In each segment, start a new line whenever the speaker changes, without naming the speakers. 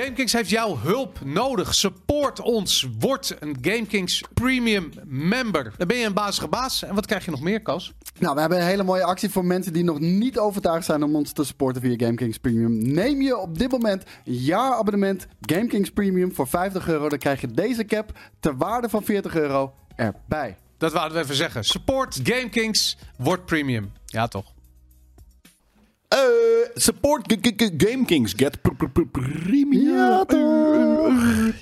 GameKings heeft jouw hulp nodig. Support ons. Word een GameKings Premium member. Dan ben je een bazige baas. En wat krijg je nog meer, Kas?
Nou, we hebben een hele mooie actie voor mensen die nog niet overtuigd zijn om ons te supporten via GameKings Premium. Neem je op dit moment een jaarabonnement GameKings Premium voor 50 euro. Dan krijg je deze cap ter waarde van 40 euro erbij.
Dat wouden we even zeggen. Support GameKings. Word Premium. Ja, toch?
Eh, support G- G- G- GameKings. Get pr- pr- pr- premium.
Ja, toch.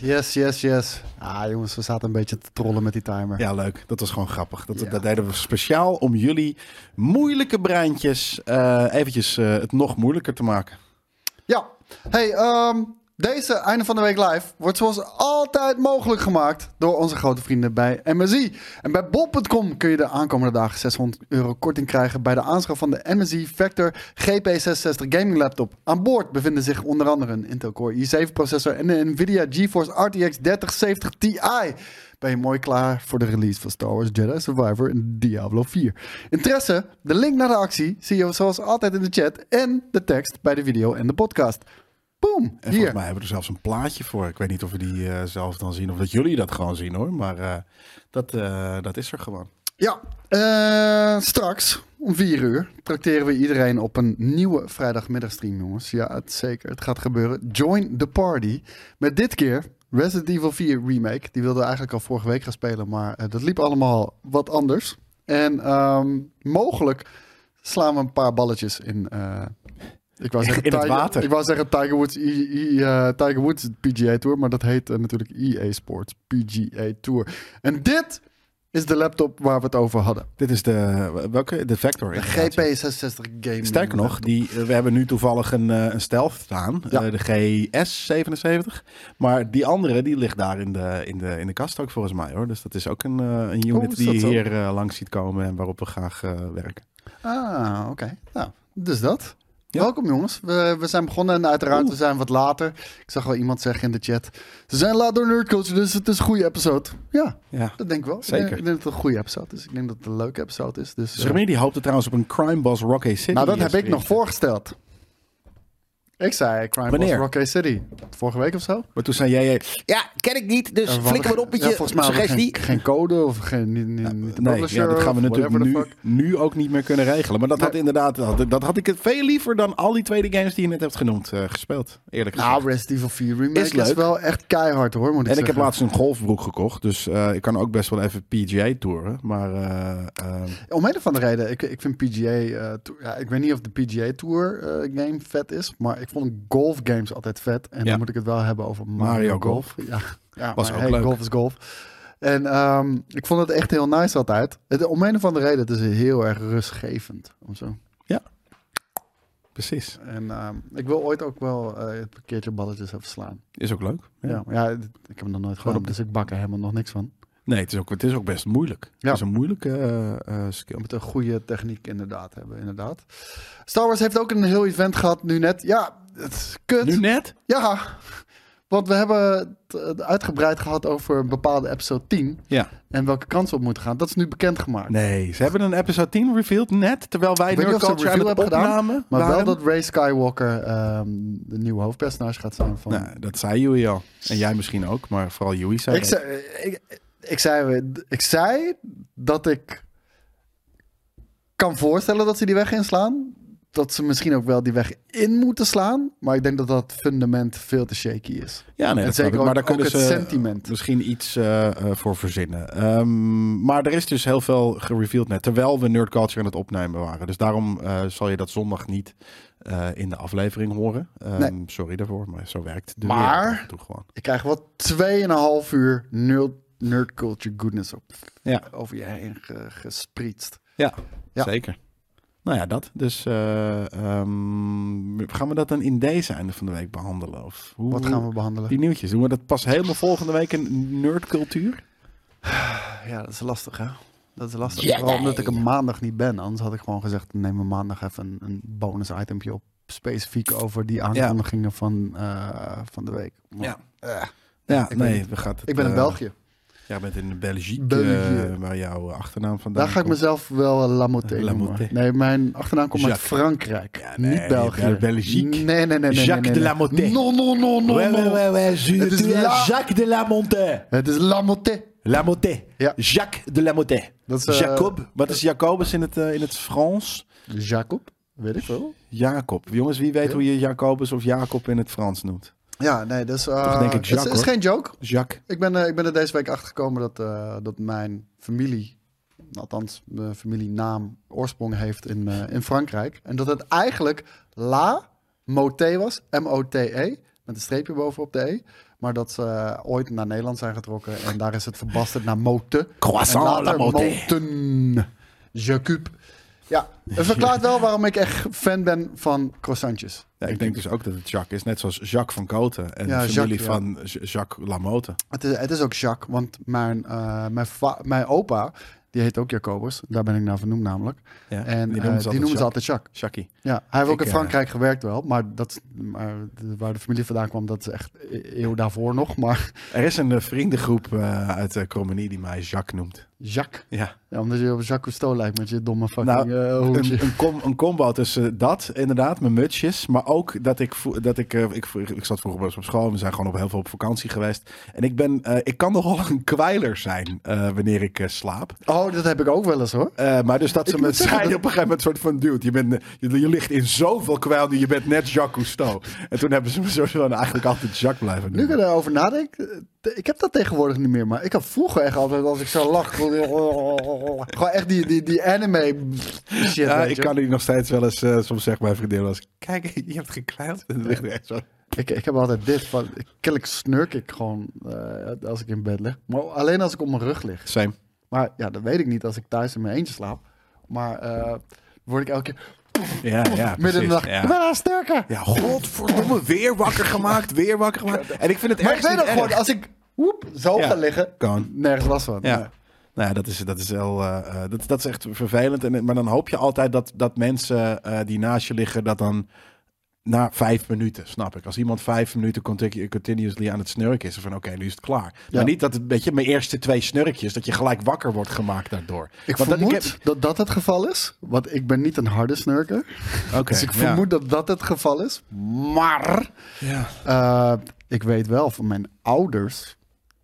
Yes, yes, yes. Ah, jongens, we zaten een beetje te trollen met die timer.
Ja, leuk. Dat was gewoon grappig. Dat,
Ja.
dat deden we speciaal om jullie moeilijke breintjes eh, eventjes eh, het nog moeilijker te maken.
Ja. Hey, ehm, deze einde van de week live wordt zoals altijd mogelijk gemaakt door onze grote vrienden bij MSI. En bij bol.com kun je de aankomende dagen 600 euro korting krijgen bij de aanschaf van de MSI Vector GP66 gaming laptop. Aan boord bevinden zich onder andere een Intel Core i7 processor en een Nvidia GeForce RTX 3070 Ti ben je mooi klaar voor de release van Star Wars Jedi Survivor en Diablo 4. Interesse? De link naar de actie zie je zoals altijd in de chat en de tekst bij de video en de podcast. Boom,
En volgens
hier.
mij hebben we er zelfs een plaatje voor. Ik weet niet of we die eh, zelf dan zien of dat jullie dat gewoon zien hoor. Maar eh, dat, eh, dat is er gewoon.
Ja, eh, straks om 4 uur trakteren we iedereen op een nieuwe vrijdagmiddagstream, jongens. Ja, het, zeker. Het gaat gebeuren. Join the party. Met dit keer Resident Evil 4 Remake. Die wilden we eigenlijk al vorige week gaan spelen, maar eh, dat liep allemaal wat anders. En ehm, mogelijk slaan we een paar balletjes in. eh, ik wou zeggen,
In het
Tiger,
water.
Ik wou zeggen Tiger Woods, I, I- eh, Tiger Woods PGA Tour, maar dat heet eh, natuurlijk EA Sports PGA Tour. En dit is de laptop waar we het over hadden.
Dit is de, welke? de Vector.
De
inderdaad, ja.
GP66 Game.
Sterker nog, die, eh, we hebben nu toevallig een, eh, een stealth staan,
Ja.
eh, de GS77. Maar die andere die ligt daar in de, in, de, in de kast ook volgens mij hoor. Dus dat is ook een, eh, een
Oh,
unit
is
die
dat
je
zo?
hier eh, langs ziet komen en waarop we graag eh, werken.
Ah, oké. Nou, dus dat.
Ja.
Welkom jongens. We, we zijn begonnen en uiteraard
Oeh.
we zijn wat later. Ik zag wel iemand zeggen in de chat. Ze zijn laat door Nerdcoach, dus het is een goede episode. Ja,
Ja.
dat denk ik wel.
Zeker.
Ik denk, ik denk dat het een goede episode is. Ik denk dat het een leuke episode is. Dus, eh,
Schermier die hoopte trouwens op een crime boss Rocky City.
nou, dat
eh,
heb ik nog
sprintje.
voorgesteld. Ik zei Crime Boss
Wanneer?
Rocky City. Vorige week of zo.
Maar toen zei jij, eh, ja, ken ik niet, dus
Ja,
flikker maar op met
ja,
je
volgens mij hadden we
suggestie.
Geen, geen code of geen, niet, niet, niet de
Nee,
publisher
ja, dat gaan we
of
natuurlijk
whatever the
nu,
fuck.
nu ook niet meer kunnen regelen. Maar dat had inderdaad, dat, dat had ik het veel liever dan al die tweede games die je net hebt genoemd eh, gespeeld. Eerlijk gezegd.
Nou, Resident Evil 4 Remake
Is
is,
leuk.
wel echt keihard hoor, moet ik
En ik heb
zeggen.
laatst een golfbroek gekocht, dus eh, ik kan ook best wel even PGA toeren. Maar eh, eh,
Om een of andere reden, ik, ik vind PGA... eh, to- ja, ik weet niet of de PGA Tour eh, game vet is, maar ik vond golf games altijd vet. En
Ja.
dan moet ik het wel hebben over Mario,
Mario
Golf. Ja, ja
Was
maar
ook
hey,
leuk.
golf is golf. En ehm, ik vond het echt heel nice altijd. Het, om een of andere reden, het is heel erg rustgevend. Of zo.
precies,
En ehm, ik wil ooit ook wel eh, een keertje balletjes even slaan.
is ook leuk.
Ja, maar ja d- ik heb hem nog nooit
Gewoon
gedaan,
op
dus ik bak er helemaal nog niks van.
Nee, het is ook, het is ook best moeilijk.
Ja.
Het is een moeilijke eh, eh,
Je
skill.
moet een goede techniek inderdaad hebben, inderdaad. Star Wars heeft ook een heel event gehad nu net. Ja, het is kut.
Nu net?
Ja, want we hebben het eh, uitgebreid gehad over een bepaalde episode 10
Ja.
en welke kansen op moeten gaan. Dat is nu bekendgemaakt.
Nee, ze hebben een episode 10 revealed net, terwijl wij
Ik weet niet of ze een
Nerdculture aan
review
het
hebben gedaan,
opnamen
Maar
waren.
wel dat Ray Skywalker ehm, de nieuwe hoofdpersonage gaat zijn van...
Nou, dat zei Joey al. En jij misschien ook, maar vooral Joey zei
ik,
dat.
zei, ik, ik, zei, ik zei dat ik kan voorstellen dat ze die weg inslaan. Dat ze misschien ook wel die weg in moeten slaan. Maar ik denk dat dat fundament veel te shaky is.
Ja, nee,
en
dat
zeker
snap ik. Maar daar
ook, ook
kunnen
het
ze
sentiment.
misschien iets eh, eh, voor verzinnen. Ehm, maar er is dus heel veel gereveeld net, terwijl we Nerd Culture aan het opnemen waren. Dus daarom eh, zal je dat zondag niet eh, in de aflevering horen. Ehm,
Nee.
Sorry daarvoor, maar zo werkt de
Maar-
wereld af en toe gewoon.
Ik krijg wel 2,5 uur nerd, nerd culture goodness op,
Ja,
over je heen ge- gesprietst.
ja,
Ja.
zeker. Nou ja, dat. Dus eh, ehm, gaan we dat dan in deze einde van de week behandelen? Of hoe,
Wat gaan we behandelen?
Die nieuwtjes, doen we dat pas helemaal volgende week in nerdcultuur?
Ja, dat is lastig hè. Dat is lastig.
Jedi.
Vooral omdat ik een maandag niet ben. Anders had ik gewoon gezegd, neem een maandag even een, een bonus itempje op. Specifiek over die aankondigingen van, eh, van de week. Maar,
Ja.
eh,
Ja,
Ik weet
nee,
niet.
we gaan het,
ik ben in
eh,
België.
Jij bent in België,
België.
eh, waar jouw achternaam vandaan
Daar ga ik
komt.
mezelf wel eh, Lamoté
Eh,
noemen.
Lamoté.
Nee, mijn achternaam komt uit
Jacques.
Frankrijk.
Ja, nee,
niet België.
uit België.
Nee, nee, nee. nee
Jacques
nee,
de
nee.
Lamoté.
Non, non, non, non,
Ouais,
non.
ouais, ouais, ouais, je-
Het is
tu es
la-
Jacques de Lamonté.
Het is Lamoté.
Lamonté.
Ja.
Jacques de Lamonté.
Dat is, eh,
Jacob. Wat is Jacobus in het, eh, in het Frans?
Jacob? Weet ik wel.
Jacob. Jongens, wie weet hoe je Jacobus of Jacob in het Frans noemt.
Ja, nee, dat is... eh,
Toch denk ik
het is-
Jacques,
het is
hoor.
geen joke.
Jacques.
Ik ben, eh, ik ben er deze week achter gekomen dat, eh, dat mijn familie, althans mijn familienaam, oorsprong heeft in, eh, in Frankrijk. En dat het eigenlijk La Moté was, M-O-T-E, E, met een streepje bovenop de E. Maar dat ze eh, ooit naar Nederland zijn getrokken en daar is het verbasterd naar Mote.
Croissant
en later
La Moté.
Moten. Jacob. Ja, het verklaart wel waarom ik echt fan ben van croissantjes.
Ja, ik denk dus ook dat het Jacques is. Net zoals Jacques van Koten en
Ja,
de familie
Jacques, ja.
van J- Jacques Lamotte.
Het is, het is ook Jacques, want mijn, eh, mijn, va- mijn opa, die heet ook Jacobus. Daar ben ik naar vernoemd namelijk. en eh,
Ja, die
die noemen,
noemen ze
die
altijd
noemen ze
Jacques.
altijd Jacques.
Jacques.
Ja, hij heeft ook
Ik,
in
eh,
Frankrijk gewerkt wel, maar, dat, maar de- waar de familie vandaan kwam, dat is echt e- eeuw daarvoor nog. Maar
Er is een eh, vriendengroep eh, uit eh Cromenie die mij Jacques noemt.
Jacques,
Ja.
ja, omdat je op Jacques Cousteau lijkt met je domme fucking
Nou,
eh, hoedje.
Een, een, com- een combo tussen dat, inderdaad, mijn mutsjes. Maar ook dat ik. vo- Dat ik, eh, ik, vo- ik zat vroeger wel eens op school. We zijn gewoon op heel veel op vakantie geweest. En ik, ben, eh, ik kan nogal een kwijler zijn eh, wanneer ik eh, slaap.
Oh, dat heb ik ook wel eens hoor.
Eh, maar dus dat ze
Ik
me
moet zeggen
zeiden op
dat-
een gegeven moment soort van dude, je, bent, eh, je, je ligt in zoveel kwijl nu, je bent net Jacques Cousteau. En toen hebben ze me soort van eigenlijk altijd Jacques blijven
Nu ik
noemen.
erover nadenk, eh, t- ik heb dat tegenwoordig niet meer, maar ik had vroeger echt altijd, als ik oh, zo lach, gewoon echt die, die, die anime shit.
Ja,
weet
ik
je.
kan die nog steeds wel eens, eh, soms zegt mijn vriendin wel eens, kijk, je hebt gekwijld. En dan ligt er echt zo.
Ik, ik heb altijd dit van. Kennelijk snurk ik gewoon eh, als ik in bed lig. Maar alleen als ik op mijn rug lig.
Same.
Maar ja, dat weet ik niet als ik thuis in mijn eentje slaap. Maar eh, word ik elke keer
Ja, ja,
midden in de
precies.
nacht. Ik ben
Ja.
aan snurken.
Ja, godverdomme, weer wakker gemaakt, weer wakker gemaakt. En ik vind het
maar ik
ergens
weet ook
niet
gewoon,
erg.
als ik woep, zo
Ja,
ga liggen,
kan.
nergens last van.
Ja. Nou ja, dat is, dat is wel. eh, eh, dat, dat is echt vervelend. En, maar dan hoop je altijd dat, dat mensen eh, die naast je liggen, dat dan na vijf minuten, snap ik. Als iemand vijf minuten continu- continuously aan het snurken is, dan van oké, nu is het klaar. Maar
Ja.
niet dat het, weet je, mijn eerste twee snurkjes, dat je gelijk wakker wordt gemaakt daardoor.
Ik
Want dat-
vermoed dat,
heb-
dat het geval is. Want ik ben niet een harde snurker.
Oh, Oké,
dus ik
ja.
vermoed dat dat het geval is. Maar
Ja.
Eh, ik weet wel van mijn ouders,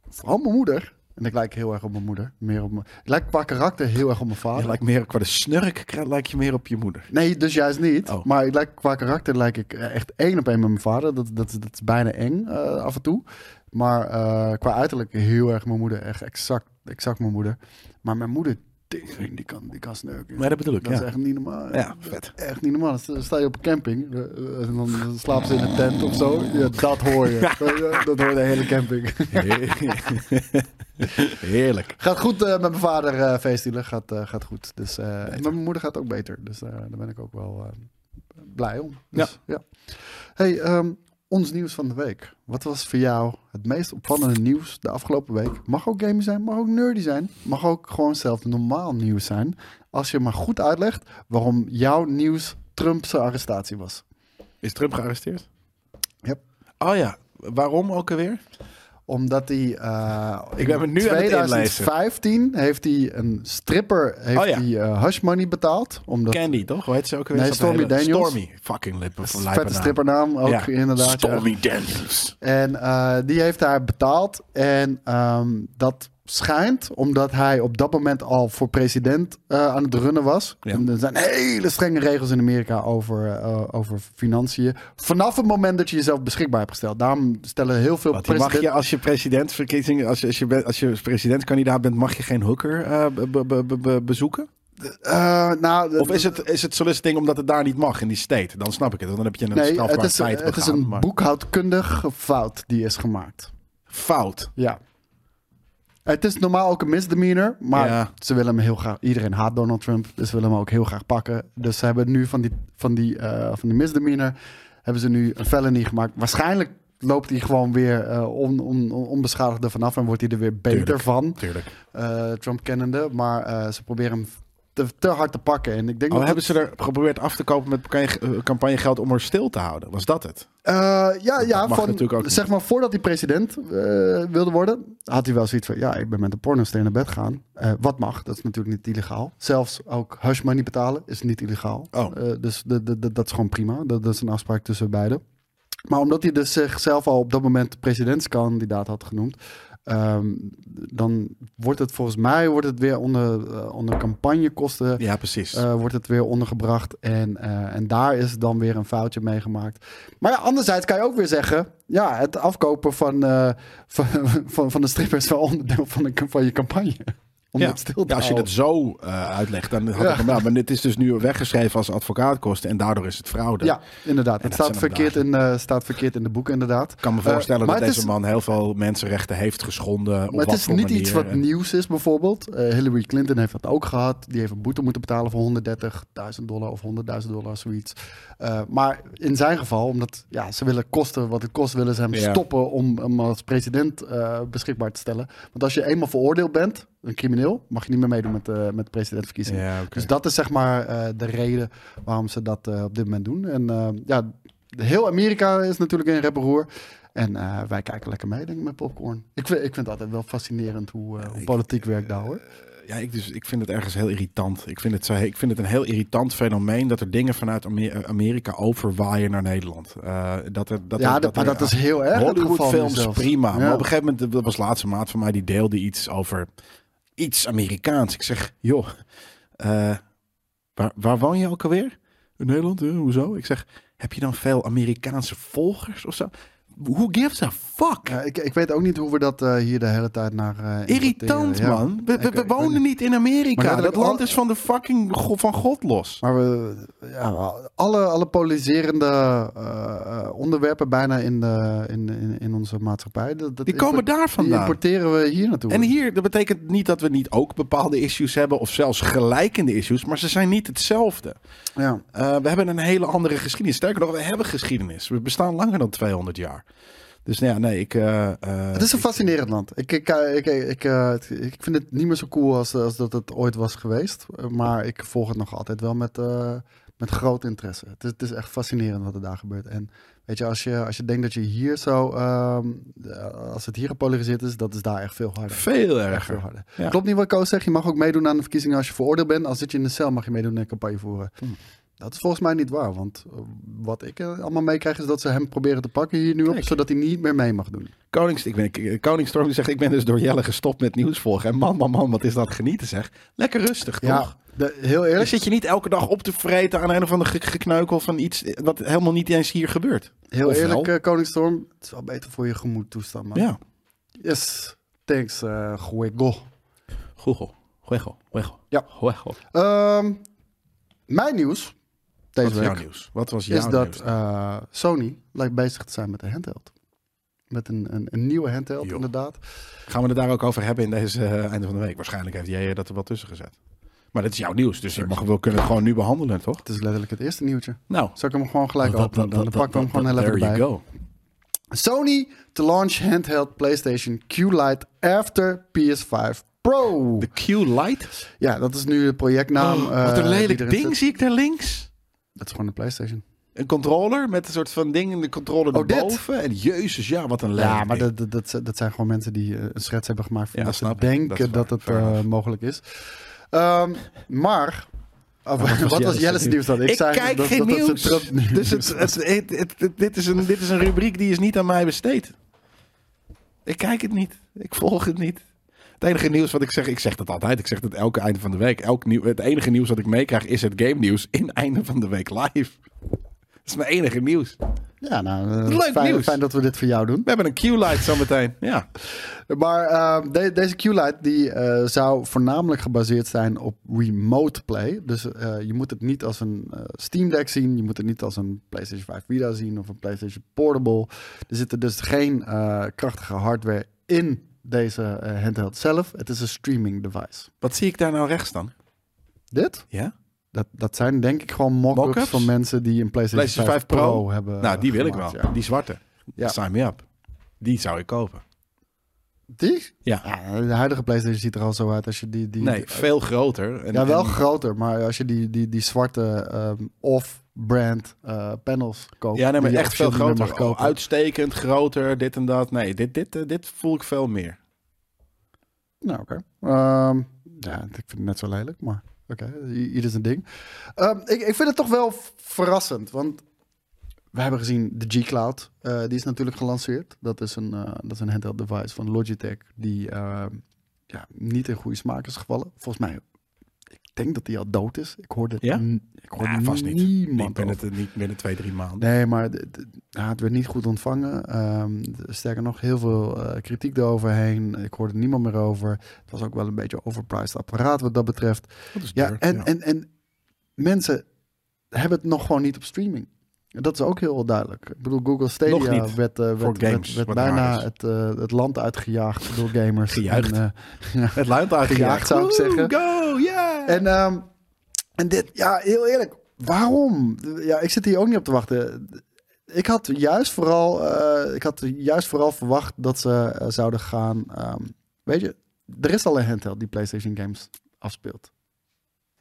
vooral mijn moeder. En ik lijk heel erg op mijn moeder. Meer op mijn, ik lijk qua karakter heel erg op mijn
Je
vader.
lijkt meer qua de snurk, lijkt je meer op je moeder.
Nee, dus juist niet.
Oh.
Maar ik lijk, qua karakter lijk ik eh, echt één op één met mijn vader. Dat, dat, dat is bijna eng eh, af en toe. Maar eh, qua uiterlijk heel erg mijn moeder. Echt exact, exact mijn moeder. Maar mijn moeder, tering, die kan, die kan snurken.
Maar dat bedoel ik,
Dat
ja.
is echt niet normaal.
Ja, vet.
Echt niet normaal. Dan sta je op een camping eh, eh, en dan slapen ze in een tent of zo. Ja, dat hoor je. Eh, dat hoor je de hele camping.
Heerlijk.
Gaat goed eh, met mijn vader eh feestdielen. Gaat, eh, gaat goed. Dus, eh, en met mijn moeder gaat ook beter. Dus eh, daar ben ik ook wel eh, blij om. Dus, ja. Hey, ehm, ons nieuws van de week. Wat was voor jou het meest opvallende nieuws de afgelopen week? Mag ook gaming zijn, mag ook nerdy zijn. Mag ook gewoon zelf normaal nieuws zijn. Als je maar goed uitlegt waarom jouw nieuws Trump zijn arrestatie was.
Is Trump gearresteerd?
Yep.
Oh ja, waarom ook alweer?
Omdat hij eh,
Ik ben me
in
nu aan het inlezen.
2015 heeft hij een stripper heeft
Oh ja.
hij, eh, hush money betaald. Omdat
Candy, toch? Hoe heet ze ook weer?
Nee,
Zo'n
Stormy
hele-
Daniels.
Stormy, fucking lippen van
vette strippernaam ook inderdaad. ja.
Stormy Daniels.
En eh, die heeft daar betaald. En ehm, dat schijnt omdat hij op dat moment al voor president eh, aan het runnen was.
Ja.
En er zijn hele strenge regels in Amerika over, eh, over financiën. Vanaf het moment dat je jezelf beschikbaar hebt gesteld. Daarom stellen heel veel
Want die mag je
presidenten...
als je presidentsverkiezingen, als je, als je, bent- als je presidentskandidaat bent, mag je geen hooker eh, be- be- be- be- be- bezoeken?
Eh, nou,
Of is het, is het soliciting omdat het daar niet mag in die state? Dan snap ik het, want dan heb je een
Nee,
strafbaar
het is,
feit
het is
begaan,
een
maar-
boekhoudkundige fout die is gemaakt.
Fout.
Ja. Het is normaal ook een misdemeanor, maar
Ja.
ze willen hem heel graag. Iedereen haat Donald Trump, dus ze willen hem ook heel graag pakken. Dus ze hebben nu van die, van die, eh, van die misdemeanor hebben ze nu een felony gemaakt. Waarschijnlijk loopt hij gewoon weer eh, on, on, on- onbeschadigd ervan af en wordt hij er weer beter
Tuurlijk.
van.
Tuurlijk.
eh, Trump kennende. Maar eh, ze proberen hem te, te hard te pakken. En ik denk
Al
dat
Oh, hebben
het-
ze er geprobeerd af te kopen met campagne- eh, campagnegeld om er stil te houden. Was dat het?
Eh, ja, ja
mag
van,
natuurlijk ook niet.
zeg maar voordat hij president eh, wilde worden, had hij wel zoiets van, ja, ik ben met een pornoster naar bed gaan. Eh, wat mag, dat is natuurlijk niet illegaal. Zelfs ook hush money betalen is niet illegaal.
Oh.
Eh, dus de, de, de- dat is gewoon prima. Dat, dat is een afspraak tussen beiden. Maar omdat hij dus zichzelf al op dat moment presidentskandidaat had genoemd, ehm, dan wordt het volgens mij wordt het weer onder, eh, onder campagnekosten
Ja, precies.
eh, wordt het weer ondergebracht. En, eh, en daar is dan weer een foutje mee gemaakt. Maar ja, anderzijds kan je ook weer zeggen... ja, het afkopen van, eh, van, van, van de strippers... is wel onderdeel van, de, van je campagne. Om
ja.
dat stil te
Ja, als je dat
houden.
zo eh, uitlegt, dan had
oh. Ja.
ik hem wel. Maar dit is dus nu weggeschreven als advocaatkosten en daardoor is het fraude.
Ja, inderdaad. Het
dat
staat
zijn
verkeerd, in, eh, staat verkeerd in de boeken, inderdaad.
Ik kan me voorstellen
Eh, maar
dat
het
deze
is-
man heel veel mensenrechten heeft geschonden. eh, Op
Maar het
wat
is
voor
niet
manier. eh,
iets wat
En-
nieuws is, bijvoorbeeld. Eh, Hillary Clinton heeft dat ook gehad. Die heeft een boete moeten betalen voor 130.000 dollar of 100.000 dollar, zoiets. Eh, maar in zijn geval, omdat ja, ze willen kosten wat het kost, willen ze hem
Ja.
stoppen om hem als president eh, beschikbaar te stellen. Want als je eenmaal veroordeeld bent, een crimineel, mag je niet meer meedoen met, eh met de presidentsverkiezingen.
Ja, oké.
Dus dat is zeg maar eh, de reden waarom ze dat eh, op dit moment doen. En eh, ja, heel Amerika is natuurlijk in reperoer. En eh, wij kijken lekker mee, denk ik, met popcorn. Ik vind, ik vind het altijd wel fascinerend hoe, eh, hoe politiek werkt daar, hoor.
Ja, ik, dus, ik vind het ergens heel irritant. Ik vind, het zo, ik vind het een heel irritant fenomeen dat er dingen vanuit Ame- eh, Amerika overwaaien naar Nederland. Eh, dat er, dat
ja,
er,
dat, maar
er-
dat is heel erg het geval nu
Hollywoodfilms,
zelfs.
prima.
Ja.
Maar op een gegeven moment, dat was laatste maand van mij, die deelde iets over iets Amerikaans. Ik zeg, joh, eh, waar, waar woon je ook alweer? In Nederland, eh, hoezo? Ik zeg, heb je dan veel Amerikaanse volgers of zo? Who gives a fuck?
Ja, ik, ik weet ook niet hoe we dat eh, hier de hele tijd naar... eh,
Irritant,
importeren, ja.
man. We, we-
Ik-
we
ik weet
wonen niet in
Maar
Amerika.
dat-
Dat land is van de fucking go- van God los.
Maar we, ja, alle, alle polariserende eh, eh, onderwerpen bijna in, de, in, in, in onze maatschappij... Dat, dat
Die komen
import-
daar
Die
vandaan.
importeren we hier naartoe.
En hier, dat betekent niet dat we niet ook bepaalde issues hebben, of zelfs gelijkende issues, maar ze zijn niet hetzelfde.
Ja.
Eh, we hebben een hele andere geschiedenis. Sterker nog, we hebben geschiedenis. We bestaan langer dan 200 jaar. Dus nou ja, nee, ik. eh, eh,
Het is een fascinerend land. Ik, ik, eh, ik, ik, eh, het- ik vind het niet meer zo cool als, als dat het ooit was geweest. Eh, Maar ik volg het nog altijd wel met, eh, met groot interesse. Het is, het is echt fascinerend wat er daar gebeurt. En weet je, als je, als je denkt dat je hier zo... ehm, eh, als het hier gepolariseerd is, dat is daar echt veel harder.
veel
Echt veel
erger.
harder.
Ja.
Klopt niet wat Koos zegt. Je mag ook meedoen aan de verkiezingen als je veroordeeld bent. Als zit je in de cel, mag je meedoen aan campagne voeren. Dat is volgens mij niet waar. Want eh, wat ik eh, allemaal meekrijg, is dat ze hem proberen te pakken hier nu op.
Kijk.
Zodat hij niet meer mee mag doen.
Konings, ik ben, ik- Koningsstorm die zegt: Ik ben dus door Jelle gestopt met nieuws volgen. En man, man, man, wat is dat genieten zeg. Lekker rustig, toch?
Ja, de- heel
Dan
eerlijk.
zit je niet elke dag op te vreten aan een of ander ge- gekneukel van iets eh, wat helemaal niet eens hier gebeurt.
Heel
Of wel?
eerlijk, eh, Koningsstorm. Het is wel beter voor je gemoedtoestand, man.
Ja,
Yes. Thanks, eh Guego.
Google. Google. Google.
Ja.
Google.
Ehm, mijn nieuws
Wat
deze
was jouw
week
nieuws? Wat was jouw
is dat
nieuws?
eh, Sony lijkt bezig te zijn met een handheld. Met een, een, een nieuwe handheld,
Joh.
inderdaad.
Gaan we het daar ook over hebben in deze eh, einde van de week? Waarschijnlijk heeft jij dat er wel tussen gezet. Maar dat is jouw nieuws, dus je mag, we kunnen het gewoon nu behandelen, toch?
Het is letterlijk het eerste nieuwtje.
Nou,
Zal ik hem gewoon gelijk openen? Dan pakken we hem gewoon heel even
There
erbij.
you go.
Sony to launch handheld PlayStation Q-Lite after PS5 Pro.
De Q-Light.
Ja, dat is nu de projectnaam. eh,
Oh, wat een
die
lelijk
erin
ding
zit.
zie ik daar links.
Dat is gewoon een PlayStation.
Een controller met een soort van ding in de controller
Oh, dit?
erboven. En jezus, ja, wat een lelijk
Ja, maar
ding.
dat, dat, dat, dat zijn gewoon mensen die eh, een schets hebben gemaakt van
Ja,
dat ze
snap ik. Dat
denken
is
dat,
waar.
het
Fair
eh,
enough.
mogelijk is. Ehm, maar, of, wat was
Jelle's
Jelle's nieuws dan?
Ik, kijk geen
ze
nieuws.
Trump nieuws
dus het, het, het- het- het- dit, is een, dit is een rubriek die is niet aan mij besteed. Ik kijk het niet. Ik volg het niet. Het enige nieuws wat ik zeg, ik zeg dat altijd. Ik zeg dat elke einde van de week. Elk nieuw, het enige nieuws wat ik meekrijg is het game nieuws in einde van de week live. Dat is mijn enige nieuws.
Ja, nou, eh,
Leuk
fijn,
nieuws.
fijn dat we dit voor jou doen.
We hebben een Q-light zometeen. Ja.
Maar ehm, de- deze Q-Lite die, eh, zou voornamelijk gebaseerd zijn op remote play. Dus eh, je moet het niet als een eh, Steam Deck zien. Je moet het niet als een PlayStation 5 Vita zien of een PlayStation Portable. Er zitten dus geen eh, krachtige hardware in deze eh, handheld zelf. Het is een streaming device.
Wat zie ik daar nou rechts dan?
Dit?
Ja?
Dat, dat zijn denk ik gewoon mock-ups,
Mock-ups?
van mensen die een PlayStation,
PlayStation 5 Pro,
hebben. eh,
nou, die wil ik wel.
gemaakt, ja.
Die zwarte.
Ja.
Sign me up. Die zou ik kopen.
Die?
Ja.
Ja, de huidige PlayStation ziet er al zo uit als je die... die
Nee, veel groter. En,
ja, wel
en-
groter, maar als je die, die, die zwarte ehm, off-brand eh, panels koopt...
ja, nee, maar
die je
echt veel
officieel niet meer
groter. Oh,
mag kopen.
Uitstekend, groter, dit en dat. Nee, dit, dit, eh, dit voel ik veel meer.
Nou, oké. Ehm, ja, ik vind het net zo lelijk, maar oké, i- ieder zijn ding. Ehm, ik, ik vind het toch wel v- verrassend, want we hebben gezien de G-Cloud. eh, die is natuurlijk gelanceerd. Dat is een, eh, dat is een handheld device van Logitech die ehm, ja, niet in goede smaak is gevallen. Volgens mij, ik denk dat die al dood is. Ik hoorde
Ja?
n- ik hoorde
Ja, vast niet.
Ah, niemand
Ik ben
over.
het eh, niet binnen twee, drie maanden.
Nee, maar d- d- ja, het werd niet goed ontvangen. Ehm, d- sterker nog, heel veel eh, kritiek eroverheen. Ik hoorde niemand meer over. Het was ook wel een beetje een overpriced apparaat wat dat betreft.
Dat is
Ja,
duur,
en, En, en mensen hebben het nog gewoon niet op streaming. Dat is ook heel wel duidelijk. Ik bedoel, Google Stadia
Nog niet.
werd, eh, werd, werd,
games,
werd
wat raar
bijna
is.
het, eh, het land uitgejaagd door gamers.
Gejuicht.
En, eh,
Het luidt uitgejaagd,
Gejaagd, zou ik zeggen.
Go, yeah!
En, ehm, en dit, ja, heel eerlijk, waarom? Ja, ik zit hier ook niet op te wachten. Ik had juist vooral, eh, ik had juist vooral verwacht dat ze eh, zouden gaan. ehm, weet je, er is al een handheld die PlayStation Games afspeelt.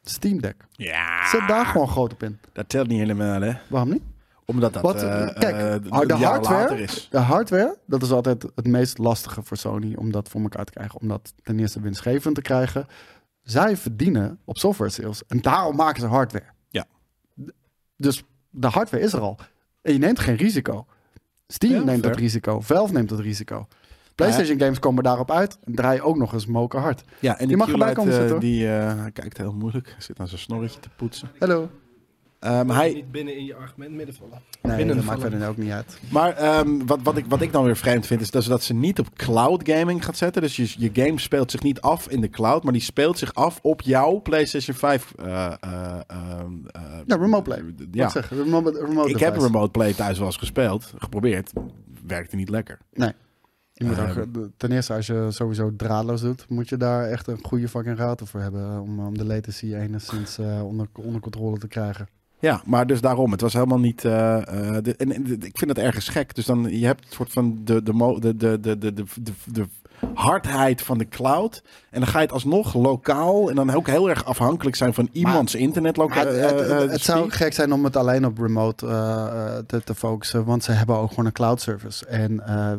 Steam Deck.
ja,
Zet daar gewoon groot op in.
dat telt niet helemaal, hè?
Waarom niet?
Omdat dat
Wat,
eh,
kijk, oh,
eh,
de
een jaar
hardware-
later is.
De hardware, dat is altijd het meest lastige voor Sony om dat voor elkaar te krijgen. Om dat ten eerste winstgevend te krijgen. Zij verdienen op software sales en daarom maken ze hardware.
Ja.
D- Dus de hardware is er al. En je neemt geen risico. Steam
Ja,
neemt dat
fair.
risico. Valve neemt dat risico. PlayStation games komen daarop uit en draaien ook nog eens moker hard.
Ja, en
Je
die
mag erbij
Q-Lite,
komen
eh,
zitten, hoor.
Die eh, hij kijkt heel moeilijk. Hij zit aan zijn snorretje te poetsen.
Hallo.
Eh, maar hij,
Niet binnen in je argument middenvallen.
Nee,
Binnen
dat
de
maakt
vallen.
verder ook niet uit.
Maar ehm, wat, wat, ik, wat ik dan weer vreemd vind, is dat ze, dat ze niet op cloud gaming gaat zetten. Dus je, je game speelt zich niet af in de cloud, maar die speelt zich af op jouw PlayStation 5. eh eh, ehm, eh,
Ja, Nou, remote play.
Ja.
Wat zeg, je? remote, remote
Ik heb een
device.
remote play thuis wel eens gespeeld, geprobeerd. Werkte niet lekker.
Nee. Je moet
Eh,
ook- ten eerste, als je sowieso draadloos doet, moet je daar echt een goede fucking router voor hebben. eh, Om, om de latency enigszins eh, onder, onder controle te krijgen.
Ja, maar dus daarom. Het was helemaal niet. eh, eh, de- en, en de- ik vind het ergens gek. Dus dan je hebt een soort van de, de, mo- de, de, de, de, de, de, de hardheid van de cloud. En dan ga je het alsnog lokaal. En dan ook heel erg afhankelijk zijn van iemands eh, internetlokaal.
Maar het, het- het- het zou gek zijn om het alleen op remote eh, eh, te, te focussen, want ze hebben ook gewoon een cloud service. En eh,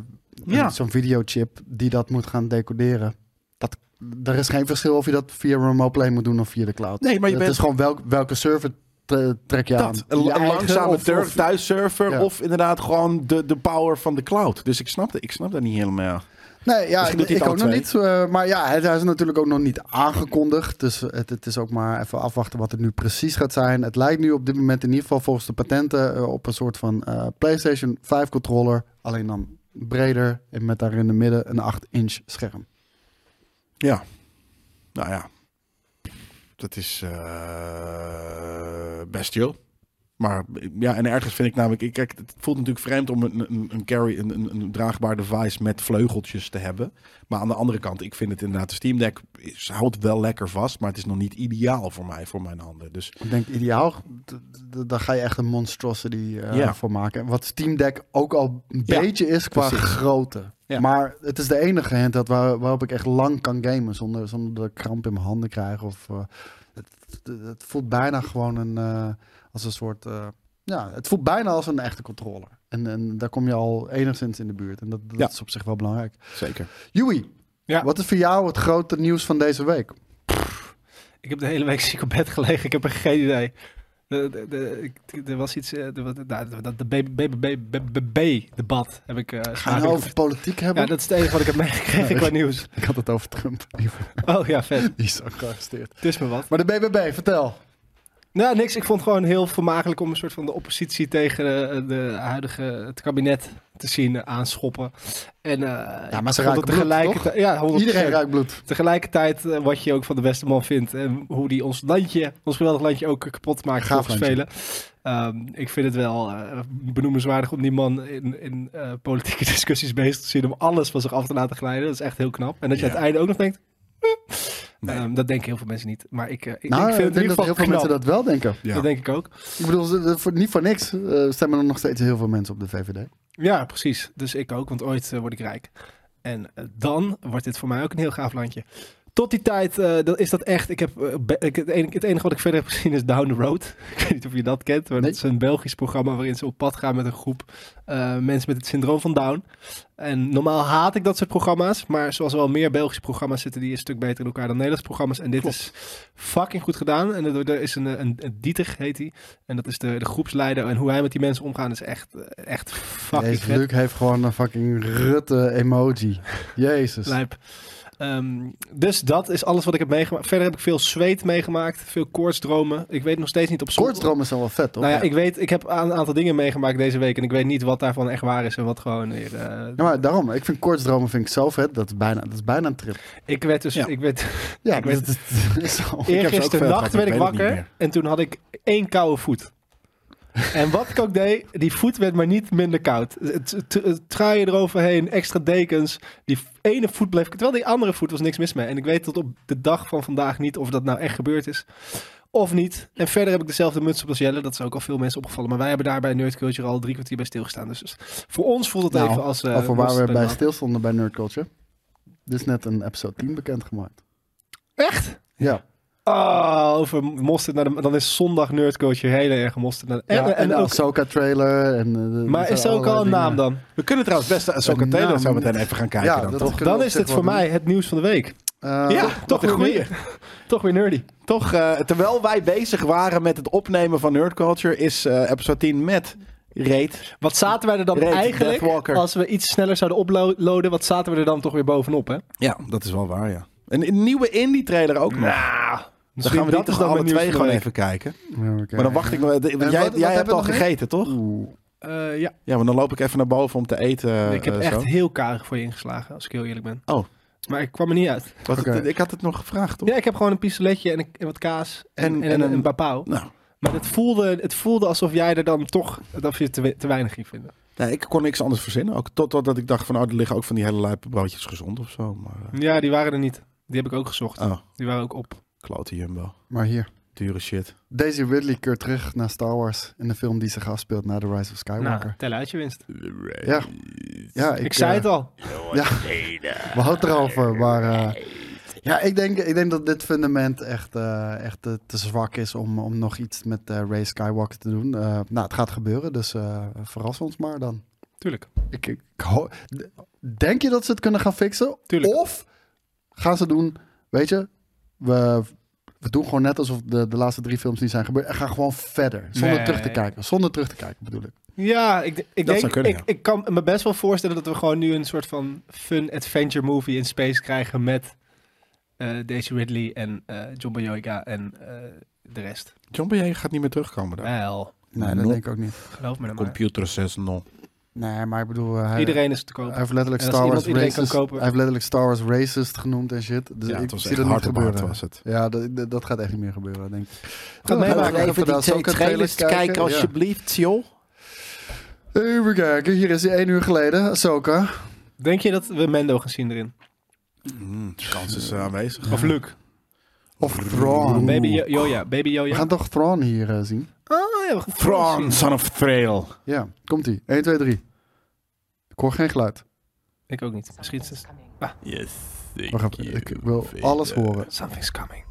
Ja.
zo'n videochip die dat moet gaan decoderen. Dat, er is geen verschil of je dat via remote play moet doen of via de cloud.
Nee, maar je
het
bent-
is gewoon welk, welke server tre- trek je aan.
dat. Een,
Je
een
eigen
langzame
of-
tur-
of-
thuisserver.
Ja.
Of inderdaad gewoon de, de power van de cloud. Dus ik snap, dat- ik snap dat niet helemaal.
Nee, ja,
Misschien doet hij
ik
het
ook
alle
nog
twee.
niet. eh, maar ja, het hij is natuurlijk ook nog niet aangekondigd. Dus het, het is ook maar even afwachten wat het nu precies gaat zijn. Het lijkt nu op dit moment in ieder geval volgens de patenten eh, op een soort van eh, PlayStation 5 controller. Alleen dan breder en met daar in het midden een 8-inch scherm.
Ja. Nou ja. Dat is eh, best joh. Maar ja, en ergens vind ik namelijk... ik- Kijk, het voelt natuurlijk vreemd om een, een, een carry, een, een, een draagbaar device met vleugeltjes te hebben. Maar aan de andere kant, ik vind het inderdaad... De Steam Deck is, houdt wel lekker vast, maar het is nog niet ideaal voor mij, voor mijn handen. Dus
Ik denk ideaal, d- d- daar ga je echt een monstrosity eh,
Ja.
voor maken. Wat Steam Deck ook al een
Ja,
beetje is qua
precies.
grootte.
Ja.
Maar het is de enige handheld waar, waarop ik echt lang kan gamen zonder, zonder dat ik kramp in mijn handen krijg. Of, eh, het, het- het voelt bijna gewoon een, eh, als een soort... eh, ja, het voelt bijna als een echte controller. En, en daar kom je al enigszins in de buurt. En dat, dat
Ja.
is op zich wel belangrijk.
zeker.
Joey,
Ja.
wat is voor jou het grote nieuws van deze week?
Ik heb de hele week ziek op bed gelegen. Ik heb er geen idee. De- de- de- ik- Er was iets. eh, er was- nou, Dat de BBB-debat heb ik. eh,
Gaan we
smakelijk-
over politiek hebben? Nou,
Ja, dat is het enige wat ik heb meegekregen qua nieuws.
Ik had het over Trump.
Oh ja, vet.
Die is ook gearresteerd.
Het is me wat.
Maar de BBB, vertel.
Nou, niks. Ik vond het gewoon heel vermakelijk om een soort van de oppositie tegen eh, de huidige, het kabinet te zien eh, aanschoppen. En, eh,
Ja, maar ze raken bloed,
tegelijkertijd, Ja, 100%.
Iedereen ruikt bloed.
Tegelijkertijd, eh, wat je ook van de beste man vindt en hoe die ons landje, ons geweldig landje ook kapot maakt
Gaaf
volgens
landje.
velen. Ehm, ik vind het wel eh, benoemenswaardig om die man in, in eh, politieke discussies bezig te zien om alles van zich af te laten glijden. Dat is echt heel knap. En dat je
Ja.
aan het einde ook nog denkt, eh.
Nee.
Ehm, dat denken heel veel mensen niet. Maar ik, eh, ik,
nou, ik
ik vind het in
denk
ieder
dat
geval
heel veel
knap.
mensen dat wel denken.
Ja.
Dat denk ik ook.
Ik bedoel, ze- voor, niet voor niks
Ah,
eh, stemmen er nog steeds heel veel mensen op de VVD.
Ja, precies. Dus ik ook, want ooit eh, word ik rijk. En eh, dan wordt dit voor mij ook een heel gaaf landje. Tot die tijd eh, dat is dat echt. Ik heb, eh, be- ik, het, enige, het enige wat ik verder heb gezien is Down the Road. Ik weet niet of je dat kent, maar
Nee.
dat is een Belgisch programma waarin ze op pad gaan met een groep eh, mensen met het syndroom van Down. En normaal haat ik dat soort programma's, maar zoals er wel meer Belgische programma's zitten, die een stuk beter in elkaar dan Nederlandse programma's. En dit is fucking goed gedaan. En er, er is een, eh, een, een Dieter, heet hij. En dat is de, de groepsleider. En hoe hij met die mensen omgaat is echt, eh, echt fucking
Jezus,
vet.
Luc heeft gewoon een fucking Rutte emoji. Jezus.
Lijp. Ehm, dus dat is alles wat ik heb meegemaakt. Verder heb ik veel zweet meegemaakt, veel koortsdromen. Ik weet nog steeds niet op sommige-
Koortsdromen zijn wel vet, toch?
Nou ja, ik weet, ik heb een aantal dingen meegemaakt deze week en ik weet niet wat daarvan echt waar is en wat gewoon. weer, eh,
Ja, maar daarom, ik vind koortsdromen vind ik zo vet. Dat is bijna, dat is bijna een trip.
ik werd dus,
Ja.
ik werd
Ja,
Ik weet-
dat is zo.
heb ze ook veel
eergisternacht
gehad, ik
werd ik
weet het niet
wakker
meer.
en toen had ik één koude voet. En wat ik ook deed, die voet werd maar niet minder koud. Het, het, het truien eroverheen, extra dekens. Die ene voet bleef... Terwijl die andere voet was niks mis mee. En ik weet tot op de dag van vandaag niet of dat nou echt gebeurd is. Of niet. En verder heb ik dezelfde muts op als Jelle. Dat is ook al veel mensen opgevallen. Maar wij hebben daar bij Nerd Culture al drie kwartier bij stilgestaan. Dus voor ons voelt het
Nou,
even als... eh,
Over waar
worst
we
bij
bij
nat.
stilstonden bij Nerd Culture. Dit is net een episode 10 bekendgemaakt.
Echt?
Ja.
Oh, over mosterd naar de... Dan is zondag Nerd Culture heel erg mosterd naar de...
ja, en, de
ook-
Ahsoka trailer. En, eh, er
Maar
zijn
is er ook
allerlei
al een
dingen.
naam dan?
We kunnen trouwens best eh, de Ahsoka
Een
Taylor
naam.
zo meteen even gaan kijken
Ja,
dan,
dat
toch?
kunnen we
Dan
op
is
zich
dit
wel
voor
doen.
mij het nieuws van de week.
Eh,
Ja,
toch?
toch
een
een
goeie.
goeie.
Toch weer nerdy.
Toch, eh, terwijl wij bezig waren met het opnemen van Nerd Culture, is eh, episode 10 met Raid.
Wat zaten wij er dan
Raid
eigenlijk,
Deathwalker.
als we iets sneller zouden uploaden, wat zaten we er dan toch weer bovenop, hè?
Ja, dat is wel waar, ja. En een nieuwe indie trailer
Nou,
ook nog. Dan gaan we die toch alle twee gewoon even kijken.
Ja, oké.
Maar dan wacht ik nog. want
wat-
jij
wat
jij
hebben
hebt
we
al
nog meer?
gegeten, toch?
Oeh.
Eh, ja,
Ja, maar dan loop ik even naar boven om te eten.
ik heb
eh,
echt
zo.
heel karig voor je ingeslagen, als ik heel eerlijk ben.
Oh.
Maar ik kwam er niet uit.
Wat het-
Oké.
ik had het nog gevraagd, toch?
Ja, ik heb gewoon een pistoletje en, een- en wat kaas en, en,
En- en
een,
een-
een papau.
Nou,
Maar het voelde, het voelde alsof jij er dan toch dat je te, we- te weinig in vinden.
nee, ik kon niks anders verzinnen. Ook tot, totdat ik dacht van, oh, er liggen ook van die hele lijpe broodjes gezond of zo. Maar, eh,
Ja, die waren er niet. Die heb ik ook gezocht.
oh,
Die waren ook op.
klote Jumbo.
Maar hier.
Dure shit.
Daisy Ridley keert terug naar Star Wars. In de film die zich afspeelt na The Rise of Skywalker.
Nou, tel uit je winst.
Ja. Ja, ik,
Nou, Ik, zei
eh,
het al.
We hadden het erover, maar... eh, ja, ik denk, ik denk dat dit fundament echt, eh, echt eh, te zwak is om, om nog iets met eh, Ray Skywalker te doen. Eh, nou, het gaat gebeuren, dus eh, verras ons maar dan.
Tuurlijk.
Ik, ik, ho- d- denk je dat ze het kunnen gaan fixen?
Tuurlijk.
Of gaan ze doen, weet je, we, we doen gewoon net alsof de, de laatste drie films niet zijn gebeurd. En gaan gewoon verder, zonder
Nee.
terug te kijken. Zonder terug te kijken bedoel ik.
Ja, ik, ik denk,
zou kunnen,
ik,
ja.
ik kan me best wel voorstellen dat we gewoon nu een soort van fun adventure movie in space krijgen met eh, Daisy Ridley en eh, John Boyega en eh, de rest.
John B.A. gaat niet meer terugkomen daar.
Wel,
Nee, dat
Nope.
denk ik ook niet.
geloof me dan maar.
Computer 6 non.
Nee, maar ik bedoel, eh, hij,
Iedereen is te koop.
hij heeft letterlijk
En als
Star
iemand
Wars
iedereen kan
racist.
kopen.
Hij heeft letterlijk Star Wars racist genoemd en shit. Dus
Ja,
ik
het was
zie
echt
dat niet
hard op hard
gebeuren.
was het.
Ja, dat, dat- dat gaat echt niet meer gebeuren, denk ik.
Gaat meemaken.
Laten we even die twee trailers kijken,
alsjeblieft, joh.
Even kijken, hier is hij één uur geleden, Ahsoka.
Denk je dat we Mendo gaan zien erin?
de kans is eh, aanwezig.
Of Luke?
Of Thrawn.
Baby Yo- Yoda. Baby
We
Yoda.
gaan toch Thrawn hier eh, zien?
Oh, ja, we gaan
Thrawn, son of Thrail.
Ja, komt ie. 1, 2, 3. Ik hoor geen geluid.
Ik ook niet. Misschien is het...
Yes.
Wacht even, ik wil alles horen.
Something's coming.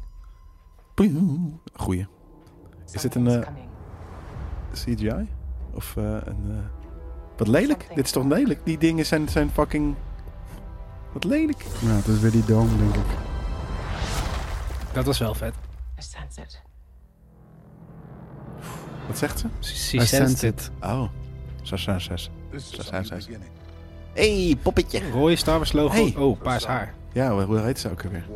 Goeie. Is dit een eh, CGI? Of eh, een... eh, Wat lelijk. Dit is toch lelijk? Die dingen zijn, zijn fucking... Wat lelijk.
Ja, het is weer die dome, denk ik.
Dat was wel vet.
I sense it.
Wat zegt ze?
She,
I
she
sense
sensed it.
Oh. Zo zijn zes. Zo zijn zes. Hé, hey, poppetje.
Rode Star Wars logo.
Hey.
Oh, paars haar.
Ja, hoe- hoe heet ze ook alweer?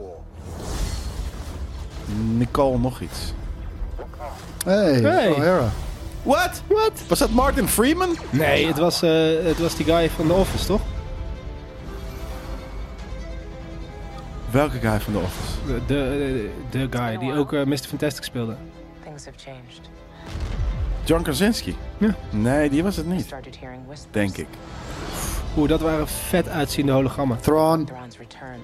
Nicole nog iets.
Hey, oh,
Hey.
O'Hara.
What? What? Was dat Martin Freeman?
Nee, het was, eh, het was die guy van The Office, toch?
Welke guy van de Office?
De, de, de guy die ook eh, Mr. Fantastic speelde.
Things have changed.
John Krasinski?
Ja.
Nee, die was het
I
niet,
started hearing whispers.
denk ik.
Oeh, dat waren vet uitziende hologrammen.
Thrawn.
Thrawn's return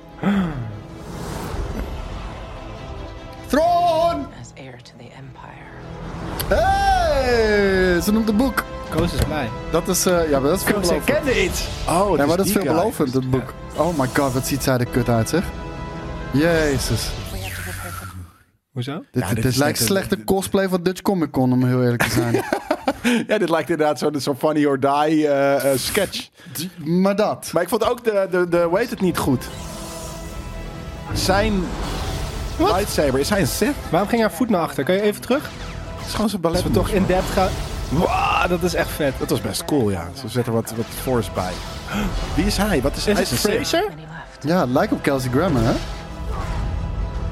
Thrawn!
as heir to the Empire.
Hey! Ze noemt het boek.
Koos is blij.
Dat is, eh, ja, maar dat is
Koos
veelbelovend.
herkende iets.
Oh, het
Ja,
is
maar dat is
die
veelbelovend,
guy.
het boek. Oh my god, wat ziet zij er kut uit, zeg. Jezus.
We have to prepare for
Hoezo?
Dit,
Ja,
dit,
dit is
lijkt
net een-
slechte cosplay van Dutch Comic Con, om heel eerlijk te zijn.
Ja, dit lijkt inderdaad zo'n zo'n funny or die eh, eh, sketch.
maar dat.
Maar ik vond ook de, de, de hoe heet het niet goed. Zijn lightsaber, is hij een Sith?
Waarom ging haar voet naar achter? Kan je even terug?
Het is gewoon zijn
Als
ballet.
we toch in depth gaan. Wow, dat is echt vet.
Dat was best cool, ja. Ze zetten wat, wat force bij. Wie is hij? Wat is,
Is
hij
het
is een Sith.
Fraser?
many left.
Ja, het lijkt op Kelsey Grammer, hè?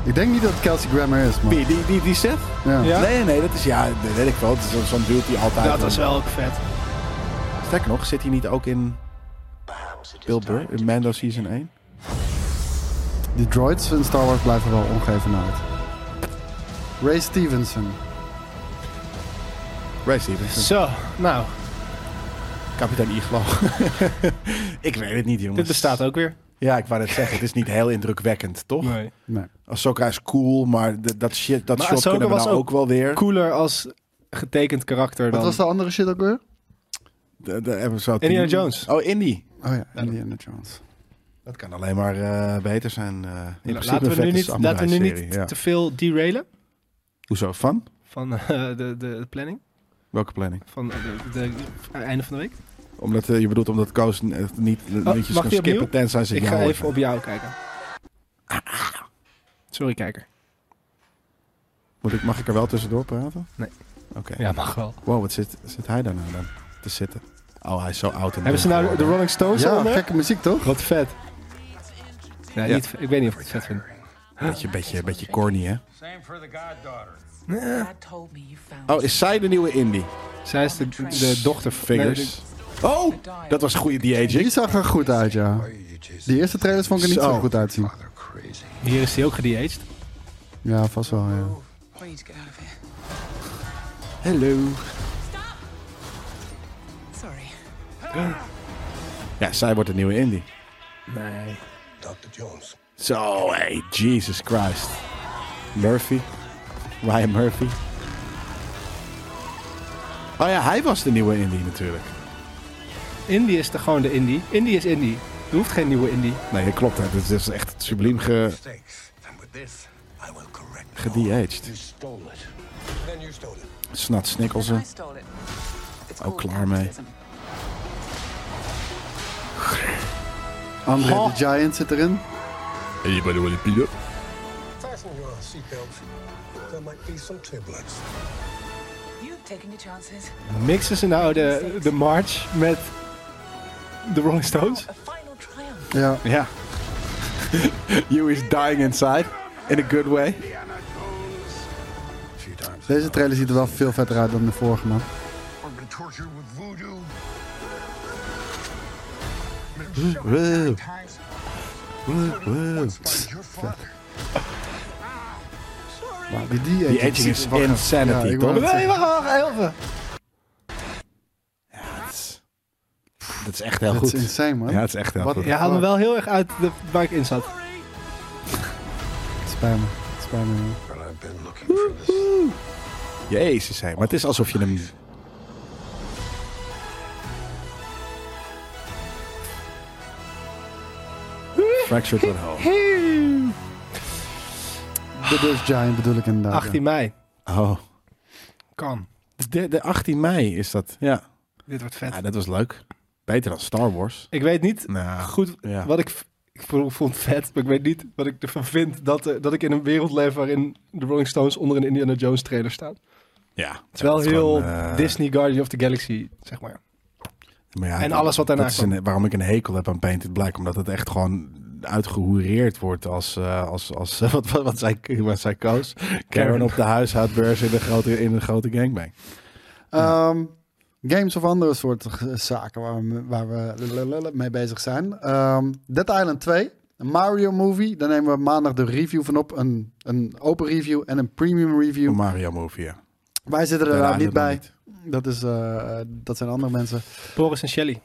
Ik denk niet dat het Kelsey Grammer is, man.
Wie? Die, die, die Sith?
Ja.
Ja.
Nee, nee, dat is ja, dat weet ik wel. Het is zo- zo'n dude die altijd.
Dat was wel ook vet.
Sterker nog, zit hij niet ook in Bill Burr in Mando Season 1?
Die droids in Star Wars blijven wel ongeven uit. Ray Stevenson.
Ray Stevens,
Zo, nou,
kapitein Iglo. ik weet het niet, jongens.
dit bestaat ook weer.
Ja, ik wou net zeggen, het is niet heel indrukwekkend, toch?
Nee.
Nee.
Ahsoka is cool, maar d- dat shit, dat
Maar
shot
Ahsoka
kunnen we
was
nou ook,
ook
wel weer.
Cooler als getekend karakter
Wat
dan.
was de andere shit ook weer?
De- de episode
Indiana
10.
Jones.
Oh, Indy.
Oh ja, Indiana Jones.
Dat kan alleen maar eh, beter zijn. eh, in principe
Nou, laten
een
we nu
vette
niet, laten we nu niet
samurai-serie, ja.
te veel derailen
Hoezo? Van?
van eh, de, de planning.
Welke planning?
Van eh, de, de- het einde van de week.
Omdat eh, je bedoelt omdat Koos n- eh, niet
Oh, mag
liedjes
die
kan
opnieuw?
skippen tenzij ze
Ik
ja
ga
hoort.
even op jou kijken. Sorry, kijker.
Moet ik, mag ik er wel tussendoor praten?
Nee.
Oké.
Ja, mag wel.
Wow, wat zit, zit hij daar nou dan te zitten? Oh, hij is zo oud en
Hebben ze nou de Rolling Stones
Ja,
eronder?
gekke muziek toch?
Wat vet. Ja,
Ja.
Niet, ik weet niet of ik het vet vind.
Beetje, beetje, beetje corny, hè?
Same for the goddaughter.
Dad told me you found
Oh, is zij de nieuwe indie?
Zij is de, de dochter van...
Fingers. Oh, dat was een goede
Die
de-aging.
zag er goed uit, ja. Die eerste trailers vond ik er niet zo,
Zo.
goed uitzien.
Nee, hier is hij ook gedeaged.
Ja, vast wel, ja.
Please get out of here.
Hello.
Sorry.
Ja, zij wordt de nieuwe indie.
Nee.
Dr. Jones.
Zo, hey, Jesus Christ. Murphy. Ryan Murphy. Oh ja, hij was de nieuwe indie natuurlijk.
Indie is de, gewoon de indie. Indie is indie. Er hoeft geen nieuwe indie.
Nee, dat klopt. hè. Dit is echt subliem ge
Mistakes. And with this, I will correct. them all.
gedeaged.
You stole it. Then you stole it.
Snat
I
Snikkelsen.
stole it. It's
Ook
called
klaar mee.
capitalism.
André
Goh.
the Giant zit erin.
Fasten your seatbelts. There might be some turbulence.
You've taken your chances.
Mixen ze nou de, de March met de Rolling Stones?
A final triumph.
Ja.
Ja. you is dying inside. In a good way.
A few times.
Deze trailer ziet er wel veel vetter uit dan de vorige, man.
We're gonna torture you with voodoo.
Wow.
Times.
Wow.
By your father.
Maar die die
Die aging is
Ja,
insanity,
ik wou
toch?
het zeggen.
wacht, even.
Dat is- dat is echt heel
Dat is
goed.
insane, man.
Ja, het is echt heel
Wat-
goed.
Je haalt me wel heel erg uit de, waar ik in zat.
Het spijt me. Het spijt me, man.
Well, I've been looking for this.
Jezus, hé. Maar het is alsof je hem... Fractured at home.
De Dutch Giant bedoel ik inderdaad.
18 mei.
Oh.
Kan.
De, de 18 mei is dat. Ja.
Dit wordt vet.
ja. Dat was leuk. Beter dan Star Wars.
Ik weet niet
Nou,
goed
ja.
wat ik, v- ik vo- vond vet, maar ik weet niet wat ik ervan vind dat, eh, dat ik in een wereld leef waarin de Rolling Stones onder een Indiana Jones trailer staan.
ja. Het
Het is wel
is
heel
gewoon, eh,
Disney Guardian of the Galaxy, zeg maar.
Maar ja,
En alles wat daarna
dat is een- waarom ik een hekel heb aan Painted Black. Omdat het echt gewoon uitgehoereerd wordt als, eh, als, als wat, wat, wat, zij, wat zij koos. Karen op de huishoudbeurs in de grote, in de grote gangbang.
Ehm, games of andere soorten g- zaken waar we, waar we lalalala mee bezig zijn. Ehm, Dead Island 2, een Mario Movie. Daar nemen we maandag de review van op. Een, een open review en een premium
Een
review.
Mario Movie, ja.
Wij zitten er
Dead
daar niet
Island
bij.
nog
Dat, is, eh, dat zijn andere mensen.
Boris en Shelley.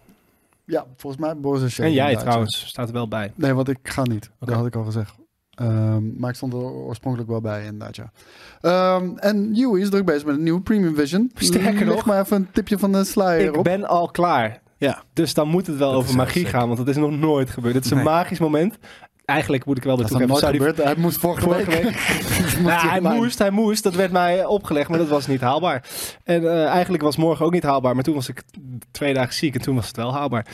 Ja, volgens mij Boris en Shelley
en jij
inderdaad, ja.
trouwens, staat er wel bij.
Nee, want ik ga niet. Dat had ik al gezegd. Ehm, Ehm, maar ik stond er oorspronkelijk wel bij, inderdaad, ja. Ehm, en Huey is druk bezig met een nieuwe Premium Vision.
Sterker
Leg
nog,
maar even een tipje van de slider
Ik
op.
ben al klaar.
Ja.
Dus dan moet het wel
Dat is
over
heel
magie
sick.
gaan, want dat is nog nooit gebeurd. Het is een
Nee.
magisch moment. Eigenlijk moet ik wel weer
Dat is nog
toegeven.
nooit
zou die-
gebeurd. Hij moest vorige,
Vorige
week.
week.
Moest
Nou, hij
online.
moest, hij moest. Dat werd mij opgelegd, maar dat was niet haalbaar. En eh, eigenlijk was morgen ook niet haalbaar, maar toen was ik twee dagen ziek en toen was het wel haalbaar.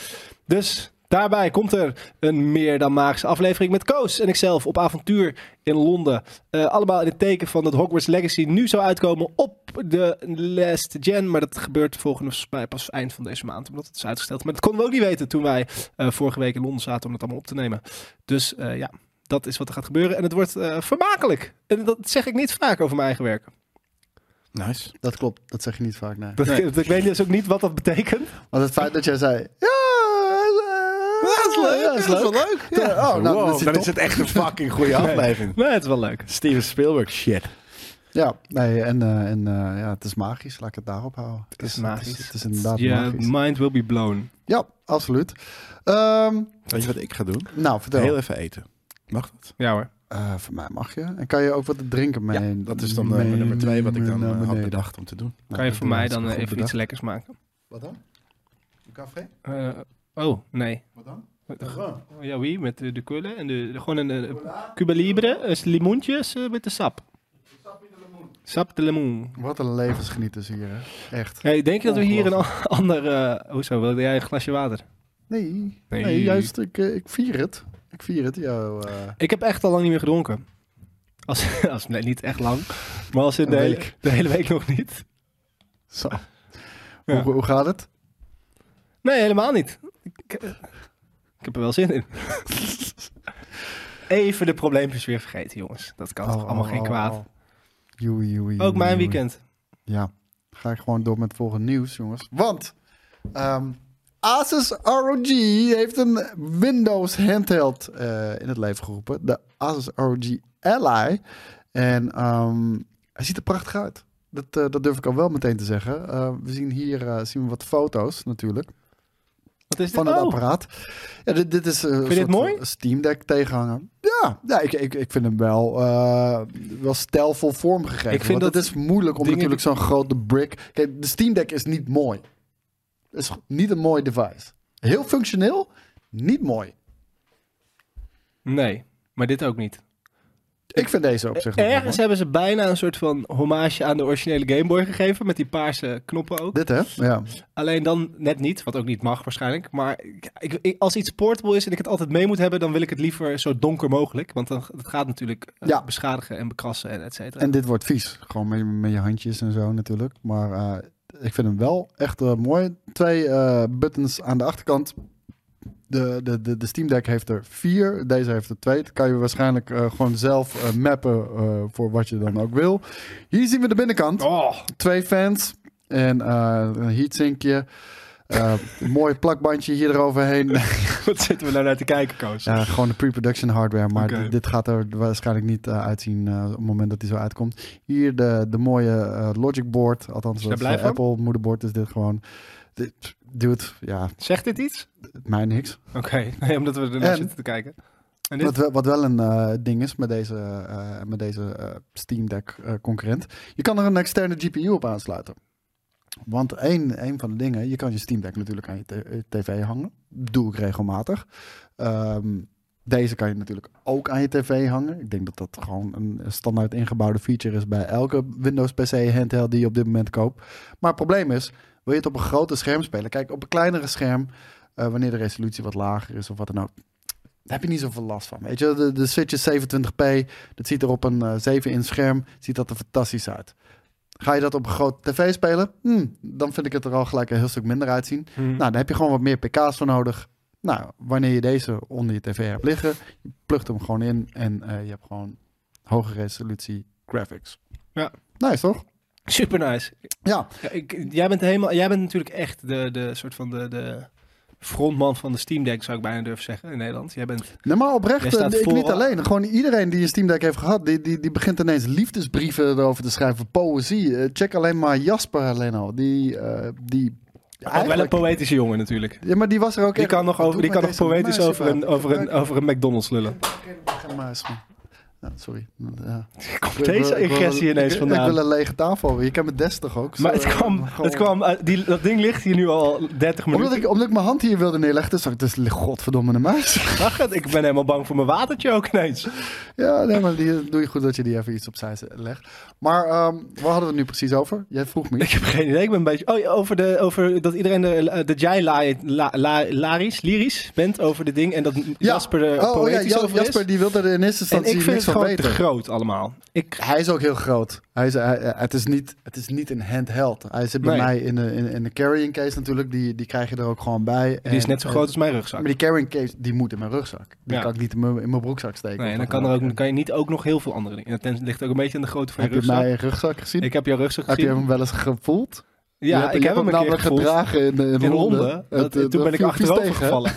Dus daarbij komt er een meer dan magische aflevering met Koos en ikzelf op avontuur in Londen. Eh, allemaal in het teken van dat Hogwarts Legacy nu zou uitkomen op de last gen, maar dat gebeurt volgens mij pas eind van deze maand, omdat het is uitgesteld. Maar dat konden we ook niet weten toen wij eh, vorige week in Londen zaten om het allemaal op te nemen. Dus eh, ja, dat is wat er gaat gebeuren. En het wordt eh, vermakelijk. En dat zeg ik niet vaak over mijn eigen werk.
Nice.
Dat klopt, dat zeg je niet vaak, nee.
Dat, dat- ik weet dus ook niet wat dat betekent.
Want het feit dat jij zei... Ja, dat is leuk. Ja, dat is leuk.
leuk.
Ja, oh, nou,
Wow,
dat is
dan
top.
is het echt een fucking goede
Nee.
aflevering.
Nee, het is wel leuk.
Steven Spielberg shit.
Ja, nee, en, eh, en eh, ja, het is magisch. Laat ik het daarop houden. Het
is magisch.
Het is, het is inderdaad
Je
magisch.
mind will be blown.
Ja, absoluut. Ehm,
Weet je wat ik ga doen?
nou, vertel.
Heel even eten. Mag dat?
Ja hoor.
Eh, voor mij mag je. En kan je ook wat te drinken mee?
Dat is dan eh, mijn nummer twee wat ik dan eh, had bedacht om te doen.
Kan je voor mij dan eh,
goed
even
bedacht.
iets lekkers maken?
Wat dan? Een café?
Eh, oh, nee.
Wat
Oh,
dan?
Ja, wie? Met eh, de, de kullen en de, de- gewoon een eh, Cuba Libre, eh, limoentjes eh, met de sap. Sap de limoen.
Wat een levensgenieters hier, hè. Echt.
Hey, denk je dat we hier een a- ander... eh, hoezo, wilde jij een glasje water?
Nee, nee.
Nee.
juist. Ik, eh, ik vier het. Ik vier het, jou. eh
Ik heb echt al lang niet meer gedronken. Als, als, nee, niet echt lang. Maar als in de,
Een
hele-
week.
de hele week nog niet.
zo.
Ja.
Hoe, hoe gaat het?
Nee, helemaal niet. Ik, eh, ik heb er wel zin in. Even de probleempjes weer vergeten, jongens. Dat kan toch allemaal geen kwaad.
Oh, Joei, joei,
Ook mijn
joei.
weekend.
Ja, ga ik gewoon door met het volgende nieuws, jongens. Want ehm, Asus ROG heeft een Windows handheld eh, in het leven geroepen. De Asus ROG Ally. En ehm, hij ziet er prachtig uit. Dat, eh, dat durf ik al wel meteen te zeggen. Eh, we zien hier eh, zien we wat foto's natuurlijk
Wat is dit?
van het
Oh,
apparaat. Ja, dit, dit is eh, een
je dit
soort
mooi?
Steam Deck tegenhanger. Ja, ja ik, ik, ik vind hem wel, eh wel stijlvol vormgegeven.
Ik vind
want
dat
het is moeilijk om
dingen-
natuurlijk zo'n grote brick... Kijk, de Steam Deck is niet mooi. Het is niet een mooi device. Heel functioneel, niet mooi.
nee, maar dit ook niet.
Ik vind deze op zich nog wel
Ergens
mooi.
hebben ze bijna een soort van hommage aan de originele Game Boy gegeven. Met die paarse knoppen ook.
Dit hè? Ja.
Alleen dan net niet, wat ook niet mag waarschijnlijk. Maar ik, ik- ik- als iets portable is en ik het altijd mee moet hebben, dan wil ik het liever zo donker mogelijk. Want dan het gaat natuurlijk eh,
Ja.
beschadigen en bekrassen en et cetera.
En dit wordt vies. Gewoon met, met je handjes en zo natuurlijk. Maar eh, ik vind hem wel echt eh, mooi. Twee eh, buttons aan de achterkant. De, de, de, de Steam Deck heeft er vier. Deze heeft er twee. Dat kan je waarschijnlijk eh, gewoon zelf eh, mappen eh, voor wat je dan ook wil. Hier zien we de binnenkant.
Oh,
Twee fans. En eh, een heatsinkje. Eh, een mooi plakbandje hier eroverheen.
wat zitten we nou naar te kijken, Koos?
Ja, gewoon de pre-production hardware. Maar
Oké.
d- dit gaat er waarschijnlijk niet eh, uitzien eh, op het moment dat hij zo uitkomt. Hier de, de mooie eh, Logic Board. Althans,
je
dat
daar
is,
blij
eh,
van?
Apple moederbord is dit gewoon. Dit, dude, ja,
Zegt dit iets?
mij niks.
Oké, nee, omdat we ernaar
En-
zitten te kijken. En dit?
Wat, wel- wat wel een eh, ding is met deze, eh, met deze eh, Steam Deck eh, concurrent. Je kan er een externe GPU op aansluiten. Want één, één van de dingen, je kan je Steam Deck natuurlijk aan je t- eh, tv hangen. Doe ik regelmatig. Ehm, deze kan je natuurlijk ook aan je tv hangen. Ik denk dat dat gewoon een standaard ingebouwde feature is bij elke Windows PC handheld die je op dit moment koopt. Maar het probleem is, wil je het op een groter scherm spelen? Kijk, op een kleinere scherm, eh, wanneer de resolutie wat lager is of wat dan ook, daar heb je niet zoveel last van. Weet je, de, de Switch is 27p, dat ziet er op een 7-inch scherm, ziet dat er fantastisch uit. Ga je dat op een grote tv spelen? Hm, dan vind ik het er al gelijk een heel stuk minder uitzien.
Hmm.
Nou, dan heb je gewoon wat meer pk's voor nodig. Nou, wanneer je deze onder je tv hebt liggen, je plugt hem gewoon in en eh, je hebt gewoon hoge resolutie graphics.
Ja.
Nice, toch?
Super nice.
Ja.
Ja, ik, jij, bent helemaal, jij bent natuurlijk echt de, de soort van de, de frontman van de Steam Deck, zou ik bijna durven zeggen, in Nederland. Jij bent...
Nee, maar
Jij
oprecht,
staat
eh, ik
voor-
niet alleen. Gewoon iedereen die een Steam Deck heeft gehad, die, die, die begint ineens liefdesbrieven erover te schrijven. Poëzie. Eh, check alleen maar Jasper Leno. Die, eh, die
Ook Oh, wel een
eigenlijk-
poëtische jongen natuurlijk.
Ja, maar die was er ook
Die
echt-
kan nog,
Wat
over,
doe
die
ik
kan nog
met deze
poëtisch
muis
over een,
überhaupt?
over, een, over een McDonald's lullen.
Geen muis, man. Ja, sorry. Ja.
Komt deze ingressie
ik, wil-
ineens
ik, ik wil
vandaan?
een lege tafel hebben. Je kent me des toch ook?
Maar
Zo,
het kwam,
eh,
het kwam uit- die, dat ding ligt hier nu al 30 minuten.
Omdat ik, omdat ik mijn hand hier wilde neerleggen, dus dacht ik, dus godverdomme de muis.
Wacht, ik ben helemaal bang voor mijn watertje ook ineens.
ja, nee, maar die, doe je goed dat je die even iets opzij legt. Maar ehm, waar hadden we het nu precies over? Jij vroeg me.
Ik heb geen idee, ik ben een beetje... Oh, ja, over, de, over dat iedereen de, eh, dat jij la, la, la- laris, lyrisch bent over dit ding. En dat Jasper er
oh, oh, ja,
poëtisch
Jas-
over
Jasper
is.
die wilde er in eerste
En
instantie
ik vind
niks
het
van
gewoon te
weten. Eh,
groot allemaal. Ik,
Hij is ook heel groot. Hij is, hij- eh, het, is niet, het is niet een handheld. Hij zit bij
Nee.
mij in de, in, in de carrying case natuurlijk. Die, die krijg je er ook gewoon bij.
die is net zo groot als mijn rugzak.
eh, Maar die carrying case, die moet in mijn rugzak. Die
Ja.
kan ik niet in mijn, in mijn broekzak steken.
Nee, en dan
Of
kan, er
wat.
ook, kan je niet ook nog heel veel andere dingen. Het ligt ook een beetje aan de grootte van je
Heb je
rugzak.
mijn rugzak gezien?
Ik heb jouw rugzak
heb je
gezien.
hem wel eens gevoeld?
ja,
Je hebt-
ik
je hebt
heb hem een keer
namelijk
gevoeld.
gedragen in, eh, in,
In
Londen.
Londen.
Het,
Dat-
eh,
toen ben ik
viel vies
achterover
tegen.
gevallen.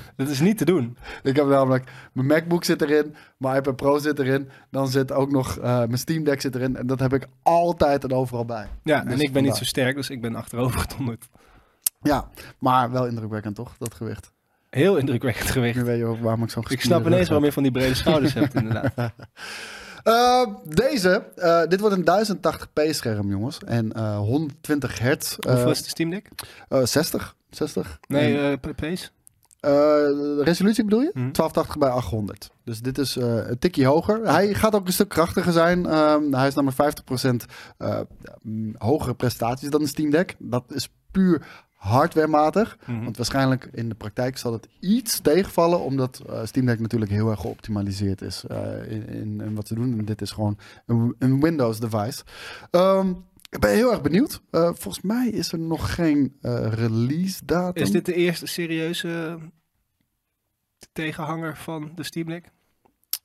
Dat is niet te doen.
Ik heb namelijk mijn MacBook zit erin, mijn iPad Pro zit erin, dan zit ook nog eh, mijn Steam Deck zit erin en dat heb ik altijd en overal bij.
Ja,
Dus
en ik ben niet
vandaar.
zo sterk, dus ik ben achterover gedonderd.
Ja, maar wel indrukwekkend toch, dat gewicht.
Heel indrukwekkend gewicht.
Nu weet je ook waarom ik zo'n
Ik
gespierde
snap
rug
ineens
heb.
waarom je van die brede schouders hebt, inderdaad.
Eh, deze, eh, dit wordt een 1080p scherm jongens en eh, 120 hertz, eh,
Hoeveel is de Steam Deck?
eh, 60, 60.
Nee, eh, P- Pace?
Eh, resolutie bedoel je?
Mhm.
1280 bij 800. Dus dit is eh, een tikje hoger. Hij gaat ook een stuk krachtiger zijn. Ehm, hij is namelijk 50% eh, mm, hogere prestaties dan de Steam Deck. Dat is puur hardwarematig. Want waarschijnlijk in de praktijk zal het iets tegenvallen, omdat eh, Steam Deck natuurlijk heel erg geoptimaliseerd is eh, in, in, in wat ze doen. En dit is gewoon een, een Windows device. Ehm, ik ben heel erg benieuwd. Eh, volgens mij is er nog geen eh, release datum.
Is dit de eerste serieuze eh, tegenhanger van de Steam Deck?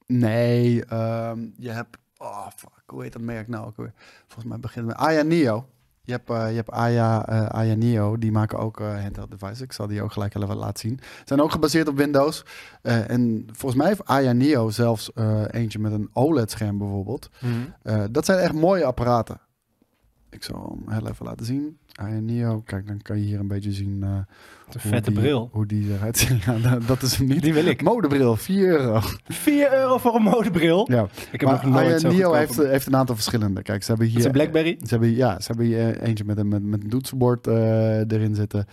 Nee, ehm, je hebt. Oh fuck, hoe heet dat merk nou ook weer? Volgens mij begint het met Aya Neo. Je hebt, eh, je hebt Aya, eh, Aya Neo, die maken ook eh, handheld devices. Ik zal die ook gelijk even laten zien. Zijn ook gebaseerd op Windows. Eh, en volgens mij heeft Aya Neo zelfs eh, eentje met een OLED-scherm bijvoorbeeld.
Mhm.
Eh, dat zijn echt mooie apparaten. Ik zal hem heel even laten zien. Aya Neo, kijk, dan kan je hier een beetje zien eh,
De
hoe,
vette
die,
bril.
hoe die eruit ziet. Ja, nou, dat is hem niet.
Die wil ik.
Modebril, 4 euro.
4 euro voor een modebril?
Ja.
Ik heb nog
Maar
nooit
Aya
zo
Neo
goedkoop
heeft, eh,
een-
heeft een aantal verschillende. Kijk, ze hebben hier...
Dat is een Blackberry.
Ze hebben, ja, ze hebben hier eentje met een, met, met een toetsenbord eh, erin zitten.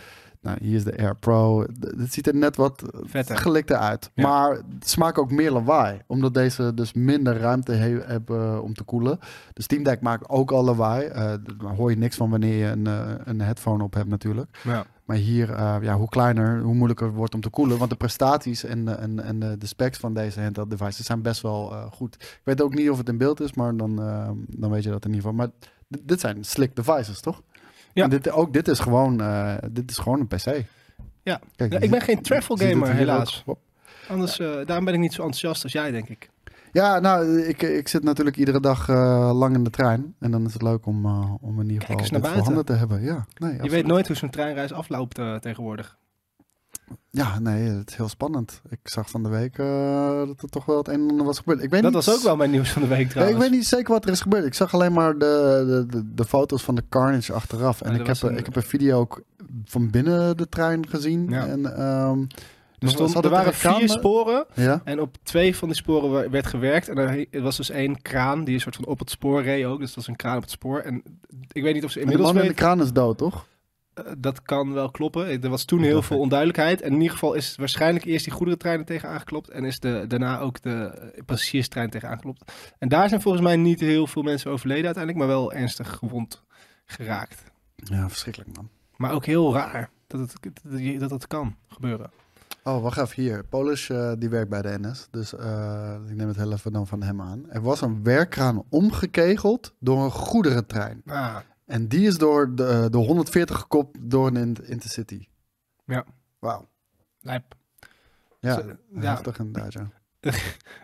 Nou, hier is de Air Pro. D- Het ziet er net wat
Vetter.
gelikter uit.
Ja.
Maar ze maken ook meer lawaai. Omdat deze dus minder ruimte he- hebben eh, om te koelen. De Steam Deck maakt ook al lawaai. Eh, daar hoor je niks van wanneer je een, eh, een headphone op hebt natuurlijk.
Ja.
Maar hier, eh, ja, hoe kleiner, hoe moeilijker het wordt om te koelen. Want de prestaties en, de- en, en de, de specs van deze handheld devices zijn best wel eh, goed. Ik weet ook niet of het in beeld is, maar dan, eh, dan weet je dat in ieder geval. Maar d- dit zijn slick devices, toch?
Ja.
En dit, ook dit is gewoon, eh, dit is gewoon een PC.
Ja.
Kijk,
Ja,
je
ik ben
ziet-
geen travel
je ziet het
gamer,
hier
helaas.
ook.
Anders, eh, daarom ben ik niet zo enthousiast als jij, denk ik.
Ja, nou, ik, ik zit natuurlijk iedere dag eh, lang in de trein. En dan is het leuk om, eh, om in ieder
Kijk eens
geval dit
naar
voor
buiten.
handen te hebben. Ja, nee,
Je weet nooit hoe zo'n treinreis afloopt eh, tegenwoordig.
Ja, nee, het is heel spannend. Ik zag van de week eh, dat er toch wel het een en ander was gebeurd. Ik weet
Dat
niet,
was ook wel mijn nieuws van de week
Ja,
trouwens.
ik weet niet zeker wat er is gebeurd. Ik zag alleen maar de, de, de, de foto's van de carnage achteraf. En
Ja, er
ik,
was
heb, een...
een-
ik heb een video ook van binnen de trein gezien.
Ja.
En, ehm
Er,
dus
stond- er waren
sporen.
vier sporen
Ja.
en op twee van die sporen wa- werd gewerkt. En er er was dus één kraan die een soort van op het spoor reed ook. Dus dat was een kraan op het spoor. En ik weet niet of ze
En de
inmiddels
man in de
weten...
kraan is dood, toch?
Eh, dat kan wel kloppen. Eh, Er was toen
Dat
heel
dacht
veel
ik.
onduidelijkheid. En in ieder geval is waarschijnlijk eerst die goederentrein er tegen aangeklopt. En is de, daarna ook de eh, passagierstrein tegen aangeklopt. En daar zijn volgens mij niet heel veel mensen overleden uiteindelijk. Maar wel ernstig gewond geraakt.
Ja, verschrikkelijk man.
Maar ook heel raar dat het, dat je- dat het kan gebeuren.
Oh, wacht even hier. Polish eh, die werkt bij de NS. Dus eh, ik neem het heel even dan van hem aan. Er was een werkkraan omgekegeld door een goederentrein.
Ah,
En die is door de, eh, de 140 gekopt door een in- intercity.
Ja.
Wauw.
lijp.
Ja,
Zo, ja.
heftig inderdaad, ja.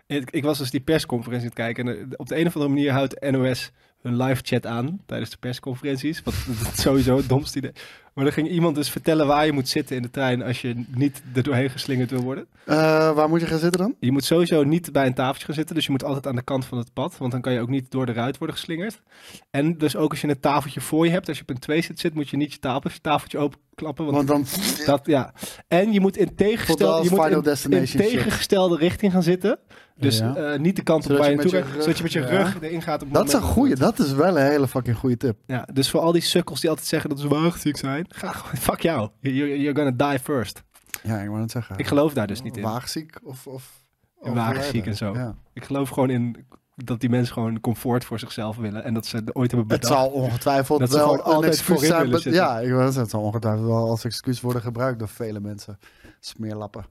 Ik, ik was dus die persconferentie aan het kijken. En eh, op de een of andere manier houdt NOS hun live chat aan tijdens de persconferenties. Wat dat is sowieso het domste idee. Maar dan ging iemand dus vertellen waar je moet zitten in de trein als je niet er doorheen geslingerd wil worden.
Eh, waar moet je gaan zitten dan?
Je moet sowieso niet bij een tafeltje gaan zitten, dus je moet altijd aan de kant van het pad, want dan kan je ook niet door de ruit worden geslingerd. En dus ook als je een tafeltje voor je hebt, als je op een twee zit, zit moet je niet je tafeltje, tafeltje openklappen, want
Want dan...
dat, ja. En je moet in
Tot
tegengestelde,
als
je
Final
moet in- in,
Destination shit.
tegengestelde richting gaan zitten. Dus
Ja.
eh, niet de kant op
Zodat
waar
je
je
met
naartoe
je
gaat.
rug-
Zodat je met je
Ja.
rug erin gaat. Op het
Dat is een
moment
goeie. Dat is wel een hele fucking goede tip.
Ja, dus voor al die sukkels die altijd zeggen dat ze waagziek zijn. Ga gewoon, fuck jou. You're, you're gonna die first.
Ja, ik wou het zeggen.
Ik geloof daar dus niet in.
Waagziek of... of
En waagziek en zo.
Ja.
Ik geloof gewoon in dat die mensen gewoon comfort voor zichzelf willen. En dat ze er ooit hebben
Het
bedacht.
zal ongetwijfeld
Dat ze
wel
gewoon
een
altijd
excuus
voorin
zijn.
willen
be-
zitten.
Ja, ik wou zeggen, het zal ongetwijfeld wel als excuus worden gebruikt door vele mensen. Smeerlappen.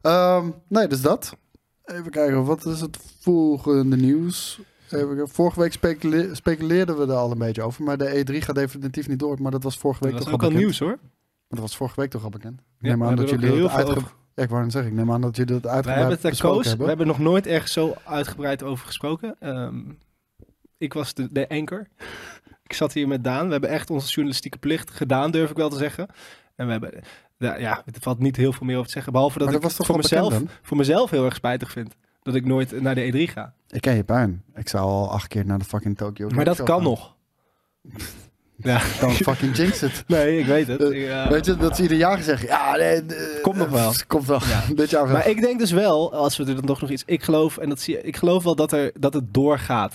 Ehm, nee, dus dat. Even kijken, wat is het volgende nieuws? Even, kijken. vorige week specule- speculeerden we er al een beetje over, maar de E3 gaat definitief niet door. Maar dat was vorige week
dat was
toch
ook
al
al
bekend.
nieuws hoor.
Maar dat was vorige week toch al bekend. Ik
Ja,
neem
we
aan
hebben
dat
er ook
jullie
heel
dat
veel
uitge...
over-
Ja, ik wou net zeggen, ik neem aan dat jullie dat
We hebben
uitgebreid
het daar
besproken
koos.
hebben.
We hebben nog nooit ergens zo uitgebreid over gesproken. Ehm, ik was de, de anchor. ik zat hier met Daan. We hebben echt onze journalistieke plicht gedaan, durf ik wel te zeggen. En we hebben, ja, ja, er valt niet heel veel meer over te zeggen. Behalve dat,
Maar dat
ik
was toch
het voor
wel bekend
mezelf, voor mezelf heel erg spijtig vind. Dat ik nooit naar de E3 ga.
Ik ken je puin. Ik zou al acht keer naar de fucking Tokyo
maar
Game
dat
Show
kan
gaan.
nog. ja,
Dan fucking jinx het.
nee, ik weet het.
Eh,
Ik, ja.
Weet je, dat ze ieder jaar zeggen, ja, nee, eh,
Komt nog wel.
Komt wel.
Ja.
Dit jaar wel.
Maar ik denk dus wel, als we er dan toch nog iets... Ik geloof, en dat zie je, ik geloof wel dat, er, dat het doorgaat.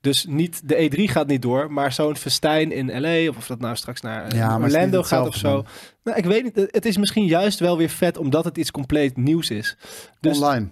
Dus niet, de E3 gaat niet door, maar zo'n festijn in L.A. of of dat nou straks naar eh,
Ja, maar is het
Orlando
niet
gaat of
hetzelfde
zo. Nou, ik weet niet. eh, Het is misschien juist wel weer vet, omdat het iets compleet nieuws is. Dus,
Online.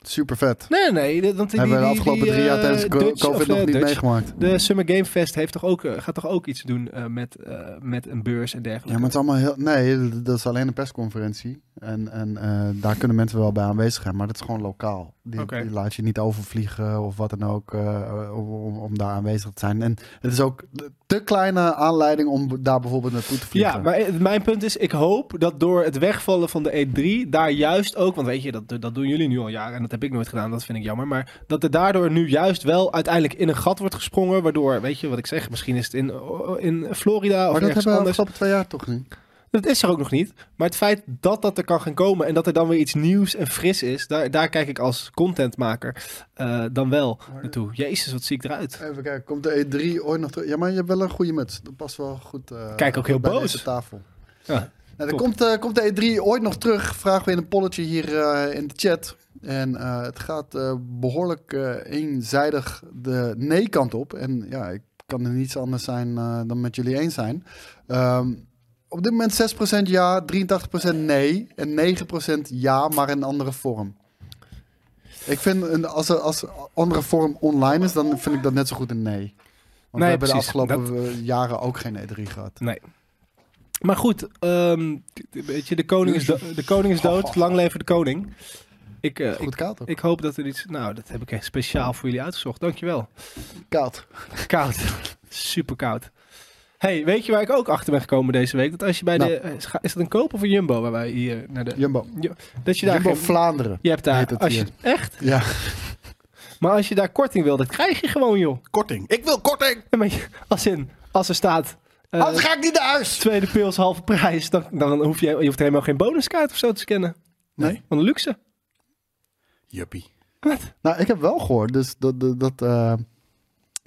Super vet.
Nee, nee. de- Want die,
Hebben we de
die-
afgelopen
die,
drie jaar
eh,
tijdens co-
Dutch of,
COVID nog
eh,
niet
Dutch.
meegemaakt.
De Summer Game Fest heeft toch ook, eh, gaat toch ook iets doen eh, met, eh, met een beurs en dergelijke.
Ja, maar het is allemaal heel... Nee, dat is alleen een persconferentie. En, en eh, daar kunnen mensen wel bij aanwezig zijn, maar dat is gewoon lokaal. Die,
Oké.
die laat je niet overvliegen of wat dan ook eh, om, om, om daar aanwezig te zijn. En het is ook te kleine aanleiding om daar bijvoorbeeld naartoe te vliegen.
Ja, maar eh, mijn punt is, ik hoop dat door het wegvallen van de E3 daar juist ook, want weet je, dat, dat doen jullie nu al jaren en dat heb ik nooit gedaan, dat vind ik jammer, maar dat er daardoor nu juist wel uiteindelijk in een gat wordt gesprongen, waardoor, weet je wat ik zeg, misschien is het in, oh, in Florida of
Maar dat
ergens
hebben we
anders.
afgelopen twee jaar toch niet?
Dat is er ook nog niet, maar het feit dat dat er kan gaan komen en dat er dan weer iets nieuws en fris is, daar, daar kijk ik als contentmaker eh, dan wel naartoe. Jezus, wat zie ik eruit.
Even kijken, komt de E3 ooit nog terug? Ja, maar je hebt wel een goede muts. Dat past wel goed eh,
Kijk, ook heel
bij
boos.
deze tafel.
Ja,
Nou, dan
top.
komt, eh, komt de E3 ooit nog terug? Vragen we in een polletje hier eh, in de chat. En eh, het gaat eh, behoorlijk eh, eenzijdig de nee-kant op. En ja, ik kan er niets anders zijn eh, dan met jullie eens zijn. Ehm, op dit moment 6% ja, 83% nee en 9% ja, maar in een andere vorm. Ik vind, een, als er als er andere vorm online is, dan vind ik dat net zo goed een nee. Want we
Nee,
hebben de
precies.
afgelopen eh, jaren ook geen E3 gehad.
Maar goed, ehm, weet je, de koning is, do- de koning is dood. Lang leven de koning. Ik, eh, ik,
Goed koud ook.
ik hoop dat er iets... Nou, dat heb ik echt speciaal voor jullie uitgezocht. Dankjewel.
Koud.
Koud. Super koud. hey, weet je waar ik ook achter ben gekomen deze week? Dat als je bij
Nou.
de... eh, scha- Is dat een koop of een jumbo waar wij hier naar de...
Jumbo.
Dat je daar
Jumbo
geen-
Vlaanderen.
Je hebt
heet
daar...
het
Als je,
hier.
echt?
Ja.
Maar als je daar korting wil, dat krijg je gewoon, joh.
Korting. Ik wil korting!
Ja, maar je- Als in, als er staat... eh,
Anders ga ik niet naar huis.
tweede pils halve prijs, dan, dan hoef je, je hoeft helemaal geen bonuskaart of zo te scannen.
Nee.
Van de luxe.
Juppie.
Nou, ik heb wel gehoord dus dat, dat, dat, eh,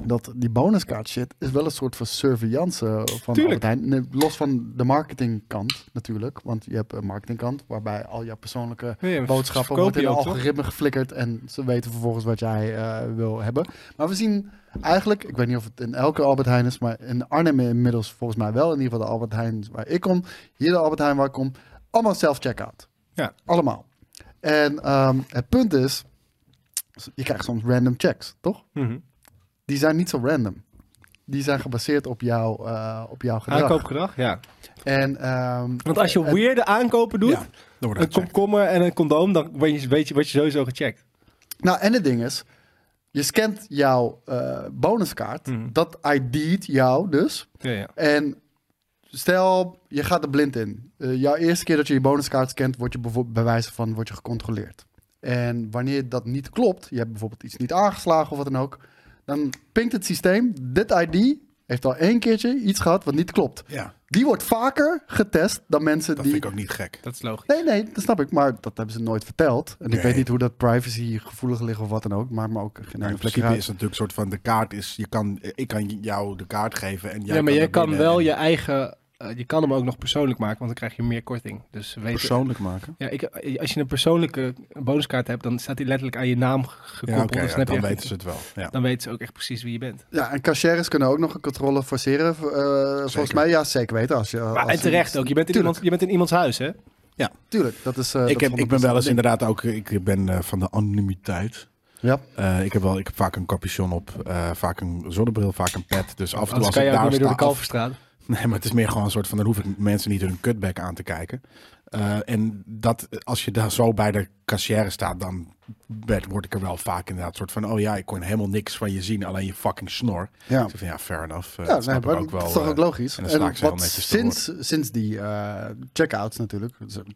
dat die bonuskaart shit is wel een soort van surveillance eh, van Albert
Tuurlijk.
Heijn. Nee, Los van de marketingkant natuurlijk. Want je hebt een marketingkant waarbij al jouw persoonlijke
Ja,
boodschappen
verkoop
wordt
je
in een
ook, toch?
algoritme geflikkerd. En ze weten vervolgens wat jij eh, wil hebben. Maar we zien eigenlijk, ik weet niet of het in elke Albert Heijn is, maar in Arnhem inmiddels volgens mij wel. In ieder geval de Albert Heijn waar ik kom. Hier de Albert Heijn waar ik kom. Allemaal self-checkout.
Ja.
Allemaal. En ehm, het punt is, je krijgt soms random checks, toch? Die zijn niet zo random. Die zijn gebaseerd op, jouw eh op jouw gedrag.
Aankoopgedrag, ja.
En ehm,
Want als je weirde aankopen doet,
Ja, dan wordt
een
het gecheckt.
komkommer en een condoom, dan weet je, weet je, word je sowieso gecheckt.
Nou, en het ding is, je scant jouw eh, bonuskaart. Dat ID't jou dus.
Ja, ja.
En stel, je gaat er blind in. Eh, jouw eerste keer dat je je bonuskaart scant, word je bijvoorbeeld bij wijze van word je gecontroleerd. En wanneer dat niet klopt, je hebt bijvoorbeeld iets niet aangeslagen of wat dan ook, Dan pinkt het systeem. Dit ID heeft al één keertje iets gehad wat niet klopt.
Ja,
Die wordt vaker getest dan mensen
dat
die...
vind ik ook niet gek.
Dat is logisch.
Nee, nee, dat snap ik. Maar dat hebben ze nooit verteld. En
Nee.
ik weet niet hoe dat privacy gevoelig ligt of wat dan ook. Maakt me ook geen
Maar in
enkele
principe
flikker
Nou, is het natuurlijk een soort van de kaart is, je kan, eh, ik kan jou de kaart geven en jij
ja, maar jij
er
kan
binnen
wel
en
je eigen... eh, je kan hem ook nog persoonlijk maken, want dan krijg je meer korting. Dus weet,
persoonlijk maken.
Ja, ik, eh, als je een persoonlijke bonuskaart hebt, dan staat die letterlijk aan je naam ge- gekoppeld.
Ja, oké,
dus
ja,
dan, heb je
dan
echt-
weten ze het wel. Ja.
dan weten ze ook echt precies wie je bent.
uit. Ja, en cashiers kunnen ook nog een controle forceren. eh, volgens mij, ja, zeker weten. Als je,
Maar,
als
en terecht ook. Je bent, in
Tuurlijk.
iemand, je bent in iemands huis, hè?
Tuurlijk, dat is... eh,
Ik,
dat
heb,
is
ik ben wel eens
100%
inderdaad ook, ik ben eh, van de anonimiteit.
Ja.
Eh, ik, heb wel, ik heb vaak een capuchon op, eh, vaak een zonnebril, vaak een pet. Dus af en toe
Anders
als
kan
ik
je ook niet
daar
meer door de
sta...
Kalverstraat.
Nee, maar het is meer gewoon een soort van... dan hoef ik mensen niet hun kutbek aan te kijken. Eh, en dat, als je daar zo bij de kassière staat... dan werd, word ik er wel vaak inderdaad soort van... oh ja, ik kon helemaal niks van je zien, alleen je fucking snor.
Ja.
Ik zeg van, ja, fair enough. Eh,
Ja,
dat
nee,
snap ik
maar
ook wel.
dat is toch
eh,
ook logisch.
en dan sla ik ze heel
wat
netjes te
sinds, sinds die eh, checkouts natuurlijk, er zijn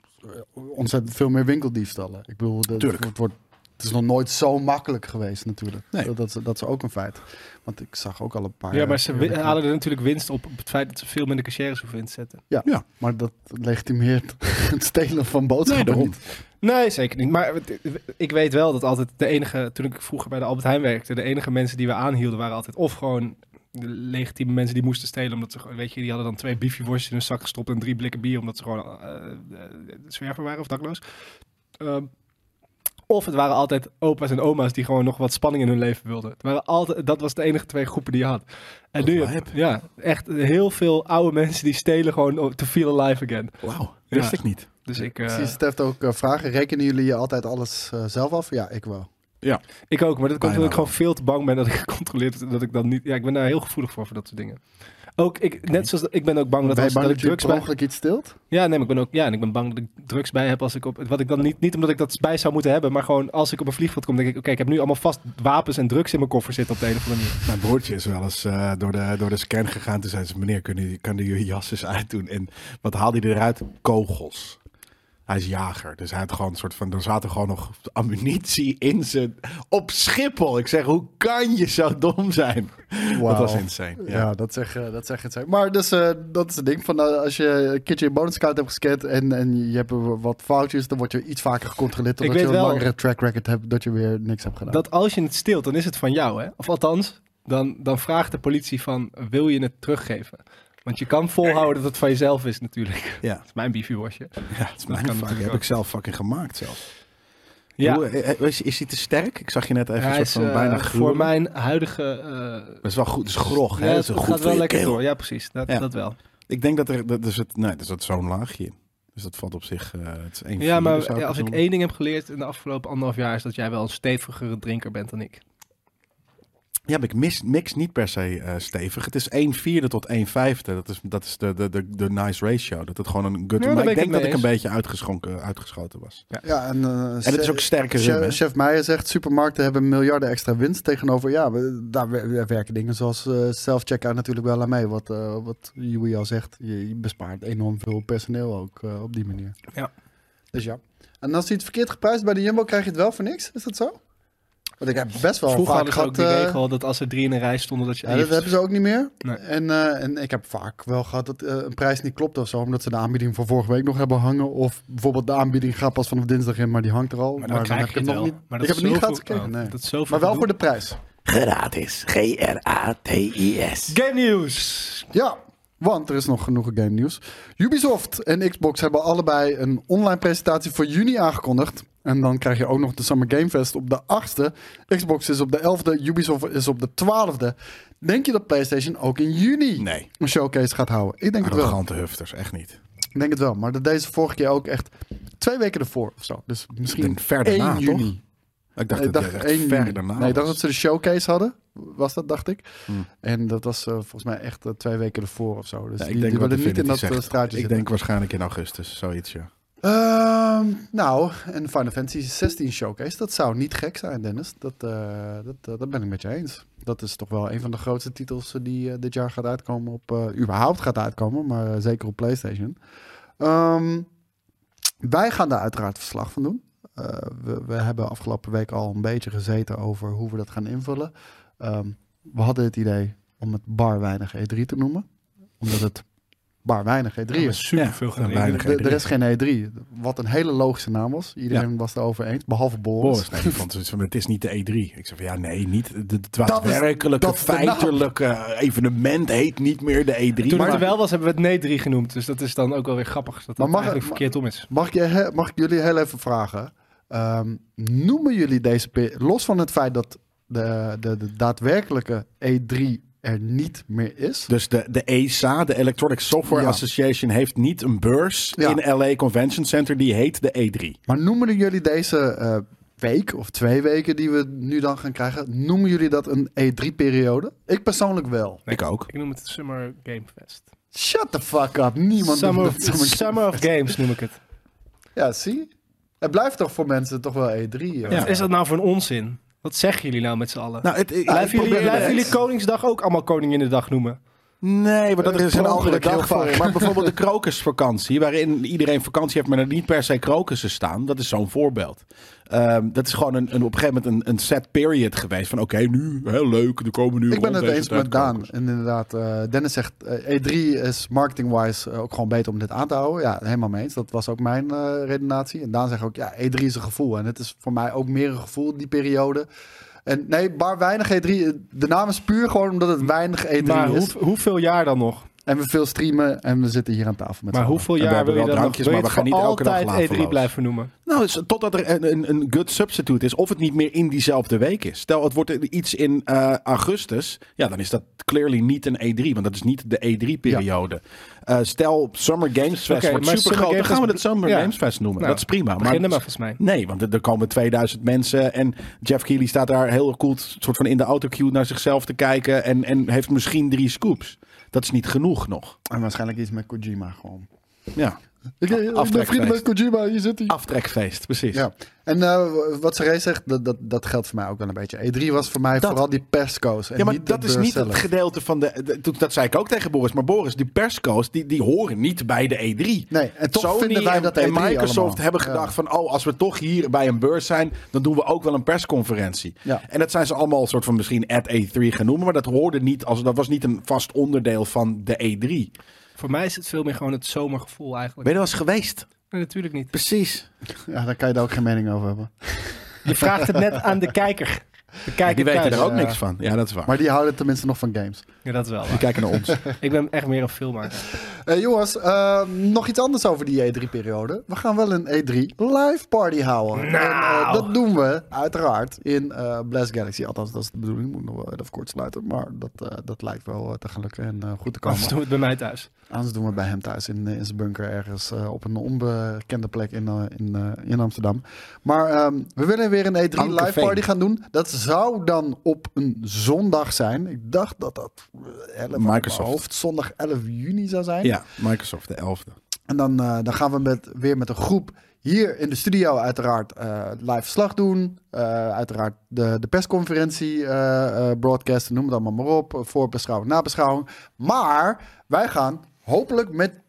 ontzettend veel meer winkeldiefstallen. Ik bedoel, dat-
Tuurlijk.
Het, wordt, het is nog nooit zo makkelijk geweest natuurlijk.
Nee.
Dat, dat, is- dat is ook een feit. Want ik zag ook al een paar...
Ja, maar ze
eh,
wi- halen er natuurlijk winst op, op het feit dat ze veel minder cashiers hoeven in te zetten.
Maar dat legitimeert het stelen van boodschappen
daarom.
niet.
Nee, zeker niet. Maar het- ik weet wel dat altijd de enige, toen ik vroeger bij de Albert Heijn werkte, de enige mensen die we aanhielden waren altijd of gewoon de legitieme mensen die moesten stelen, omdat ze, gewoon- weet je, die hadden dan twee biefje worstjes in hun zak gestopt en drie blikken bier, omdat ze gewoon eh eh, zwerver waren of dakloos. Ehm, of het waren altijd opa's en oma's die gewoon nog wat spanning in hun leven wilden. Het waren altijd, dat was de enige twee groepen die je had. En
Wat
nu,
lijp.
ja, echt heel veel oude mensen die stelen gewoon oh, to feel alive again.
Wauw, wist
Ja.
ik niet.
Dus ik, eh,
Precies, het heeft ook eh, vragen. Rekenen jullie altijd alles eh, zelf af? Ja, ik wel.
Ik ook, maar dat komt omdat
Bijna
ik gewoon
wel.
veel te bang ben dat ik gecontroleerd word. Dat ik dan niet. Ja, ik ben daar heel gevoelig voor voor dat soort dingen. Ook ik, net zoals dat- ik ben ook bang dat,
ben je
als,
bang
dat
dat
ik
je
drugs
per
bij.
ongeluk iets steelt?
Ja, nee, maar ik ben ook. Ja, en ik ben bang dat ik drugs bij heb als ik op. Wat ik dan niet, niet omdat ik dat bij zou moeten hebben, maar gewoon als ik op een vliegveld kom, denk ik, oké, ik heb nu allemaal vast wapens en drugs in mijn koffer zitten op de een of andere manier.
Mijn broertje is wel eens eh, door, de, door de scan gegaan. Toen zei ze, meneer, kan u, kan u je jas eens uitdoen? En wat haalde hij eruit? Kogels. Hij is jager, dus hij had gewoon een soort van... Er zaten gewoon nog ammunitie in zijn... Op Schiphol! Ik zeg, hoe kan je zo dom zijn? Dat
Wauw.
was insane. Ja.
Ja, dat zeg, eh, dat zeg het zijn. Maar dus, eh, dat is het ding van eh, als je een keertje je bonuskaart hebt gescand en, en je hebt er wat foutjes, dan word je iets vaker gecontroleerd. Omdat
Ik weet
je een
wel-
langere track record hebt dat je weer niks hebt gedaan.
Dat als je het steelt, dan is het van jou, hè? Of althans, dan, dan vraagt de politie van: wil je het teruggeven? Want je kan volhouden dat het van jezelf is, natuurlijk.
Ja.
Dat is mijn biefje worstje.
Ja, het is mijn
kan
fucking-
natuurlijk
heb
ook.
ik zelf fucking gemaakt zelf.
Ja.
Hoe, eh, eh, is, is hij te sterk? Ik zag je net even
Hij
een
is,
soort van
eh,
bijna
voor
gruwelijk.
mijn huidige. eh,
Dat is wel goed, het is grog. hè?
ja,
Dat
het
is een
gaat
goed voor
wel
je
lekker
keel.
door. Ja, precies. Dat,
Ja.
dat wel.
Ik denk dat er, dat, er zit, nee, er zit zo'n laagje in. Dus dat valt op zich, eh, het is één
Ja, maar
vierde, zou
als ik
doen.
één ding heb geleerd in de afgelopen anderhalf jaar... is dat jij wel een stevigere drinker bent dan ik.
Ja, maar ik mis, mix niet per se eh, stevig. Het is 1 vierde tot 1 vijfde. Dat is, dat is de, de, de, de nice ratio. Dat het gewoon een good...
Ja, daar
maar
ben
ik
ik
denk
het
dat ik
mee
een beetje uitgeschonken, eh, uitgeschoten was.
ja, en, eh,
En het is
ze-
ook sterke rum, hè?
Chef, chef Meijer zegt, supermarkten hebben miljarden extra winst tegenover... Ja, we- daar wer- werken dingen zoals eh, self-checkout natuurlijk wel aan mee. Wat, eh wat Joey al zegt, je, je bespaart enorm veel personeel ook eh, op die manier.
Ja.
Dus ja. En als je iets verkeerd geprijsd bij de Jumbo, krijg je het wel voor niks? Is dat zo? Want ik heb best wel
Dus Vroeger
vaak
hadden ze ook
gehad...
die
eh,
regel dat als er drie in een rij stonden... dat je...
ja, dat hebben ze ook niet meer.
Nee.
En, eh, en ik heb vaak wel gehad dat eh, een prijs niet klopt of zo, omdat ze de aanbieding van vorige week nog hebben hangen. Of bijvoorbeeld de aanbieding gaat pas vanaf dinsdag in, maar die hangt er al.
maar dan krijg je
heb
het
ik
wel.
nog niet.
Maar
ik
dat
heb het
is
niet
zoveel-
gehad gekeken.
nou,
nee.
dat is zoveel
Maar wel voor
gedoe.
de prijs.
Gratis. G-R-A-T-I-S.
Game News!
Ja, want er is nog genoeg game nieuws. Ubisoft en Xbox hebben allebei een online presentatie voor juni aangekondigd. En dan krijg je ook nog de Summer Game Fest op de 8e. Xbox is op de 11e, Ubisoft is op de 12e. Denk je dat PlayStation ook in juni
Nee.
een showcase gaat houden? Ik
Ah,
denk het wel.
Arrogante hufters, echt niet.
Ik denk het wel, maar dat deze vorige keer ook echt twee weken ervoor of zo. Dus misschien
En verder
1
na,
juni.
toch? Ik dacht
Nee,
dat
dag
het echt
1 juni.
ver daarna
Nee, ik dacht
was. Hmm.
dat ze de showcase hadden. Was dat, dacht ik. En dat was eh, volgens mij echt eh, twee weken ervoor of zo. Dus
Ja, ik
die,
denk
die
wat
willen niet in dat
Infinity
eh,
zegt.
straatje
Ik
zitten.
denk waarschijnlijk in augustus, zoiets, ja.
Ehm, nou, en Final Fantasy 16 showcase, dat zou niet gek zijn, Dennis. Dat, eh, dat, eh, dat ben ik met je eens. Dat is toch wel een van de grootste titels eh, die eh, dit jaar gaat uitkomen op... eh, überhaupt gaat uitkomen, maar eh, zeker op PlayStation. Ehm, wij gaan daar uiteraard verslag van doen. Eh, we, we hebben afgelopen week al een beetje gezeten over hoe we dat gaan invullen. Ehm, we hadden het idee om het bar weinig E3 te noemen. Omdat het bar weinig E3 is.
Super veel
dan weinig.
De-
E3.
Er is geen E3. Wat een hele logische naam was. Iedereen was het erover eens, behalve Boris.
Boris, nee, die vond het, het is niet de E3. Ik zei van ja, nee, niet. De- de- Het
Dat is-
daadwerkelijke,
dat is de naam.
feitelijke evenement heet niet meer de E3.
Toen
maar-
het er wel was, hebben we het nee 3 genoemd. Dus dat is dan ook wel weer grappig. Dat
Maar
het
mag-
eigenlijk verkeerd om is.
Mag ik, je, he- mag ik jullie heel even vragen? Ehm, noemen jullie deze pe- los van het feit dat de, de, de daadwerkelijke E3 er niet meer is?
Dus de, de ESA, de Electronic Software
Ja.
Association, heeft niet een beurs
Ja.
in LA Convention Center. Die heet de E E3.
Maar noemen jullie deze eh, week of twee weken die we nu dan gaan krijgen, noemen jullie dat een E3-periode? Ik persoonlijk wel.
Ik ook.
Ik noem het Summer Game Fest.
Shut the fuck up. Niemand
Summer,
noemt het zomaar-
Summer of Games noem ik het.
Ja, zie? Het blijft toch voor mensen toch wel E3. eh.
Wat is dat nou voor een onzin? Wat zeggen jullie nou met z'n allen?
Nou, het, ik-
blijven
ik
jullie,
probeer-
blijven jullie Koningsdag ook allemaal Koninginnedag noemen?
Nee, maar dat is een
per
andere
ongeluk heel
dag voor.
vaak.
Maar bijvoorbeeld de krokusvakantie, waarin iedereen vakantie heeft, maar er niet per se krokussen staan. Dat is zo'n voorbeeld. Ehm, dat is gewoon een, een, op een gegeven moment een, een set period geweest. Van oké, nu, heel leuk, er komen nu
Ik ben
rond
het
deze
eens
tijd
met Daan.
krokussen.
En inderdaad, eh, Dennis zegt eh, E3 is marketing-wise eh, ook gewoon beter om dit aan te houden. Ja, helemaal mee eens. Dat was ook mijn eh, redenatie. En Daan zegt ook, ja, E3 is een gevoel. En het is voor mij ook meer een gevoel, die periode. En nee, maar weinig E3. De naam is puur gewoon omdat het weinig E3
Maar
is.
hoe, hoeveel jaar dan nog?
En we veel streamen en we zitten hier aan tafel met
Maar
z'n
hoeveel
we
jaar
hebben
wil je
wel
dan nog?
drankjes,
Wil je
maar we
het
gaan niet elke dag
altijd
laveloos.
E3 blijven noemen?
Nou, dus totdat er een, een, een good substitute is. Of het niet meer in diezelfde week is. Stel, het wordt iets in eh, augustus. Ja, dan is dat clearly niet een E3. Want dat is niet de E E3-periode. Eh, stel, Summer Games Fest
Oké,
wordt super
maar Summer
groot. Dan
Games
gaan we het
Fest-
Summer
ja.
Games Fest noemen.
Nou,
dat is prima.
begin er maar volgens mij.
Nee, want er- er komen 2000 mensen. En Jeff Keighley staat daar heel cool soort van in de autocue naar zichzelf te kijken. En, en heeft misschien drie scoops. Dat is niet genoeg nog.
En waarschijnlijk iets met Kojima gewoon.
Ja,
Ik, ik ben vrienden met
aftrekfeest.
Kojima, hier zit hij.
aftrekfeest, precies.
Ja, en eh, wat Seré zegt, dat, dat, dat geldt voor mij ook wel een beetje. E3 was voor mij
Dat-
vooral die persco's. En
Ja, maar
niet
dat
de
is
beurs
niet het
zelf.
gedeelte van de, de- toen- Dat zei ik ook tegen Boris. Maar Boris, die persco's, die, die horen niet bij de E3.
Nee, en toch
Sony
vinden wij
en-
dat
en
E3
Microsoft
allemaal.
hebben
Ja.
gedacht van... oh, als we toch hier bij een beurs zijn... dan doen we ook wel een persconferentie.
Ja.
En dat zijn ze allemaal soort van misschien at E E3 genoemd... maar dat hoorde niet als... dat was niet een vast onderdeel van de E E3. Ben
Voor mij is het veel meer gewoon het zomergevoel
je
eigenlijk.
er wel eens geweest?
Nee, natuurlijk niet.
Precies.
Ja, daar kan je daar ook geen mening over hebben.
Je vraagt het net aan de kijker. De kijker
Die weten
thuis.
er ook
ja.
niks van. Ja, dat is waar.
eh, Maar die houden tenminste nog van games.
Ja, dat wel.
Die kijken naar ons.
Ik ben echt meer een filmmaker.
Eh, jongens, eh, nog iets anders over die E3-periode. We gaan wel een E3 live party houden. En, eh, dat doen we uiteraard in eh Blast Galaxy. Althans, dat is de bedoeling. Moet nog wel even kort sluiten. Maar dat, eh, dat lijkt wel eh, te gaan lukken en eh, goed te komen.
Anders doen we het bij mij thuis.
Anders doen we het bij hem thuis in, eh, in zijn bunker ergens eh, op een onbekende plek in, eh, in, eh, in Amsterdam. Maar ehm, we willen weer een E3
Ankerveen.
live party gaan doen. Dat zou dan op een zondag zijn. Ik dacht dat dat eh, 11 uit mijn
Microsoft.
hoofd zondag 11 juni zou zijn.
Ja, Microsoft, de elfde.
En dan, eh, dan gaan we met, weer met een groep hier in de studio uiteraard eh, live verslag doen. Eh, uiteraard de, de persconferentie eh, eh, broadcasten, noem het allemaal maar op. Voorbeschouwing, nabeschouwing. Maar wij gaan hopelijk met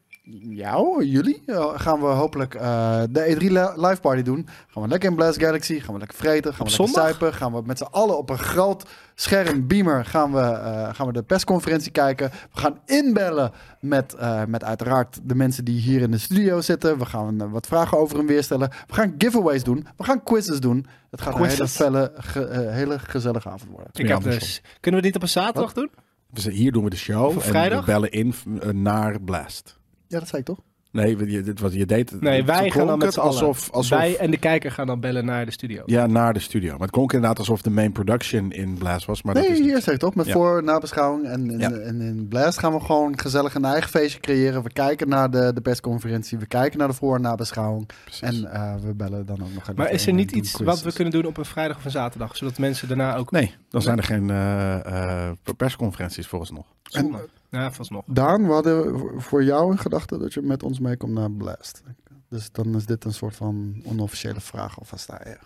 jou, jullie, eh, gaan we hopelijk eh, de E3 li- live party doen. Gaan we lekker in Blast Galaxy, gaan we lekker vreten, gaan we lekker
zondag?
zuipen. Gaan we met z'n allen op een groot scherm, beamer, gaan we, eh, gaan we de persconferentie kijken. We gaan inbellen met, eh, met uiteraard de mensen die hier in de studio zitten. We gaan eh, wat vragen over hem weer stellen. We gaan giveaways doen. We gaan quizzes doen. Het gaat
Quizzes?
een hele, felle, ge- eh, hele gezellige avond worden.
Ik
meer
heb
andersom.
dus... Kunnen we dit op een zaterdag doen?
Dus hier doen we de show.
Voor
En we
vrijdag?
bellen in eh, naar Blast.
Ja, dat zei ik toch?
Nee, je, dit was, je deed het.
Nee,
het
wij gaan
klonk
dan met
het
z'n allen.
alsof, alsof
Wij en de kijker gaan dan bellen naar de studio.
Ja, naar de studio. Maar het klonk inderdaad alsof de main production in Blast was. Maar dat is
Nee,
niet
hier zeg ik toch? Met
Ja.
voor- en nabeschouwing. En in,
Ja.
en in Blast gaan we gewoon gezellig een eigen feestje creëren. We kijken naar de, de persconferentie. We kijken naar de voor- en nabeschouwing.
precies.
En eh, we bellen dan ook nog even.
Maar is dus. er
en
niet
doen
iets wat
quizzes.
we kunnen doen op een vrijdag of een zaterdag? Zodat mensen daarna ook...
Nee, dan zijn er geen eh, eh, persconferenties volgens nog.
Zondag. Ja, vooralsnog.
Daan, we hadden voor- voor jou in gedachten dat je met ons meekomt naar Blast. Dus dan is dit een soort van onofficiële vraag alvast daar. Ja.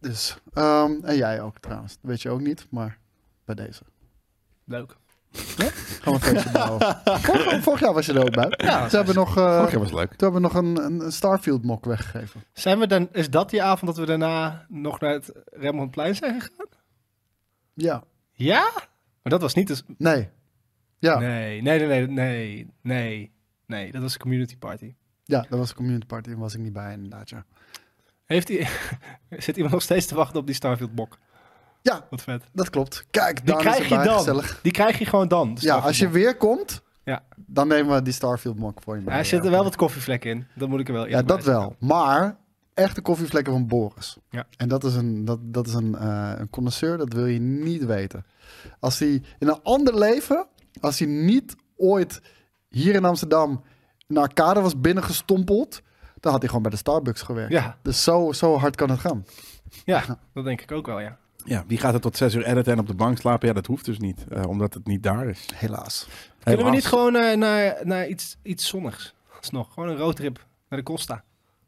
Dus, ehm, en jij ook trouwens. Dat weet je ook niet, maar bij deze.
Leuk.
Gaan we een feestje bouwen. vorig, vorig jaar was je er ook bij.
Ja,
Ze hebben nog, eh,
Vorig jaar was het leuk.
toen hebben we nog een, een- een Starfield mok weggegeven.
Zijn we dan, is dat die avond dat we daarna nog naar het Rembrandtplein zijn gegaan?
Ja.
Ja? Maar dat was niet dus.
Nee. Ja,
Nee, nee, nee, nee, nee, nee, nee. Dat was de community party.
ja, dat was de community party en was ik niet bij inderdaad, ja.
Heeft die, zit iemand nog steeds te wachten op die Starfield bok?
Ja.
Wat vet.
Dat klopt. Kijk,
Die
Daan
krijg
is
je
erbij,
dan.
gezellig.
Die krijg je gewoon dan.
Ja,
de Starfield
als je
mok.
weer komt,
Ja.
dan nemen we die Starfield mock voor je mee.
Hij zit er wel wat koffievlekken in. Dat moet ik er wel
Ja,
eerlijk
dat
bij zeggen.
wel. Maar echte koffievlekken van Boris.
Ja.
En dat is, een, dat, dat is een, eh een connoisseur, dat wil je niet weten. Als hij in een ander leven, als hij niet ooit hier in Amsterdam een arcade was binnengestompeld, dan had hij gewoon bij de Starbucks gewerkt.
Ja,
Dus zo, zo hard kan het gaan.
ja, dat denk ik ook wel, ja.
Ja, wie gaat het tot zes uur editen en op de bank slapen? Ja, dat hoeft dus niet, eh, omdat het niet daar is.
Helaas.
Kunnen we
Helaas.
niet gewoon eh, naar, naar iets, iets zonnigs? Alsnog, gewoon een roadtrip naar de Costa.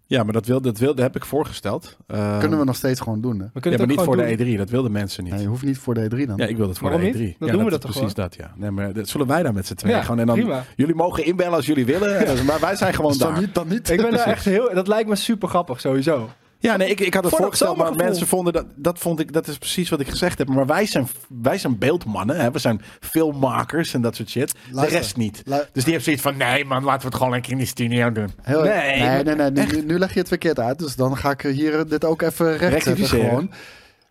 Ja, maar dat, wil, dat, wil, dat heb ik voorgesteld. Eh,
Kunnen we nog steeds gewoon doen, hè?
We
ja,
kunnen
maar
het
niet
ook
voor
gewoon doen.
de E3. Dat wilden mensen niet.
Nee, je hoeft niet voor de E3 dan.
Ja, ik wil dat voor
Waarom
de E3.
niet? Dan
ja,
doen we
dat,
dat toch
precies dat, ja. Nee, maar dat zullen wij daar met z'n tweeën
Ja,
gewoon. En dan,
prima.
Jullie mogen inbellen als jullie willen, en dan- maar wij zijn gewoon
Dus dan
daar.
niet, dan niet.
Ik ben daar echt heel... Dat lijkt me super grappig, sowieso.
Ja, nee, ik, ik had het
Voor dat
voorgesteld, maar
zomergevoel.
mensen vonden dat, dat vond ik, dat is precies wat ik gezegd heb. Maar wij zijn, wij zijn beeldmannen, hè? we zijn filmmakers en dat soort shit. De
Luister.
rest niet.
Lu-
dus die heeft zoiets van, nee man, laten we het gewoon lekker in die studio doen.
Heel-
Nee,
nee, nee, nee. nu- Nu, nu leg je het verkeerd uit. Dus dan ga ik hier dit ook even recht zetten.
Rectificeren.
Gewoon.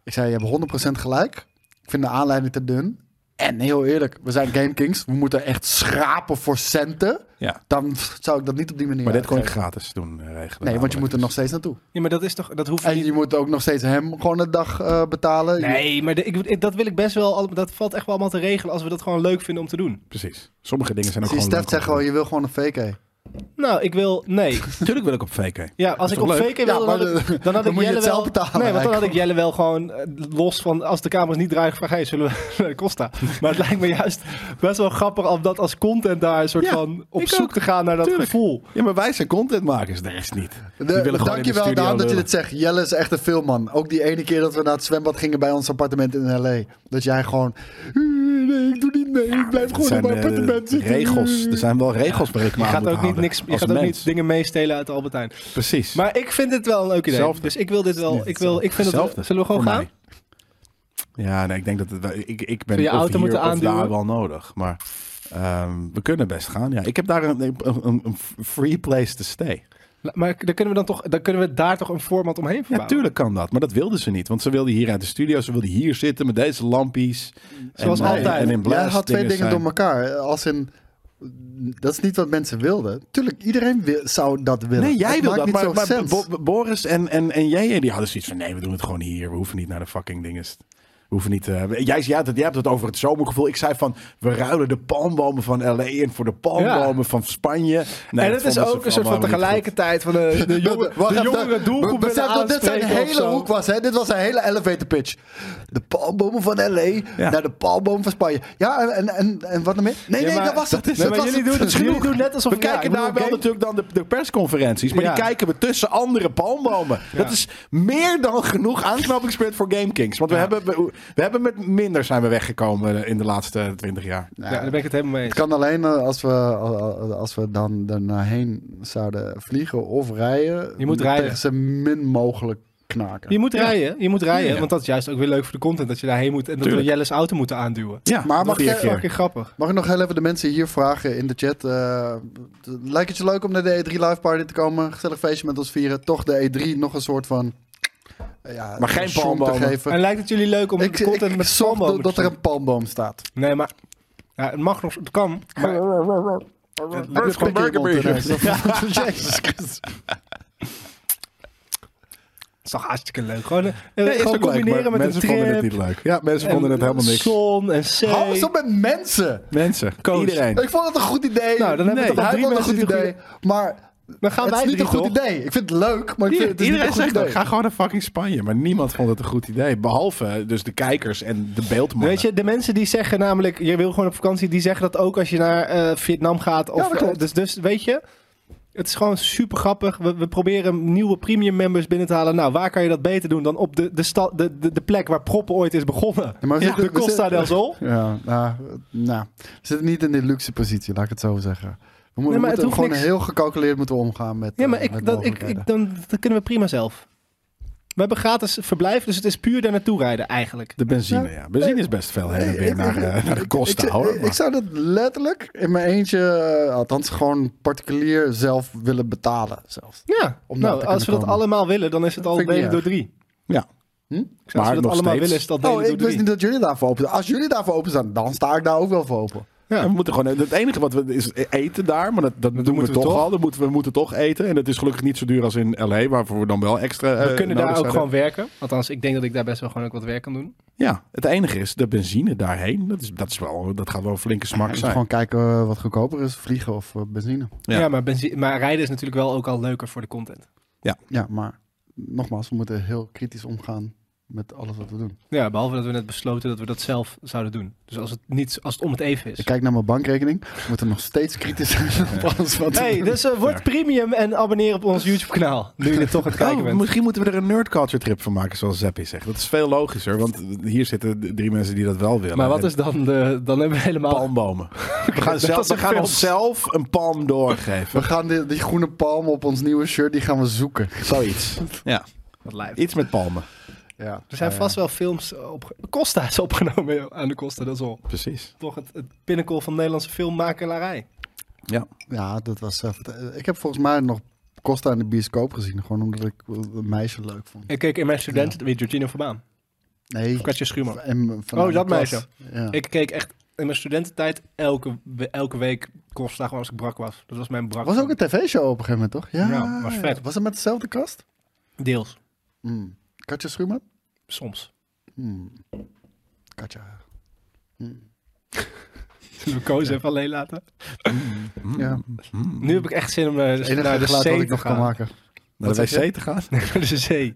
Ik zei, je hebt 100% gelijk. Ik vind de aanleiding te dun. En heel eerlijk, we zijn Game Kings. We moeten echt schrapen voor centen.
Ja.
Dan zou ik dat niet op die manier
Maar dit kon ik
uitgeven.
gratis doen eh, regelen.
Nee, want je moet er nog
namelijk.
steeds naartoe.
Ja, maar dat is toch... Dat hoeft
En
niet...
je moet ook nog steeds hem gewoon een dag eh, betalen.
Nee, maar de- ik, ik- dat wil ik best wel... al- Dat valt echt wel allemaal te regelen als we dat gewoon leuk vinden om te doen.
Precies. Sommige dingen zijn ook
Zie,
gewoon...
Stef
leuk om
zegt
te
gewoon,
doen.
je wil gewoon een VK.
Nou, ik wil... Nee.
Tuurlijk wil ik op VK.
Ja, als ik
toch
op
leuk?
VK
Ja,
wilde,
maar
dan had ik, dan had
dan
ik
moet je
Jelle
het
wel...
zelf betalen,
nee, want dan had
eigenlijk.
ik Jelle wel gewoon eh, los van... Als de camera's niet draaien, vraag hey, zullen we naar de Costa? Maar het lijkt me juist best wel grappig om dat als content daar een soort
Ja,
van op
ik
zoek
ook.
te gaan naar dat
Tuurlijk.
gevoel.
Ja, maar wij zijn contentmakers, de rest niet. Die willen gewoon in de
Dankjewel
studio
Daan dat je
lullen.
dit zegt. Jelle is echt een filmman. Ook die ene keer dat we naar het zwembad gingen bij ons appartement in L.A. Dat jij gewoon... "Eh, Nee, ik doe niet mee. Ik blijf
Het
gewoon in
zijn
mijn
eh,
appartement zitten. Mm.
regels. Er zijn wel regels berekend.
Je gaat ook, niet, niks, je gaat ook niet dingen meestelen uit de Albertijn.
Precies.
Maar ik vind dit wel een leuk idee.
Hetzelfde.
Dus ik wil dit wel... Ik, wil, ik vind
Hetzelfde.
het, zullen we gewoon
Voor
gaan?
mij. Ja, nee, ik denk dat het, wel- ik, ik ben
Zul je
of
auto
hier
moeten
of daar
aanduwen?
wel nodig. Maar ehm, we kunnen best gaan. Ja, ik heb daar een, een, een- een free place to stay.
La- Maar dan kunnen we, dan toch, dan kunnen we daar toch een format omheen
Ja,
verbouwen?
tuurlijk kan dat. Maar dat wilden ze niet. Want ze wilden hier uit de studio. Ze wilden hier zitten met deze lampjes.
Zoals
En- eh,
altijd.
En in blast
Jij had twee dingen
zijn.
door elkaar. Als in... Dat is niet wat mensen wilden. Tuurlijk, iedereen wil- zou dat willen.
Nee, jij
Het
wil
maakt
dat.
niet
Maar,
zo
maar
sens.
Bo- Bo- Boris en, en, en jij eh, die hadden zoiets van... Nee, we doen het gewoon hier. We hoeven niet naar de fucking dinges. We hoeven niet... eh, jij, jij, had het, jij hebt het over het zomergevoel. Ik zei van... We ruilen de palmbomen van L.A. in voor de palmbomen van Spanje. Nee,
en
dat
het
vonden
is
ze
ook een soort van
allemaal niet goed.
tegelijkertijd van de, de jonge,
Wacht
de
even,
jongere doelgroep
besef
willen
dat dit zijn
aanspreken of
hele
zo.
hoek was. Hè? Dit was een hele elevator pitch. De palmbomen van L.A. naar de palmboom van Spanje. Ja, en, en, en, en wat dan meer? Nee,
Ja,
nee,
maar
dat was het.
dat is- Nee,
Dat
maar
was
jullie
het.
doen het- jullie doen net alsof-
We
ja, ik
kijken
bedoel,
daar wel
game-
natuurlijk dan de, de persconferenties. Maar
Ja.
die kijken we tussen andere palmbomen. Dat is meer dan genoeg aanknopingspunt voor GameKings. Want we, hebben, we, we hebben met minder zijn we weggekomen in de laatste 20 jaar.
Ja, daar ben ik het helemaal mee eens.
Het kan alleen eh, als we, eh, als we dan ernaarheen zouden vliegen of rijden.
Je moet rijden.
Tegen ze min mogelijk knaken.
Je moet rijden, je moet rijden.
Ja.
Want dat is juist ook weer leuk voor de content. Dat je daarheen moet en dat we
Tuurlijk.
Jelle's auto moeten aanduwen.
Ja,
Maar mag
vier
jij-
keer.
Fucking grappig.
Mag ik nog heel even de mensen hier vragen in de chat? eh, lijkt het je leuk om naar de E3 live party te komen? Gezellig feestje met ons vieren. Toch de E3 nog een soort van... eh, ja,
Maar geen
zoom
palmbomen.
te geven.
En lijkt het jullie leuk om
Ik,
de
ik,
content
ik
met
zorg
Sambo
dat, dat er een palmboom staat.
Nee, maar... Ja, het mag nog, het kan. Maar
Heb je
gewoon
pik in je mond
burgerbeestjes.
ineens? Jezus Christus.
het is toch hartstikke leuk. Gewoon, eh,
Nee, is
gewoon
ook leuk,
combineren
maar
met
mensen
een trip.
vonden het niet leuk. Ja, mensen
en
vonden het helemaal niks.
Zon en zee.
Hou eens op met mensen.
Mensen, iedereen.
Ik vond het een goed idee.
Nou, dan hebben we toch al
hij
drie
vond het
mensen
een goed
die
idee.
het
Maar
Dan gaan
het
wij
is niet
drie,
een goed
toch?
idee. Ik vind het leuk, maar ik vind het is
Iedereen
niet een goed
zegt dat.
idee.
Ga gewoon naar fucking Spanje. Maar niemand vond het een goed idee. Behalve dus de kijkers en de beeldmannen.
Weet je, de mensen die zeggen namelijk, je wil gewoon op vakantie, die zeggen dat ook als je naar eh, Vietnam gaat. Of,
Ja, dat klopt.
dus, dus weet je, het is gewoon super grappig. We, we proberen nieuwe premium members binnen te halen. Nou, waar kan je dat beter doen dan op de, de, sta, de, de, de plek waar proppen ooit is begonnen?
Ja, maar we
Ja,
zitten-
de
we
Costa
zitten-
del Sol.
Ja, nou, nou, we zitten niet in de luxe positie, laat ik het zo zeggen. We, mo-
Nee, maar
we
het
moeten
hoeft
gewoon
niks.
heel gecalculeerd moeten omgaan met
Ja, maar
eh, met
ik, dat, ik,
mogelijkheden.
ik- dan, dat kunnen we prima zelf. We hebben gratis verblijf, dus het is puur daar naartoe rijden eigenlijk.
De benzine, ja. Benzine is best veel heen en weer naar, eh, naar de kosten,
ik,
hoor.
ik,
Maar-
ik zou dat letterlijk in mijn eentje, eh, althans gewoon particulier zelf willen betalen. Zelfs.
Ja,
Om daar te
nou, als we dat
kunnen komen.
allemaal willen, dan is het al
Vind ik niet
delen door
erg.
drie.
ja.
Ik zou- Als
Maar
we dat
nog
allemaal
steeds.
willen, is dat delen
Oh,
door
ik wist
drie.
niet dat jullie daarvoor open staan. Als jullie daarvoor open staan, dan sta ik daar ook wel voor open.
Ja.
En we moeten gewoon, het enige wat we is eten daar, maar dat, dat doen we
moeten we
toch,
toch.
al. Dat moeten, we moeten toch eten. En het is gelukkig niet zo duur als in LA, waarvoor we dan wel extra.
We
eh,
kunnen
nodig
daar ook
zouden-
gewoon werken. Althans, ik denk dat ik daar best wel gewoon ook wat werk kan doen.
Ja, het enige is de benzine daarheen. Dat, is, dat, is wel, dat gaat wel een flinke smak
Ik
zijn.
gewoon kijken eh, wat goedkoper is, vliegen of eh, benzine.
Ja.
Ja, maar, benzi- maar rijden is natuurlijk wel ook al leuker voor de content.
Ja, maar nogmaals, we moeten heel kritisch omgaan met alles wat we doen.
Ja, behalve dat we net besloten dat we dat zelf zouden doen. Dus als het, niet, als het om het even is.
Ik kijk naar mijn bankrekening. We moeten nog steeds kritisch zijn op alles wat we
Hey,
doen.
dus eh, word
Fair.
premium en abonneer op ons YouTube-kanaal. Nu je er toch aan het kijken
Oh,
bent.
misschien moeten we er een nerd culture trip van maken, zoals Zeppie zegt. Dat is veel logischer, want hier zitten d- drie mensen die dat wel willen.
Maar wat
En
is dan de... Dan hebben we helemaal...
palmbomen? We gaan, zelf,
is
we
een
gaan
film.
onszelf een palm
We
doorgeven.
gaan die, die groene palm op ons nieuwe shirt, die gaan we zoeken.
Zoiets. Ja,
Wat lijf.
iets met palmen.
Ja.
Er zijn vast wel films op... Costa is opgenomen joh, aan de Costa, dat is al
Precies.
toch het, het pinnacle van Nederlandse filmmakelarij.
Ja.
Ja, dat was echt... eh, Ik heb volgens mij nog Costa in de bioscoop gezien. Gewoon omdat ik eh, een meisje leuk vond.
Ik keek in mijn studenten weer Georgina Verbaan.
Nee.
Katja Schuurman.
en van
Oh,
de
dat
klas.
meisje.
Ja.
Ik keek echt in mijn studententijd elke, we- elke week Costa gewoon als ik brak was. Dat was mijn brak.
was ook een tv-show op een gegeven moment, toch? Ja,
Ja, was vet.
ja. Was het met dezelfde kast?
Deels.
Mm. Katja Schuurman?
Soms.
Mm. Katja.
Zullen we kozen even alleen laten?
Ja.
Mm.
Nu heb ik echt zin om eh,
Het
naar
enige
de
geluid
zee
dat
te
ik nog
gaan.
kan maken.
Naar
Wat
de
zeg
wc te gaan?
Naar de zee.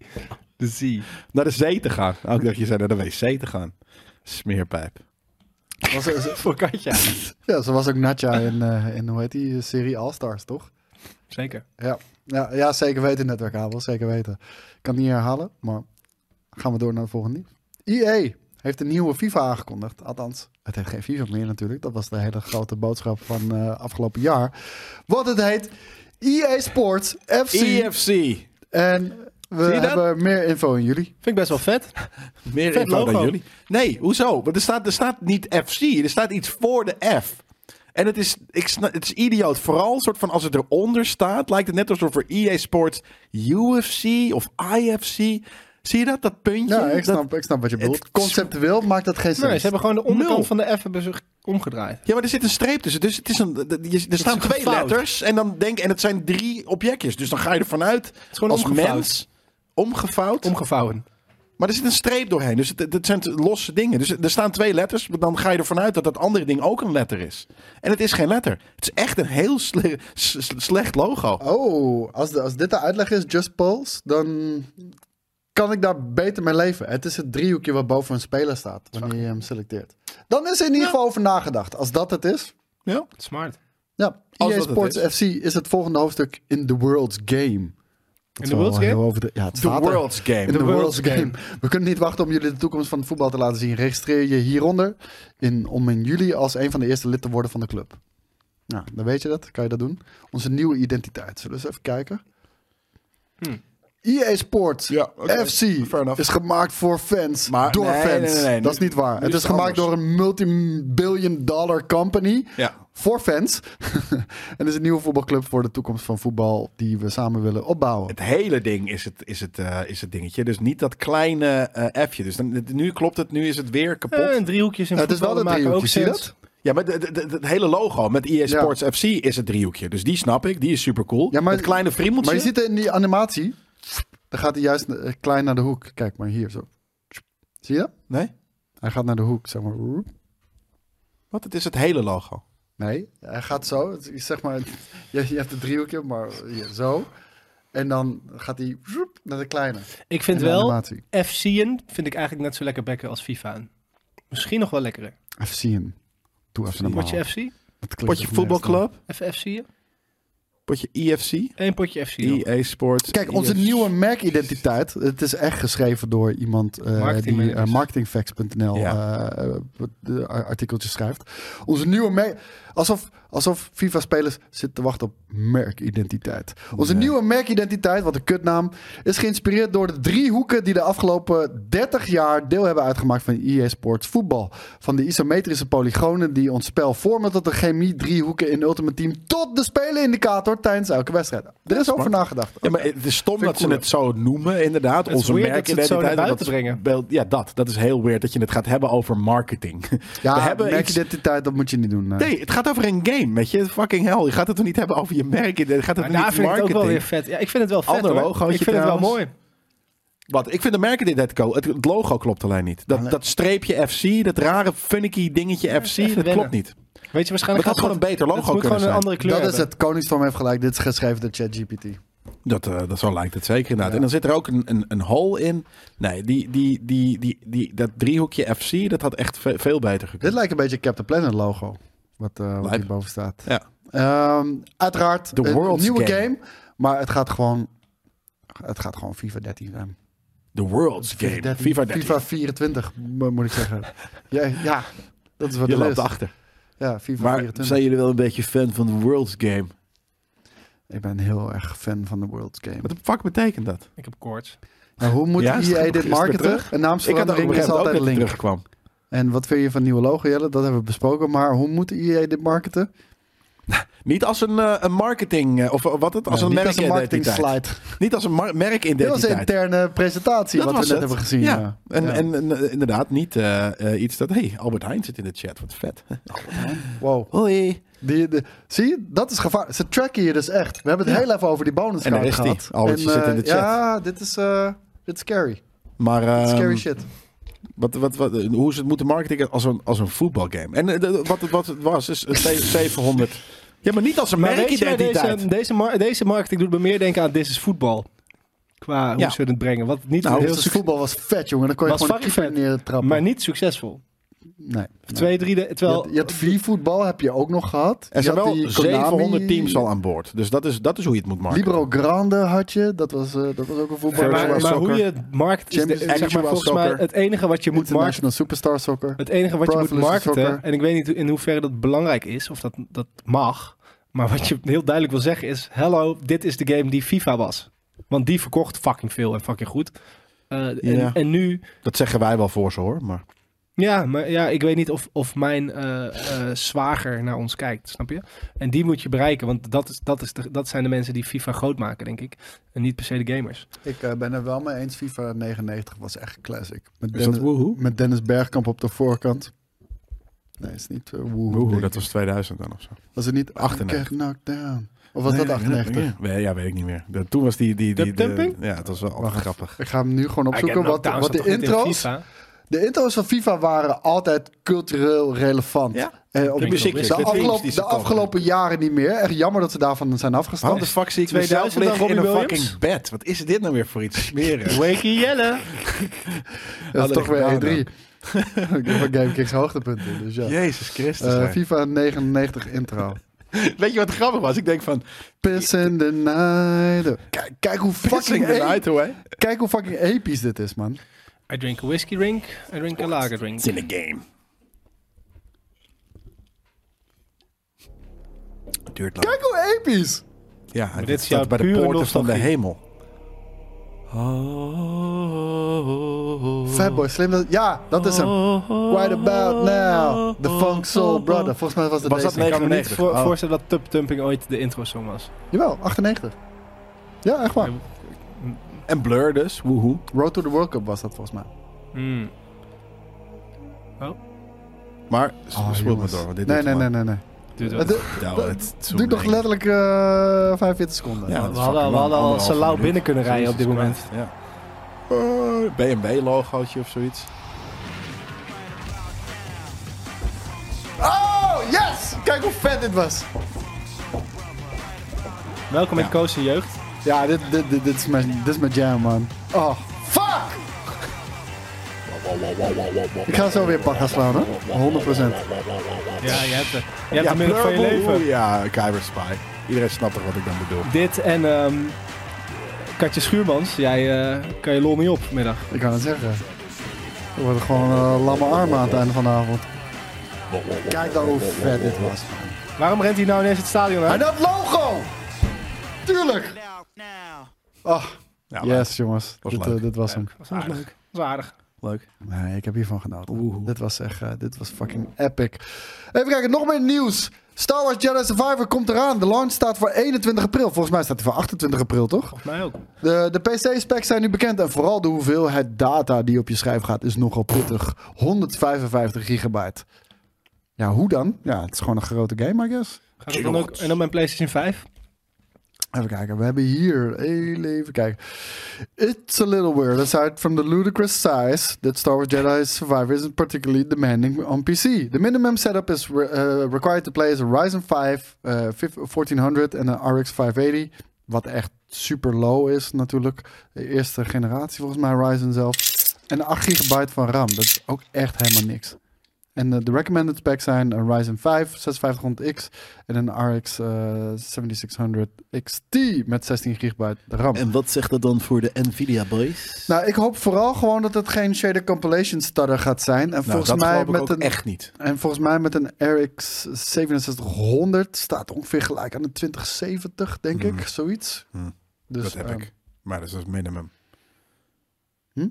De zee.
Naar de zee te gaan. Ook dat je zei naar de wc te gaan. Smeerpijp.
Was er-
Voor Katja.
ja, zo was ook Natja in, eh, in hoe heet die eh, serie All Stars, toch?
Zeker.
Ja, ja, ja zeker weten, netwerk Abel, zeker weten. Ik kan het niet herhalen, maar gaan we door naar de volgende nieuws. EA heeft een nieuwe FIFA aangekondigd. Althans, het heeft geen FIFA meer natuurlijk. Dat was de hele grote boodschap van eh, afgelopen jaar. Wat het heet EA Sports FC.
EFC.
En we
E je dat?
hebben meer info in jullie.
Vind ik best wel vet.
Meer
Vet
info dan
logo.
jullie. Nee, hoezo? Want er staat, er staat niet FC. Er staat iets voor de F. En het is, ik snap, het is idioot. Vooral een soort van als het eronder staat, lijkt het net alsof voor EA Sports UFC of IFC. Zie je dat, dat puntje?
Ja, ik
Dat-
snap, ik snap wat je
het-
bedoelt. Conceptueel maakt dat geen
Nee, ze
zin.
hebben gewoon de onderkant
Nul.
van de F hebben ze omgedraaid.
Ja, maar er zit een streep tussen. Dus het is een, d- d- je- er staan twee
gefouwd.
letters en, dan denk, en het zijn drie objectjes. Dus dan ga je ervan uit
is gewoon
als
omgevouwd.
mens... Omgevouwd.
Omgevouwen.
Maar er zit een streep doorheen. Dus het, het zijn losse dingen. Dus er staan twee letters. Maar dan ga je ervan uit dat dat andere ding ook een letter is. En het is geen letter. Het is echt een heel sle- s- s- slecht logo.
Oh, als, de, als dit de uitleg is, Just Pulse, dan kan ik daar beter mee leven. Het is het driehoekje wat boven een speler staat, wanneer je hem selecteert. Dan is er in ieder geval over nagedacht. Als dat het is,
Ja.
Smart.
ja.
Als
EA
dat het
Sports
is.
FC is het volgende hoofdstuk in The World's Game.
In the World's Game?
Over ja, het
The
staat er.
World's Game.
In the,
The
World's,
World's
game. We kunnen niet wachten om jullie de toekomst van het voetbal te laten zien. Registreer je hieronder in, om in juli als een van de eerste lid te worden van de club. Nou, dan weet je dat. Kan je dat doen. Onze nieuwe identiteit. Zullen we eens even kijken? EA Sports
Hmm. Ja, oké.
FC
Fair enough.
is gemaakt voor fans,
Maar-
door
nee, nee,
fans.
nee, nee.
Dat is
Nu-
niet waar.
nu
het
is
is
het
gemaakt
anders.
door een multi-billion dollar company
Ja.
voor fans. en is een nieuwe voetbalclub voor de toekomst van voetbal die we samen willen opbouwen.
Het hele ding is het, is, het, eh, is het dingetje. Dus niet dat kleine eh F'je. Dus dan, nu klopt het. Nu is het weer kapot.
Eh, driehoekjes in
Ja, het is
voetbal,
wel
dat
een
maken ook
driehoekje, zie je
sens.
Ja, maar de- de- de- het hele logo met EA
Ja.
Sports FC is het driehoekje. Dus die snap ik. Die is super cool.
Ja, maar-
het kleine friemeltje.
Maar je ziet in die animatie, dan gaat hij juist eh, klein naar de hoek. Kijk maar hier zo. Zie je? dat?
Nee?
Hij gaat naar de hoek, zeg maar.
Wat? Het is het hele logo.
Nee, hij gaat zo. Het is Zeg maar, je, je hebt het driehoekje, maar hier, zo. En dan gaat hij naar de kleine.
Ik vind
En de
wel,
animatie.
FC'en vind ik eigenlijk net zo lekker bekken als FIFA'en. Misschien nog wel lekkerder.
FC in. Doe even normaal.
Potje FC?
Dat klinkt
Potje
echt
voetbalclub.
Even FC'en?
Potje E EFC.
Eén potje FC. joh.
EA E Sports.
Kijk, onze
EFC.
nieuwe merkidentiteit. Het is echt geschreven door iemand eh, die eh,
Marketingmanagers.
marketingfacts.nl eh
Ja.
eh, de artikeltjes schrijft. Onze nieuwe merk. Alsof, Alsof FIFA-spelers zitten te wachten op merkidentiteit. Onze nieuwe merkidentiteit, wat een kutnaam, is geïnspireerd door de drie hoeken die de afgelopen 30 jaar deel hebben uitgemaakt van EA Sports voetbal. Van de isometrische polygonen die ons spel vormen tot de chemie driehoeken in Ultimate Team tot de spelenindicator tijdens elke wedstrijd. Er is over nagedacht.
Ja, maar het is stom
Vind
dat
ik
ze
cool.
het zo noemen, inderdaad.
is
Onze
weird dat ze het zo
merkidentiteit.
naar
en dat
buiten brengen.
beeld- Ja, dat. Dat is heel weird dat je het gaat hebben over marketing. We
Ja,
hebben iets-
merkidentiteit, dat moet je niet doen. nee.
Nee, het gaat over een game, weet je. Fucking hell. Je gaat het toch niet hebben over je merk. Je gaat het
Maar
niet
daar
over
vind ik het ook wel weer
marketing.
vet. Ja, ik vind het wel vet
Ander
hoor.
logootje
Ik vind het wel
trouwens.
mooi.
Wat? Ik vind de merken dit net co- Het, het logo klopt alleen niet. Dat, dat streepje FC, dat rare funky dingetje FC, dat
wennen.
klopt niet.
Weet je,
Maar het
waarschijnlijk
had gewoon
dat-
een beter
het
logo kunnen
moet gewoon een
zijn.
andere kleur
dat is
hebben.
het. Koningstorm heeft gelijk. Dit is geschreven door ChatGPT.
Dat, eh, dat zo lijkt het zeker inderdaad. En dan zit er ook een, een, een hole in. Nee, die, die, die, die, die, dat driehoekje FC, dat had echt ve- veel beter
Dit
gekund.
lijkt een beetje het Captain Planet logo. Wat, eh wat
Lijp.
hierboven staat.
Ja.
Ehm, uiteraard
The
een
World's
nieuwe game.
Game.
Maar het gaat gewoon... Het gaat gewoon FIFA 13 zijn.
The World's Game. FIFA 13.
FIFA 24, mo- moet ik zeggen. ja, ja, dat is wat
Je
het
loopt
is.
achter.
Ja, FIFA
Maar
24.
zijn jullie wel een beetje fan van The World's Game?
Ik ben heel erg fan van de World's Game.
Wat de fuck betekent dat?
Ik heb koorts.
Nou, hoe moet
Ja, is het
EA
goed?
dit
Is het weer
marketen?
terug?
Een
Ik had ook
naamsverandering is
begrepen ook dat
altijd een
het
link.
terugkwam.
En wat vind je van nieuwe logo, Jelle? Dat hebben we besproken. Maar hoe moet EA dit marketen?
Niet als een, eh, een marketing, eh, of eh, wat het, als
Nee,
een
niet als een marketing
merkidentiteit.
slide.
Niet als een mar-
Dit was een
merkidentiteit.
interne presentatie
Dat
wat we
was
net
het.
hebben gezien.
Ja.
ja.
En,
Ja.
en, en, eh, inderdaad niet eh, eh, iets dat, hey, Albert Heijn zit in de chat, wat vet.
wow.
Hoi.
Die, de, zie je, dat is gevaar. Ze tracken je dus echt. We hebben het heel even over die bonus
En daar is die.
gehad.
Albertje
En,
zit
eh,
in de chat.
Ja, dit is, eh, dit is scary.
Maar
Dit is scary
ehm,
shit.
Wat, wat, wat, eh, hoe ze het moeten marketen als een, als een voetbalgame. En eh, de- wat, het- wat het was, is een ze- 700. Ja, maar niet als een
Maar weet je waar
merkidentiteit.
deze, deze, mar- deze marketing doet me meer denken aan This is Voetbal. Qua
Ja.
hoe ze het brengen. Wat niet
Nou,
heel
Dus het
succesvol,
voetbal was vet, jongen. Dan kon je
Was
gewoon de
fucking
keeper
vet.
neertrappen.
maar niet succesvol.
nee.
Twee, drie, de-
Je
terwijl
had, je had V-voetbal, heb je ook nog gehad.
Er zijn
Je had
wel
die Konami-
700 teams al aan boord. Dus dat is, dat is hoe je het moet marketen.
Libro Grande had je. Dat was, eh, dat was ook een voetbal.
Virtual
Maar, maar
soccer.
hoe je het markt is de-
Champions-
zeg maar,
actual
volgens
soccer.
mij het enige wat je moet markten.
International Superstar Soccer.
Het enige wat je
Pro
moet
Evolution
markten.
Soccer.
En ik weet niet in hoeverre dat belangrijk is of dat, dat mag. Maar wat je heel duidelijk wil zeggen is: hello, dit is de game die FIFA was. Want die verkocht fucking veel en fucking goed. Eh, en,
Ja.
en nu,
Dat zeggen wij wel voor ze hoor. Maar
ja, maar ja, ik weet niet of, of mijn eh, eh, zwager naar ons kijkt, snap je? En die moet je bereiken, want dat, is, dat, is de, dat zijn de mensen die FIFA groot maken, denk ik. En niet per se de gamers.
Ik eh, ben er wel mee eens. FIFA 99 was echt een classic. Met
is dat
Dennis,
woehoe?
met Dennis Bergkamp op de voorkant. Nee, is niet eh, woehoe.
Woehoe,
denk
dat
ik.
was 2000 dan of zo.
was het niet
98.
98. knocked down. Of was
Nee,
dat
nee,
98?
nee, nee, Ja, weet ik niet meer. De- toen was die... die, die,
Dub
de-
dumping?
ja, het was wel altijd
Wacht.
grappig.
Ik ga hem nu gewoon opzoeken.
Kijk, en
Wat,
lockdown
wat
zat
de
toch niet in
intro's.
FIFA?
de intro's van FIFA waren altijd cultureel relevant.
Ja.
Eh, op
De muziekjes,
de,
de
teams
afgelopen-
die ze
de
kopen.
afgelopen jaren niet meer. Echt jammer dat ze daarvan zijn afgestapt. Dus
Wat de fuck zie ik
2000
mezelf liggen in
dan
een
Robbie Williams?
fucking bed? Wat is dit nou weer voor iets smeren?
Wakey Jelle!
dat is toch weer
Hadden
E3. Ik heb van GameKings hoogtepunten. Dus ja.
Jezus Christus.
Eh,
hè.
FIFA 99 intro.
Weet je wat grappig was? Ik denk van...
Piss in the night. Kijk, kijk hoe
Fucking
fucking
the
e-
night away.
Kijk hoe fucking episch dit is, man.
I drink a whiskey drink, I drink a lager drink.
It's in a game. Duurt lang.
Kijk hoe episch.
Ja, hij
dit is
staat
jouw
bij de
pure
poorten van de
nostalgie.
hemel.
Oh. Fatboy Slim. dat- Ja, dat is hem. Right about now. The Funk Soul Brother. Volgens mij was dat
Was dat
deze.
nee?
Ik kan me niet
99.
voor-
Oh.
voorstellen dat Tub Tumping ooit de intro-song was.
Jawel, 98. Ja, echt waar.
En Blur dus, woehoe.
Road to the World Cup was dat volgens mij.
Hmm,
Maar spoel maar
jongens.
door, want dit
nee,
duurt
nee,
te
nee, nee,
lang.
nee.
Duurt wel.
Het du-
Nou, het is zo
duurt nog
lang.
letterlijk eh 45 seconden.
Ja, dat is
we
fucking
hadden, we
lang,
hadden al
anderhalve
Salau
minuut.
binnen kunnen rijden
Jesus
op dit
Christ,
moment.
Ja. Eh, BMW logootje of zoiets.
Oh, yes! Kijk hoe vet dit was.
Welkom in Koos en Jeugd.
Ja, dit, dit, dit, dit, is, mijn, dit is mijn jam, man. Oh, fuck! Ik ga zo weer pak gaan slaan, hè? 100%.
Ja, je hebt, je hebt
Ja,
de middag van je
Blur,
leven.
woehoe. Ja, Kyber Spy. Iedereen snapt toch wat ik dan bedoel.
Dit en ehm, Katje Schuurmans, jij eh, kan je lol niet op vanmiddag.
Ik kan het zeggen. We worden gewoon eh, lamme armen aan het einde van de avond. Kijk dan hoe vet dit was.
Waarom rent hij nou ineens het stadion
En
uit?
dat logo! Tuurlijk! Ah,
Ja,
yes jongens.
Was
dit,
leuk.
eh, dit was hem.
Dat is leuk. Dat is aardig.
Leuk.
Nee, ik heb hiervan genoten. Dit was echt, eh, dit was fucking epic. Even kijken, nog meer nieuws. Star Wars Jedi Survivor komt eraan. De launch staat voor 21 april. Volgens mij staat hij voor 28 april, toch?
Mij ook.
De, de PC-specs zijn nu bekend en vooral de hoeveelheid data die op je schijf gaat is nogal pittig. 155 gigabyte. Ja, hoe dan? Ja, het is gewoon een grote game, I guess.
Gaat het dan ook, en dan mijn PlayStation 5?
Even kijken, we hebben hier. heel Even kijken. It's a little weird. Aside from the ludicrous size, that Star Wars Jedi Survivor isn't particularly demanding on PC. The minimum setup is re- uh, required to play is a Ryzen 5 uh, 5 1400 en een RX 580. Wat echt super low is natuurlijk. De eerste generatie volgens mij Ryzen zelf. En 8 gigabyte van RAM. Dat is ook echt helemaal niks. En eh, de recommended specs zijn een Ryzen 5 5600X en een RX eh, 7600 XT met 16 gigabyte RAM.
En wat zegt dat dan voor de Nvidia boys?
Nou, ik hoop vooral gewoon dat het geen shader compilation starter gaat zijn. En,
Nou,
volgens,
dat
mij
geloof ik
met
ook
een,
echt niet.
en volgens mij met een RX 6700 staat ongeveer gelijk aan de 2070, denk ik, zoiets.
Hmm.
Dus,
dat heb
ehm,
ik. Maar dat is dat minimum.
Hm?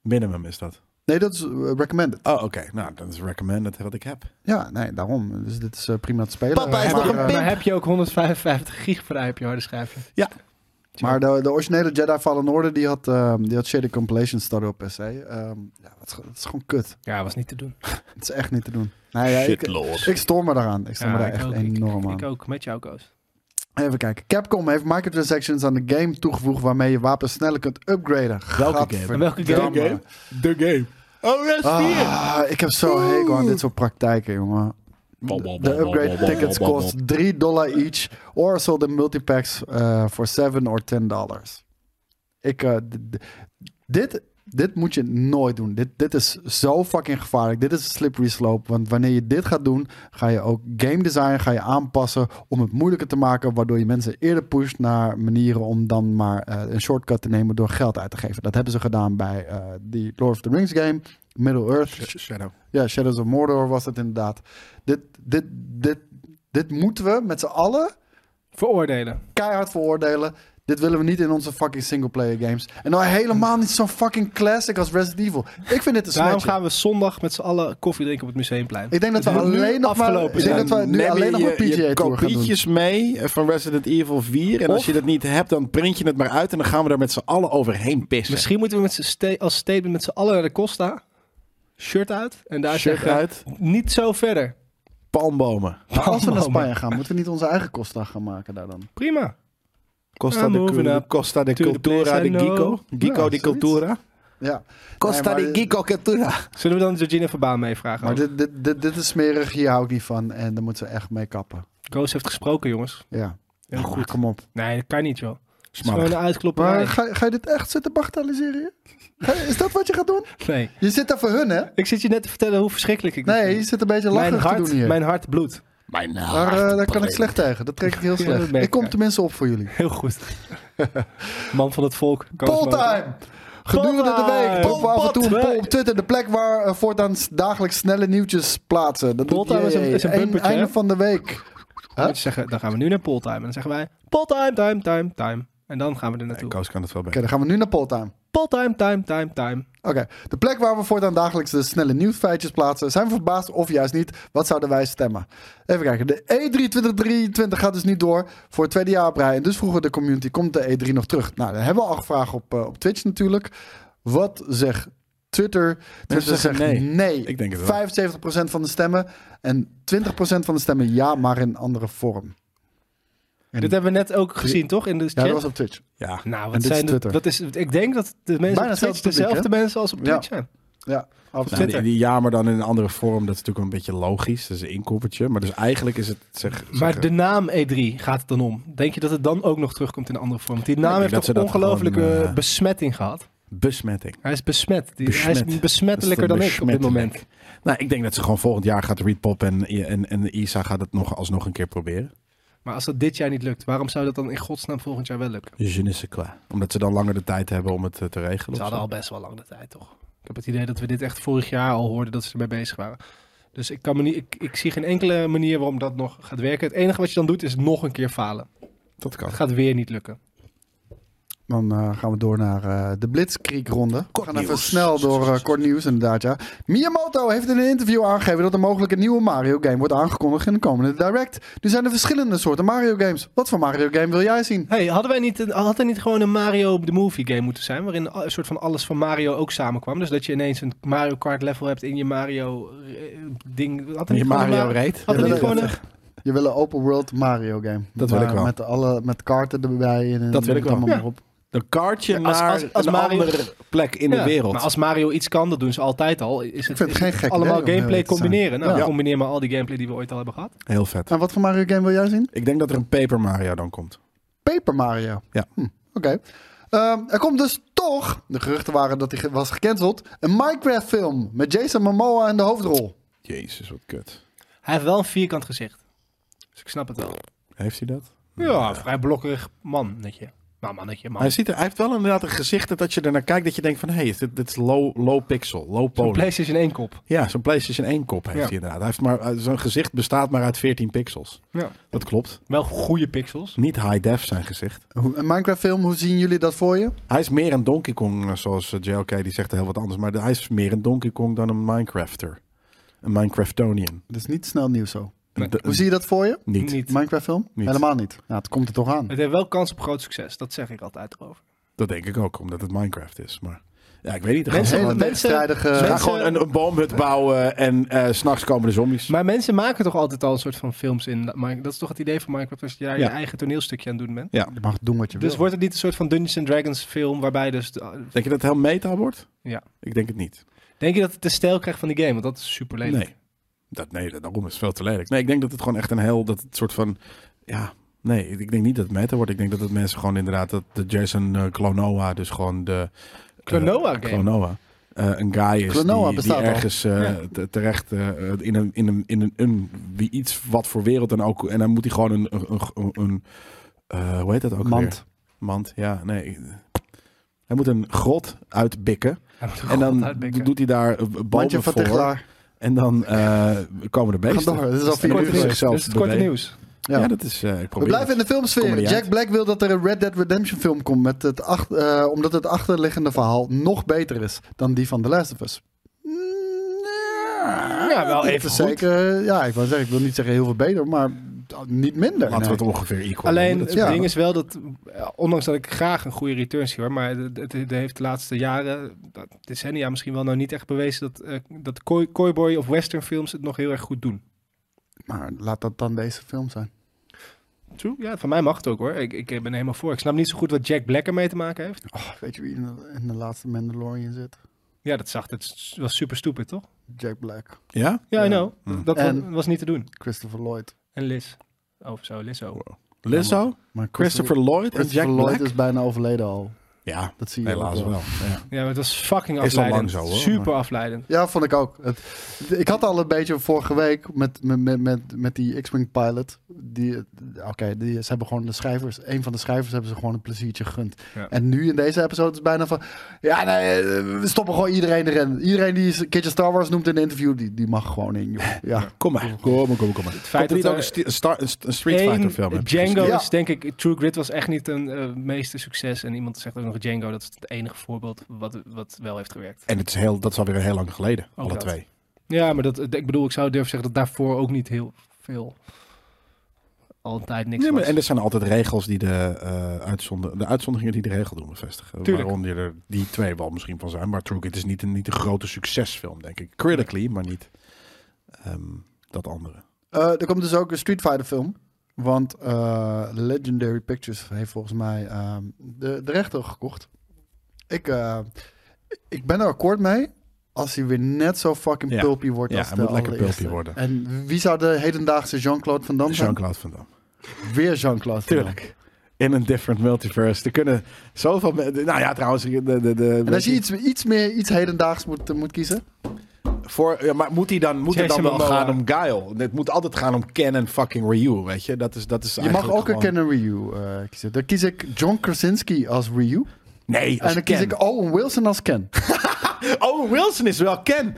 Minimum is dat.
Nee, dat is eh, recommended.
Oh, oké. Nou, dat is recommended wat ik heb.
Ja, nee, daarom. Dus dit is eh, prima te spelen.
Papa is
maar,
nog een
eh,
pimp.
Dan heb je ook 155 gig voor de IP harde schijfje.
Maar de, de originele Jedi Fallen Order, die had, ehm, die had shader compilation starter op PC. Ehm, ja, dat is, ge- dat is gewoon kut.
Ja, was niet te doen.
Het is echt niet te doen. Nou ja, ik, ik stoor me daaraan. Ik stoor me daar echt enorm aan.
Ik ook, met jou Koos.
Even kijken. Capcom heeft microtransactions aan de game toegevoegd waarmee je wapens sneller kunt upgraden. Welke
game?
Welke game?
De game. Oh, yes.
Ah, ik heb zo hekel aan dit soort praktijken, jongen. De upgrade tickets kost 3 dollar each. Or sold in multipacks eh, voor 7 or 10 dollars. Ik, eh, d- d- dit, dit moet je nooit doen. Dit, dit is zo fucking gevaarlijk. Dit is een slippery slope. Want wanneer je dit gaat doen, ga je ook game design ga je aanpassen om het moeilijker te maken. Waardoor je mensen eerder pusht naar manieren om dan maar eh, een shortcut te nemen door geld uit te geven. Dat hebben ze gedaan bij eh, die Lord of the Rings game. Middle Earth.
Shadow.
Ja, Shadows of Mordor was het inderdaad. Dit, dit, dit, dit moeten we met z'n allen
Veroordelen.
keihard veroordelen. Dit willen we niet in onze fucking singleplayer games. En nou helemaal niet zo'n fucking classic als Resident Evil. Ik vind dit een
Daarom
smetje.
gaan we zondag met z'n allen koffie drinken op het museumplein.
Ik denk dat we
Het moet nu
alleen nog maar,
afgelopen
ik denk dat we nu
Neem
alleen nog
je-
maar
je
PGA Tour gaan doen.
kopietjes mee eh, van Resident Evil 4. En als
Of-
je dat niet hebt, dan print je het maar uit en dan gaan we daar met z'n allen overheen pissen.
Misschien moeten we met z'n sta- als statement met z'n allen naar de Costa. Shirt uit. En daar
Shirt
zeggen,
uit,
niet zo verder.
palmbomen.
Maar als we naar Spanje gaan, moeten we niet onze eigen kostdag gaan maken daar dan?
Prima.
Costa,
I'm
de,
moving
cu-
up
Costa de
to the
Cultura
place I
de
know.
Gico. Gico
Ja,
de
zoiets.
Cultura.
Ja.
Costa
Nee,
de
maar-
Gico Cultura.
Zullen we dan Georgina Verbaan meevragen?
Maar
ook?
dit, dit, dit, dit is smerig, hier hou ik niet van. En daar moeten we echt mee kappen.
Koos heeft gesproken, jongens.
Ja.
Heel
Maar
goed.
Kom op.
Nee, dat kan niet, joh. Het is
Smalig.
gewoon een uitklopperij.
Maar ga, ga je dit echt zitten bagatelliseren? hier? Ga je- Is dat wat je gaat doen?
Nee.
Je zit daar voor hun, hè?
Ik zit je net te vertellen hoe verschrikkelijk ik dit
Nee,
vind.
je zit een beetje
mijn
lacherig te doen
hart,
hier.
mijn hart bloedt.
Mijn
Daar, eh,
naam.
daar kan ik slecht tegen. Dat trek ik heel
Ja, dat
slecht.
merk
ik kom
ik.
tenminste op voor jullie.
Heel goed. Man van het volk. Koos Molen.
Poltime! Gedurende de
Poltime!
week droppen we af en toe een
Poltime!
poll op Twitter. De plek waar eh, voortaan dagelijks snelle nieuwtjes plaatsen. Dat doet
Poltime is een-
jij.
is een
Eén-
bumpertje,
Einde
hè?
van de week.
Dan moet je zeggen, dan gaan we nu naar Poltime. En dan zeggen wij, Poltime, time, time, time. En dan gaan we er
Nee,
naartoe.
Koos kan het wel
Oké,
beter.
dan gaan we nu naar Poltime.
Poltime, time, time, time.
Oké, de plek waar we voortaan dagelijks de snelle nieuwsfeitjes plaatsen. Zijn we verbaasd of juist niet? Wat zouden wij stemmen? Even kijken, de E E3 2023 gaat dus niet door voor het tweede jaar op rij. En dus vroegen we de community, komt de E3 nog terug? Nou, dan hebben we al gevraagd op, eh, op Twitch natuurlijk. Wat zegt Twitter? Twitter
zeggen
zegt
nee.
nee.
Ik denk het wel.
75% van de stemmen en 20% van de stemmen ja, maar in andere vorm. En-
Dit hebben we net ook gezien, toch? In de
Ja,
chat.
dat was op Twitch.
Ja.
Nou,
en
wat
dit is
zijn de,
Twitter.
dat is, ik denk dat de mensen
Bijna
op Twitch
hetzelfde publiek,
dezelfde
hè?
mensen als op
Ja.
Twitch zijn.
Ja,
Nou,
absoluut.
die, die ja, maar dan in een andere vorm. Dat is natuurlijk een beetje logisch. Dat is een inkoppertje. Maar dus eigenlijk is het... Zeg,
Maar de naam E3 gaat het dan om. Denk je dat het dan ook nog terugkomt in een andere vorm? Want die naam
denk
heeft
dat ze
toch
dat
ongelofelijke
gewoon, eh,
besmetting gehad.
besmetting.
Hij is besmet. Die,
Besmet.
Hij is besmettelijker dan ik op dit
Besmettelijk.
moment.
Nou, ik denk dat ze gewoon volgend jaar gaat Readpop en, en, en Isa gaat het nog alsnog een keer proberen.
Maar als dat dit jaar niet lukt, waarom zou dat dan in godsnaam volgend jaar wel lukken?
Je ne sais quoi. Omdat ze dan langer de tijd hebben om het eh, te regelen.
Ze
of
hadden
zo.
al best wel lang de tijd, toch? Ik heb het idee dat we dit echt vorig jaar al hoorden dat ze ermee bezig waren. Dus ik, kan me niet, ik, ik zie geen enkele manier waarom dat nog gaat werken. Het enige wat je dan doet is nog een keer falen.
Dat kan.
Het gaat weer niet lukken.
Dan eh, gaan we door naar eh, de Blitzkrieg-ronde. We
Kort
gaan even
nieuws.
snel door eh, kort nieuws, inderdaad. Ja. Miyamoto heeft in een interview aangegeven dat er mogelijk een nieuwe Mario-game wordt aangekondigd in de komende Direct. Nu zijn er verschillende soorten Mario-games. Wat voor Mario-game wil jij zien?
Hey, hadden wij niet, had er niet gewoon een Mario the Movie game moeten zijn? Waarin al- een soort van alles van Mario ook samenkwam. Dus dat je ineens een Mario Kart level hebt in je Mario eh, ding. Had er
Je
niet gewoon een
Mario
Ma-
reed.
Had er
Ja,
niet
dat-
gewoon een...
Je wil een open-world Mario-game.
Dat wil
Maar
ik wel.
Met, alle, met kaarten erbij. En,
Dat wil ik wel.
allemaal
Ja.
op.
Een kaartje
als-
naar
als- als
een
Mario-
andere plek in de
Ja,
wereld.
Maar als Mario iets kan, dat doen ze altijd al. Is het,
vind het
is
geen
het
gek
allemaal
idee om
gameplay
heel te zijn.
combineren. Nou,
Ja.
combineer maar al die gameplay die we ooit al hebben gehad.
Heel vet.
En wat voor Mario-game wil jij zien?
Ik denk dat er een Paper Mario dan komt.
Paper Mario.
Ja.
Hm, Oké. Ehm, er komt dus toch, de geruchten waren dat hij ge- was gecanceld, een Minecraft-film met Jason Momoa in de hoofdrol.
Jezus, wat kut.
Hij heeft wel een vierkant gezicht. Dus ik snap het wel.
Heeft hij dat?
Ja, vrij blokkerig mannetje. Nou, mannetje, man.
Hij, ziet er, hij heeft wel inderdaad een gezicht dat als je ernaar kijkt, dat je denkt van... Hé, hey, is dit, dit is low, low pixel, low
Zo'n
poly.
PlayStation 1 kop.
ja, zo'n PlayStation 1 kop heeft
Ja.
hij inderdaad. Hij heeft maar, eh, zo'n gezicht bestaat maar uit 14 pixels.
Ja.
Dat klopt.
Wel goede pixels.
Niet high def zijn gezicht.
Hoe- Een Minecraft-film, hoe zien jullie dat voor je?
Hij is meer een Donkey Kong, eh, zoals eh, JLK, die zegt heel wat anders. Maar de- hij is meer een Donkey Kong dan een Minecrafter. Een Minecraftonian.
Dat is niet snel nieuws zo.
Nee.
De-
Hoe zie je dat voor je?
niet.
Minecraft-film?
Niet.
Helemaal niet. Nou, het komt er toch aan.
Het heeft wel kans op groot succes. Dat zeg ik altijd over.
Dat denk ik ook, omdat het Minecraft is. Maar ja, ik weet niet. Er
Een
Mensen-
hele
mensen-
tegenstrijdige...
Ze gaan
mensen-
gewoon een, een boomhut bouwen en eh, 's s'nachts komen de zombies.
Maar mensen maken toch altijd al een soort van films in. Mine- Dat is toch het idee van Minecraft, dat je daar
Ja.
je eigen toneelstukje aan het doen bent.
Je mag doen wat je
Dus
wil.
wordt het niet een soort van Dungeons and Dragons film waarbij dus... de-
Denk je dat het heel meta wordt?
Ja.
Ik denk het niet.
Denk je dat het de stijl krijgt van die game? Want dat is super lelijk.
Nee. Dat, nee, dat- daarom is het veel te lelijk. Nee, ik denk dat het gewoon echt een heel, dat het soort van, ja, nee, ik denk niet dat het meta wordt. Ik denk dat het mensen gewoon inderdaad, dat de Jason eh, Klonoa, dus gewoon de... eh,
Klonoa game.
Klonoa. eh, een guy is
Klonoa
die, die
bestaat al.
ergens eh, te- terecht eh, in, een, in, een, in een, een- wie iets wat voor wereld dan ook. En dan moet hij gewoon een, een, een, een, eh, hoe heet dat ook
Mand.
weer? Mand, ja, nee. Hij moet een grot uitbikken.
Hij moet er
en
gewoon
dan
uitbikken.
doet hij daar eh, bomen
Mandje van
voor.
Tegelaar.
En dan eh, komen de
Ga
beesten.
door, dit is al
En
vier uur.
dan
Korte
kunnen ze
nieuws.
zichzelf
Dus het korte
bewegen.
nieuws.
Ja.
Ja.
dat is... eh, ik
We
probeer
blijven in
het.
de
Kom
filmsfeer.
er niet
Jack
uit.
Black wil dat er een Red Dead Redemption film komt, met het ach- eh, omdat het achterliggende verhaal nog beter is dan die van The Last of Us.
Ja, wel
Het
even
is
goed.
Zeker, eh, ja, ik wil zeggen, ik wil niet zeggen heel veel beter, maar eh, niet minder.
Laten we
Nee.
het ongeveer equal
Alleen
doen.
het
Dat-
ja.
ding is wel dat, eh, ondanks dat ik graag een goede return zie hoor, maar het, het- het heeft de laatste jaren, dat decennia misschien wel nou niet echt bewezen dat, eh dat coy- cowboy of western films het nog heel erg goed doen.
Maar laat dat dan deze film zijn.
True. Ja, van mij mag het ook hoor. Ik, ik ben er helemaal voor. Ik snap niet zo goed wat Jack Black ermee te maken heeft.
Oh, weet je wie in de, in de laatste Mandalorian zit?
Ja, dat zag, dat was super stupid toch?
Jack Black,
Ja?
Ja, I
Ja.
know.
Hm.
Dat
En-
was, was niet te doen.
Christopher Lloyd.
En Liz. Of zo, Liz ook.
Lizzo,
Maar
Christopher Lloyd en
Christopher
Jack
Lloyd
Black.
is bijna overleden al.
Ja,
Dat zie je ook
helaas
wel.
wel. Ja.
Ja, maar het was fucking
Is al lang
afleidend.
zo, hoor,
super
maar-
afleidend.
Ja, vond ik ook. Het- ik had al een beetje vorige week met, met- met, met, met die X-Wing pilot. Die, eh, Oké, die- ze hebben gewoon de schrijvers, een van de schrijvers hebben ze gewoon een pleziertje gegund.
Ja.
En nu in deze episode is het bijna van, ja nee, eh, we stoppen gewoon iedereen erin. Iedereen die een keertje Star Wars noemt in een interview, die, die mag gewoon in. joh. Ja.
Kom maar, kom maar, kom maar. Kom maar. Het
feit
niet
dat
ook een,
er
sti- een star- een st- een Street Fighter
Eén,
film hebben
Django
gezien.
is denk ik, True Grit was echt niet een eh, meeste succes. En iemand zegt ook nog Django, dat is het enige voorbeeld wat, wat wel heeft gewerkt.
En het is heel, dat is alweer heel lang geleden, alle
Oh, dat.
twee.
Ja, maar dat, ik bedoel, ik zou durven zeggen dat daarvoor ook niet heel veel, altijd niks
Nee, maar,
was.
en er zijn altijd regels die de, eh, uitzonder, de uitzonderingen die de regel doen bevestigen.
Tuurlijk.
Waaronder er die twee wel misschien van zijn. Maar True Grit is niet een, niet een grote succesfilm, denk ik. Critically, maar niet ehm, dat andere.
Eh, er komt dus ook een Street Fighter film. Want eh, Legendary Pictures heeft volgens mij ehm, de, de rechten gekocht. Ik, eh, ik ben er akkoord mee als hij weer net zo fucking
Ja.
pulpy wordt
Ja,
als
hij
de
moet lekker
allereerste.
pulpy worden.
En wie zou de hedendaagse Jean-Claude Van Damme zijn?
Jean-Claude Van Damme.
Weer Jean-Claude Van Damme.
Tuurlijk. In een different multiverse. Er kunnen zoveel... me- Nou ja, trouwens... De, de, de,
En als je iets, iets meer iets hedendaags moet, eh, moet kiezen.
Voor, ja, maar moet hij dan, moet het dan
Jason
wel
Momoa.
gaan om Guile? Het moet altijd gaan om Ken en fucking Ryu, weet je? Dat is, dat is
Je mag ook een
gewoon...
Ken en Ryu eh, kiezen. Dan kies ik John Krasinski als Ryu.
Nee,
en
als
dan
Ken.
kies ik Owen Wilson als Ken.
Owen Wilson is wel Ken.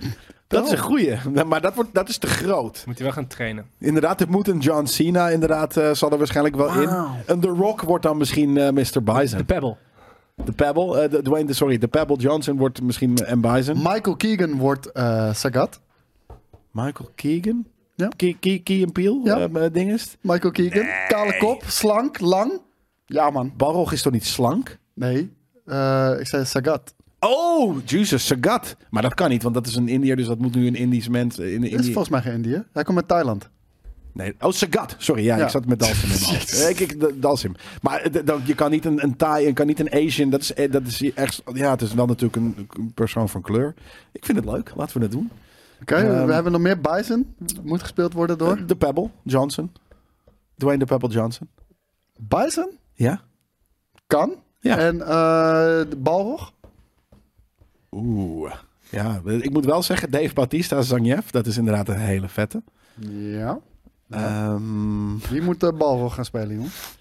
Dat is
Oh.
een goeie. Nou, Maar dat, wordt, dat is te groot.
Moet hij wel gaan trainen.
Inderdaad, het moet een John Cena. Inderdaad, eh, zal er waarschijnlijk wel in. Een The Rock wordt dan misschien eh, Mr. Bison.
Pebble.
De Pebble. eh, de, Dwayne, de- sorry, de Pebble Johnson wordt misschien eh, M. Bison.
Michael Keegan wordt eh, Sagat.
Michael Keegan?
Ja.
Key, Key, Key and Peele?
Ja.
eh, eh, dinges.
Michael Keegan. Kale kop, slank, lang. Ja, man.
Balrog is toch niet slank?
Nee, eh, ik zei Sagat.
Oh, Jesus, Sagat. Maar dat kan niet, want dat is een Indiër, dus dat moet nu een Indisch mens. eh, In,
Dit is
Indië-
volgens mij geen Indië. Hij komt uit Thailand.
Nee. Oh, Sagat. Sorry, ja,
Ja.
ik zat met Dalsim in mijn hoofd. Eh, Ik, ik, da- Dalsim. Maar eh, d- dan- je kan niet een, een Thai, je kan niet een Asian. Dat is, eh, dat is echt, ja, het is wel natuurlijk een, een persoon van kleur. Ik vind het leuk. Laten we dat doen.
Oké,
Ehm.
we hebben nog meer Bison. Moet gespeeld worden door...
De Pebble Johnson. Dwayne de Pebble Johnson.
Bison?
Ja?
Kan.
Ja.
En eh, de Balrog?
Oeh. Ja, ik moet wel zeggen, Dave Bautista Zangief, dat is inderdaad een hele vette.
Ja.
Ehm,
Wie moet de Balrog gaan spelen, jongens?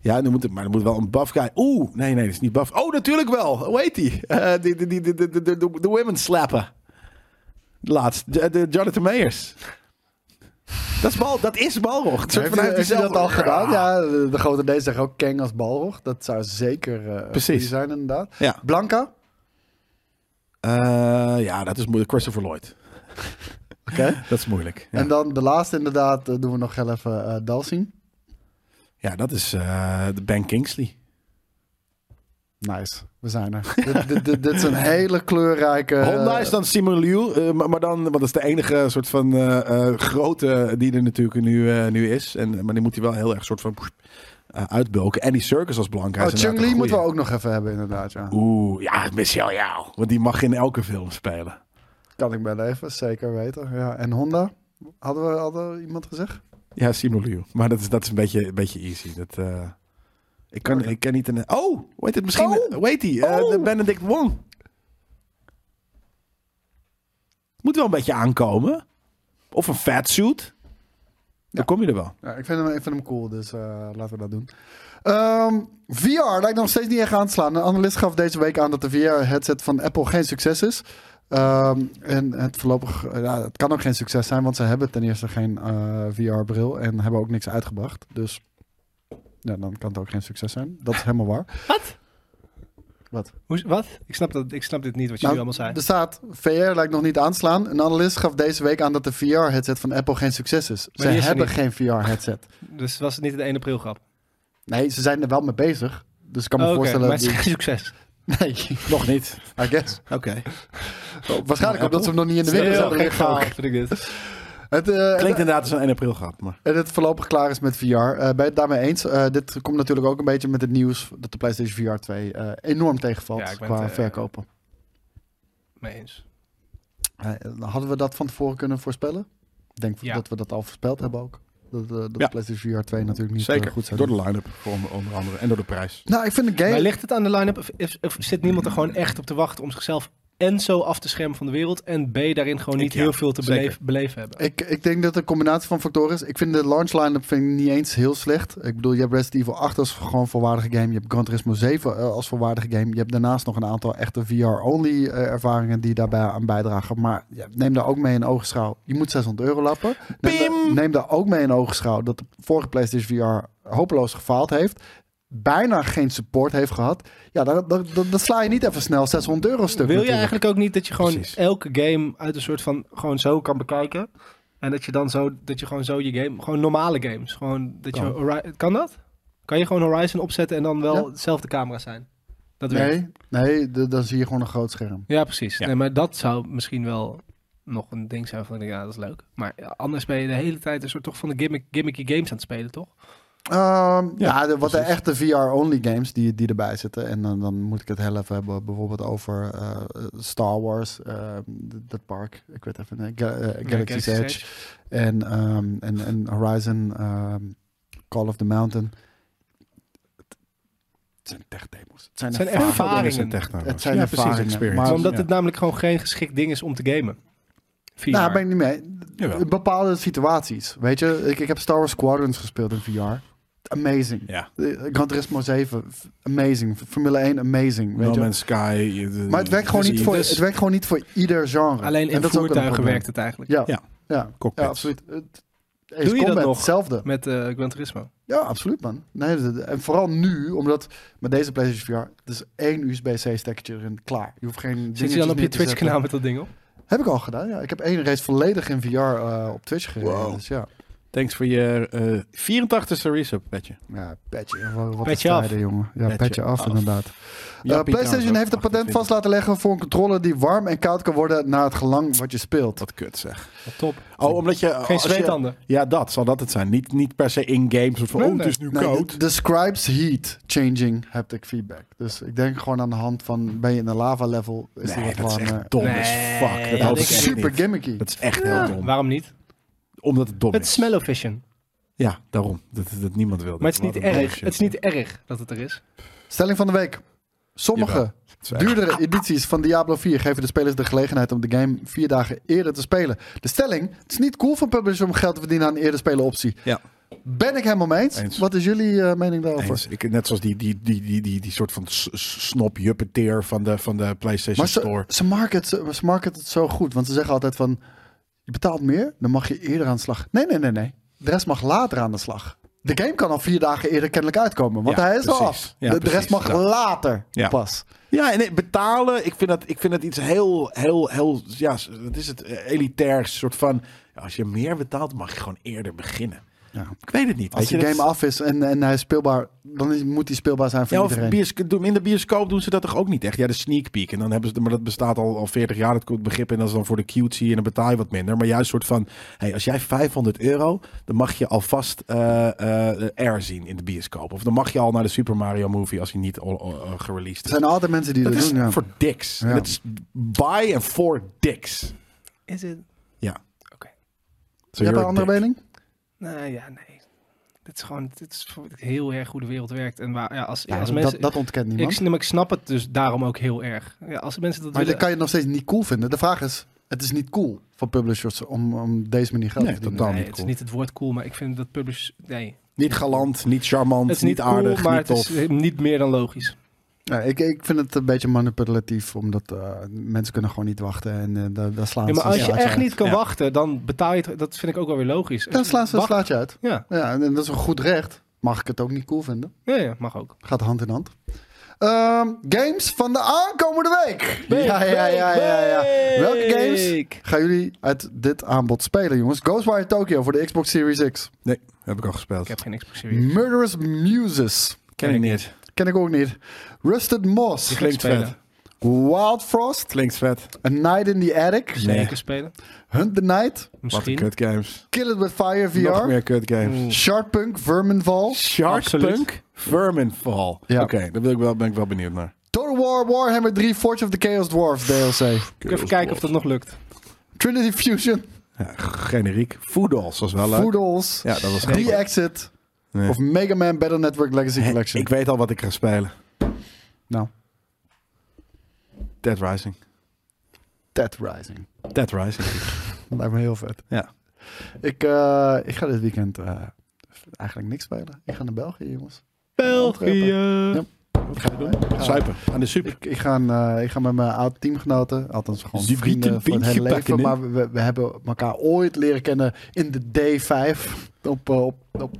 ja, nu moet het, maar er moet wel een buff guy. Oeh, nee, nee, dat is niet buff. Oh, natuurlijk wel. Hoe heet die? Eh, die, die, die, die, die, die- die- de women slappen. Laatst. De, de Jonathan Meyers. Dat is, bal, dat is Balrog. Het soort
Heeft
van-
hij
hij
heeft hij
zelf-
dat al gedaan? Ja, de de grote D zegt ook Kang als Balrog. Dat zou zeker eh
Precies.
goeie zijn, inderdaad.
Ja.
Blanca?
Eh, ja, dat is moeilijk. Christopher Lloyd.
Oké.
Dat is moeilijk. Ja,
En dan de laatste inderdaad eh, doen we nog heel even eh Dalsing.
ja dat is eh, de Ben Kingsley.
Nice, we zijn er. dit, dit, dit, dit is een hele kleurrijke... eh,
Honda is dan Simon Liu, eh, maar, maar dan, want dat is de enige soort van eh, eh, grote die er natuurlijk nu, eh, nu is. En, maar die moet hij wel heel erg soort van eh, uitbulken. En die circus als Blanca.
Oh,
is inderdaad
Chung-Li
een
moeten we
goeie.
ook nog even hebben, inderdaad. Ja.
Oeh, ja, Michel jou. Want die mag in elke film spelen.
Kan ik wel even, zeker weten. Ja. En Honda? Hadden we, hadden we iemand gezegd?
Ja, Simon Liu. Maar dat is, dat is een, beetje, een beetje easy. Dat, eh, ik, kan, ik kan niet een. Oh, weet het misschien.
Oh.
Weet hij? eh, de
Oh.
Benedict Wong. Moet wel een beetje aankomen. Of een fatsuit. Dan kom je er wel.
Ja, ik, vind hem, ik vind hem cool, dus eh, laten we dat doen. Ehm, VR lijkt nog steeds niet echt aan te slaan. Een analist gaf deze week aan dat de VR-headset van Apple geen succes is. Ehm, en het voorlopig, eh, ja, het kan ook geen succes zijn, want ze hebben ten eerste geen eh, VR-bril en hebben ook niks uitgebracht. Dus ja, dan kan het ook geen succes zijn. Dat is helemaal waar.
Hoe, wat? Ik snap, dat, ik snap dit niet wat jullie
Nou,
allemaal zei.
Er staat, VR lijkt nog niet aanslaan. Een analist gaf deze week aan dat de VR-headset van Apple geen succes is.
die
Ze
is er
hebben
niet.
geen VR-headset.
Dus was het niet de 1 april grap?
Nee, ze zijn er wel mee bezig. Dus ik kan me
Oh, Oké,
voorstellen...
maar het
dat
is
die-
geen succes.
Nee,
Nog niet.
I guess.
Oké.
Waarschijnlijk omdat ze hem nog niet in de
Dat
winkel
is heel
hebben
gek verhaal,
gehaald.
vind ik dit.
Het, eh,
Klinkt inderdaad als een 1 april grap, maar...
En het voorlopig klaar is met VR. Eh ben je het daarmee eens? Eh, dit komt natuurlijk ook een beetje met het nieuws dat de PlayStation VR 2 eh, enorm tegenvalt
Ja, ik ben
qua
het, eh,
verkopen.
Mee eens.
Eh, hadden we dat van tevoren kunnen voorspellen? Ik denk
Ja.
dat we dat al voorspeld hebben ook. Dat, eh, dat
Ja.
PlayStation VR 2 natuurlijk niet eh,
Zeker,
goed zou
door
doen.
de line-up voor onder- onder andere en door de prijs.
Nou, ik vind de game...
Maar ligt het aan de line-up? Of, of- of zit niemand er gewoon echt op te wachten om zichzelf en zo af te schermen van de wereld en B daarin gewoon
Ik
niet
ja,
heel veel te
zeker.
beleven, beleven hebben?
Ik, ik denk dat het een combinatie van factoren is. Ik vind de launch line-up vind ik niet eens heel slecht. Ik bedoel, je hebt Resident Evil 8 als gewoon volwaardige game. Je hebt Gran Turismo 7 eh, als volwaardige game. Je hebt daarnaast nog een aantal echte VR-only eh, ervaringen die daarbij aan bijdragen. Maar ja, neem daar ook mee in oogschouw. Je moet 600 euro lappen. Neem, daar- neem daar ook mee in oogschouw dat de vorige PlayStation VR hopeloos gefaald heeft. Bijna geen support heeft gehad. Ja, dat, dat, dat, dat sla je niet even snel 600 euro stuk.
Wil je
natuurlijk.
eigenlijk ook niet dat je gewoon
Precies.
elke game uit een soort van gewoon zo kan bekijken? En dat je dan zo, dat je gewoon zo je game, gewoon normale games, gewoon dat je, Hori- kan dat? Kan je gewoon Horizon opzetten en dan wel
Ja.
dezelfde camera zijn? Dat werkt.
Nee, nee d- dan zie je gewoon een groot scherm.
Ja, precies.
Ja.
Nee, maar dat zou misschien wel nog een ding zijn van, ik denk, ja, dat is leuk. Maar ja, anders ben je de hele tijd een soort toch van de gimmick, gimmicky games aan het spelen, toch?
Ehm, ja, de, wat de echte VR-only games die, die erbij zitten. En dan, dan moet ik het heel even hebben bijvoorbeeld over eh, Star Wars, eh, d- dat park. Ik weet even, nee, Ga- eh, Galaxy's
Ja,
Edge.
Galaxy's
En, ehm, en, en Horizon, ehm, Call of the Mountain. Het zijn tech demos. Het zijn,
Het zijn
ervaringen.
ervaringen.
Het zijn
ja,
ervaringen,
precies, experience.
maar-
Omdat het namelijk gewoon geen geschikt ding is om te gamen. VR.
Nou, daar ben ik niet mee.
Jawel.
In Bepaalde situaties. Weet je, ik, ik heb Star Wars Squadrons gespeeld in VR. amazing.
Ja.
Eh, Gran Turismo 7, f- amazing. Formule 1 amazing. Weet
No
je? wel.
Man's Sky. je- de-
Maar het werkt, gewoon
dus
niet
je-
voor,
dus-
het werkt gewoon niet voor ieder genre.
Alleen
En
in
dat is ook wel een
voertuigen
probleem.
werkt het eigenlijk.
Ja,
Ja.
ja. ja.
Cockpits.
absoluut. Het, Ace
Doe je dat
Combat,
nog?
Hetzelfde.
Met eh Gran Turismo.
Ja, absoluut man. Nee, dat- dat- en vooral nu, omdat met deze PlayStation VR, het is één USB-C stekkertje erin, klaar. Je hoeft geen
Zit je
dingetjes
dan op je
neer te zetten.
Twitch-kanaal met dat ding op?
Heb ik al gedaan, ja. Ik heb één race volledig in VR eh, op Twitch gereden.
Wow.
Dus ja,
Thanks voor je eh 84ste resub, petje.
Eh,
ja petje. Wat, wat
Petje
is
af.
tijden, jongen. Ja,
Petje
petje, af,
af.
inderdaad. Eh, PlayStation heeft het patent vast laten leggen voor een controller die warm en koud kan worden naar het gelang wat je speelt.
Wat kut zeg.
Top.
Oh, omdat je... als je-
Geen zweetanden.
Ja, dat zal dat het zijn. Niet, niet per se in games. Of van,
Nee,
oh, het
nee.
is nu
Nee,
koud.
de- describes heat changing haptic feedback. Dus ik denk gewoon aan de hand van ben je in een lava level is
Nee,
die
dat
wat
is
warmer.
echt dom
eh, Nee,
as fuck.
dat
Dat,
Ja,
hoop
dat
ik
denk ik
is
echt
super
niet.
gimmicky.
Dat is echt heel dom.
Waarom niet?
Omdat het dom
Het
is.
smell-o-vision.
Ja, daarom. Dat, dat, dat niemand wil.
Maar
dit.
het is niet
Wat een
erg.
bullshit.
Het is niet erg dat het er is.
Stelling van de week. Sommige
Jawel. Het is echt-
duurdere edities van Diablo 4 geven de spelers de gelegenheid om de game vier dagen eerder te spelen. De stelling, het is niet cool van publishers om geld te verdienen aan een eerder spelen optie.
Ja.
Ben ik helemaal mee eens.
Eens.
Wat is jullie eh, mening daarover?
Eens. Ik, net zoals die, die, die, die, die, die soort van s- s- snop juppeteer van de, van de PlayStation
Maar ze,
Store.
ze, market, ze, ze market het zo goed. Want ze zeggen altijd van, je betaalt meer, dan mag je eerder aan de slag. Nee, nee, nee, nee. De rest mag later aan de slag. De game kan al vier dagen eerder kennelijk uitkomen. Want
Ja,
hij is al
precies.
af.
Ja,
de, de
precies,
rest mag
dat.
later
Ja.
pas.
Ja, en nee, betalen. Ik vind, dat, ik vind dat iets heel, heel, heel, ja, s- wat is het? Eh, Elitairs. Soort van, ja, als je meer betaalt, mag je gewoon eerder beginnen.
Ja.
Ik weet het niet.
Als
weet je,
de
dat
game
is-
af is en, en hij is speelbaar, dan is- moet hij speelbaar zijn voor
Ja, of
iedereen.
biosco- doen- in de bioscoop doen ze dat toch ook niet echt? Ja, de sneak peek. En dan hebben ze, maar dat bestaat al, al 40 jaar, dat komt begrip. En dat is dan voor de cutie en dan betaal je wat minder. Maar juist soort van, hey, als jij 500 euro, dan mag je alvast eh, eh, Air zien in de bioscoop. Of dan mag je al naar de Super Mario Movie als hij niet al, al- al gereleased
er
is.
zijn altijd mensen die dat,
dat is
doen. ja.
voor dicks.
Ja.
Dat is by and for dicks.
Is het?
Ja.
Oké.
So
Je hebt
you're
een
a
andere
dick.
mening?
Nou ja, nee. Dit is gewoon dit is voor- heel erg hoe de wereld werkt. En waar, ja, als,
Ja,
als
dat,
mensen,
dat ontkent niemand.
ik, snap- ik snap het dus daarom ook heel erg. Ja, als mensen dat
maar dat
willen,
kan je nog steeds niet cool vinden. De vraag is, het is niet cool van publishers om, om deze manier geld
Nee,
te verdienen.
totaal.
nee,
niet
het
cool.
is niet het woord cool, maar ik vind dat publish... Nee,
Niet galant, niet charmant,
het is
niet,
niet, cool,
aardig,
maar
niet
het
tof.
is niet meer dan logisch.
Ja, ik, ik vind het een beetje manipulatief, omdat eh, mensen kunnen gewoon niet wachten en eh, daar, daar slaan
Ja, maar
ze
als
een
je
slaatje
echt
uit.
niet kan
Ja.
wachten, dan betaal je het. Dat vind ik ook wel weer logisch.
Dan slaan ze een
Wacht-
slaatje uit.
Ja.
Ja, en, en dat is een goed recht. Mag ik het ook niet cool vinden?
Ja, ja, mag ook.
Gaat hand in hand. Ehm, games van de aankomende week. ja, ja, ja, ja, ja. Welke games
Week.
gaan jullie uit dit aanbod spelen, jongens? Ghostwire Tokyo voor de Xbox Series X.
Nee, heb ik al gespeeld.
Ik heb geen Xbox Series.
Murderous Muses.
Ken ik niet.
Ken ik ook niet. Rusted Moss.
Klinkt
spelen.
vet.
Wild Frost.
Klinkt vet.
A Night in the Attic.
Nee.
Zeker spelen.
Hunt the Night.
Wat een
Misschien. Hmm.
kut games.
Kill It With Fire
Nog
VR.
meer kut games.
Sharkpunk, Verminfall.
Sharkpunk, Verminfall.
Ja.
Oké, daar ben ik, wel, ben ik wel benieuwd naar.
Total War, Warhammer 3, Forge of the Chaos Dwarf DLC.
Even kijken of dat nog lukt.
Trinity Fusion,
Ja, generiek. Foodles was wel leuk.
Foodles,
Ja, dat was
Nee.
The Exit
Nee.
of Mega Man Battle Network Legacy
Hè,
Collection.
Ik weet al wat ik ga spelen.
Nou,
Dead Rising.
Dead Rising.
Dead Rising.
Lijkt me heel vet.
Ja.
Ik, eh, ik ga dit weekend eh, eigenlijk niks spelen. Ik ga naar België, jongens.
België.
Ja. Wat ga je doen?
Suipen. Aan de super.
Ik, ik, ga, eh, ik ga met mijn oud teamgenoten, althans gewoon
Die
vrienden
wiet
van
een
het hele
pintje
leven,
pakken,
maar we, we hebben elkaar ooit leren kennen in de D5 op, eh, op, op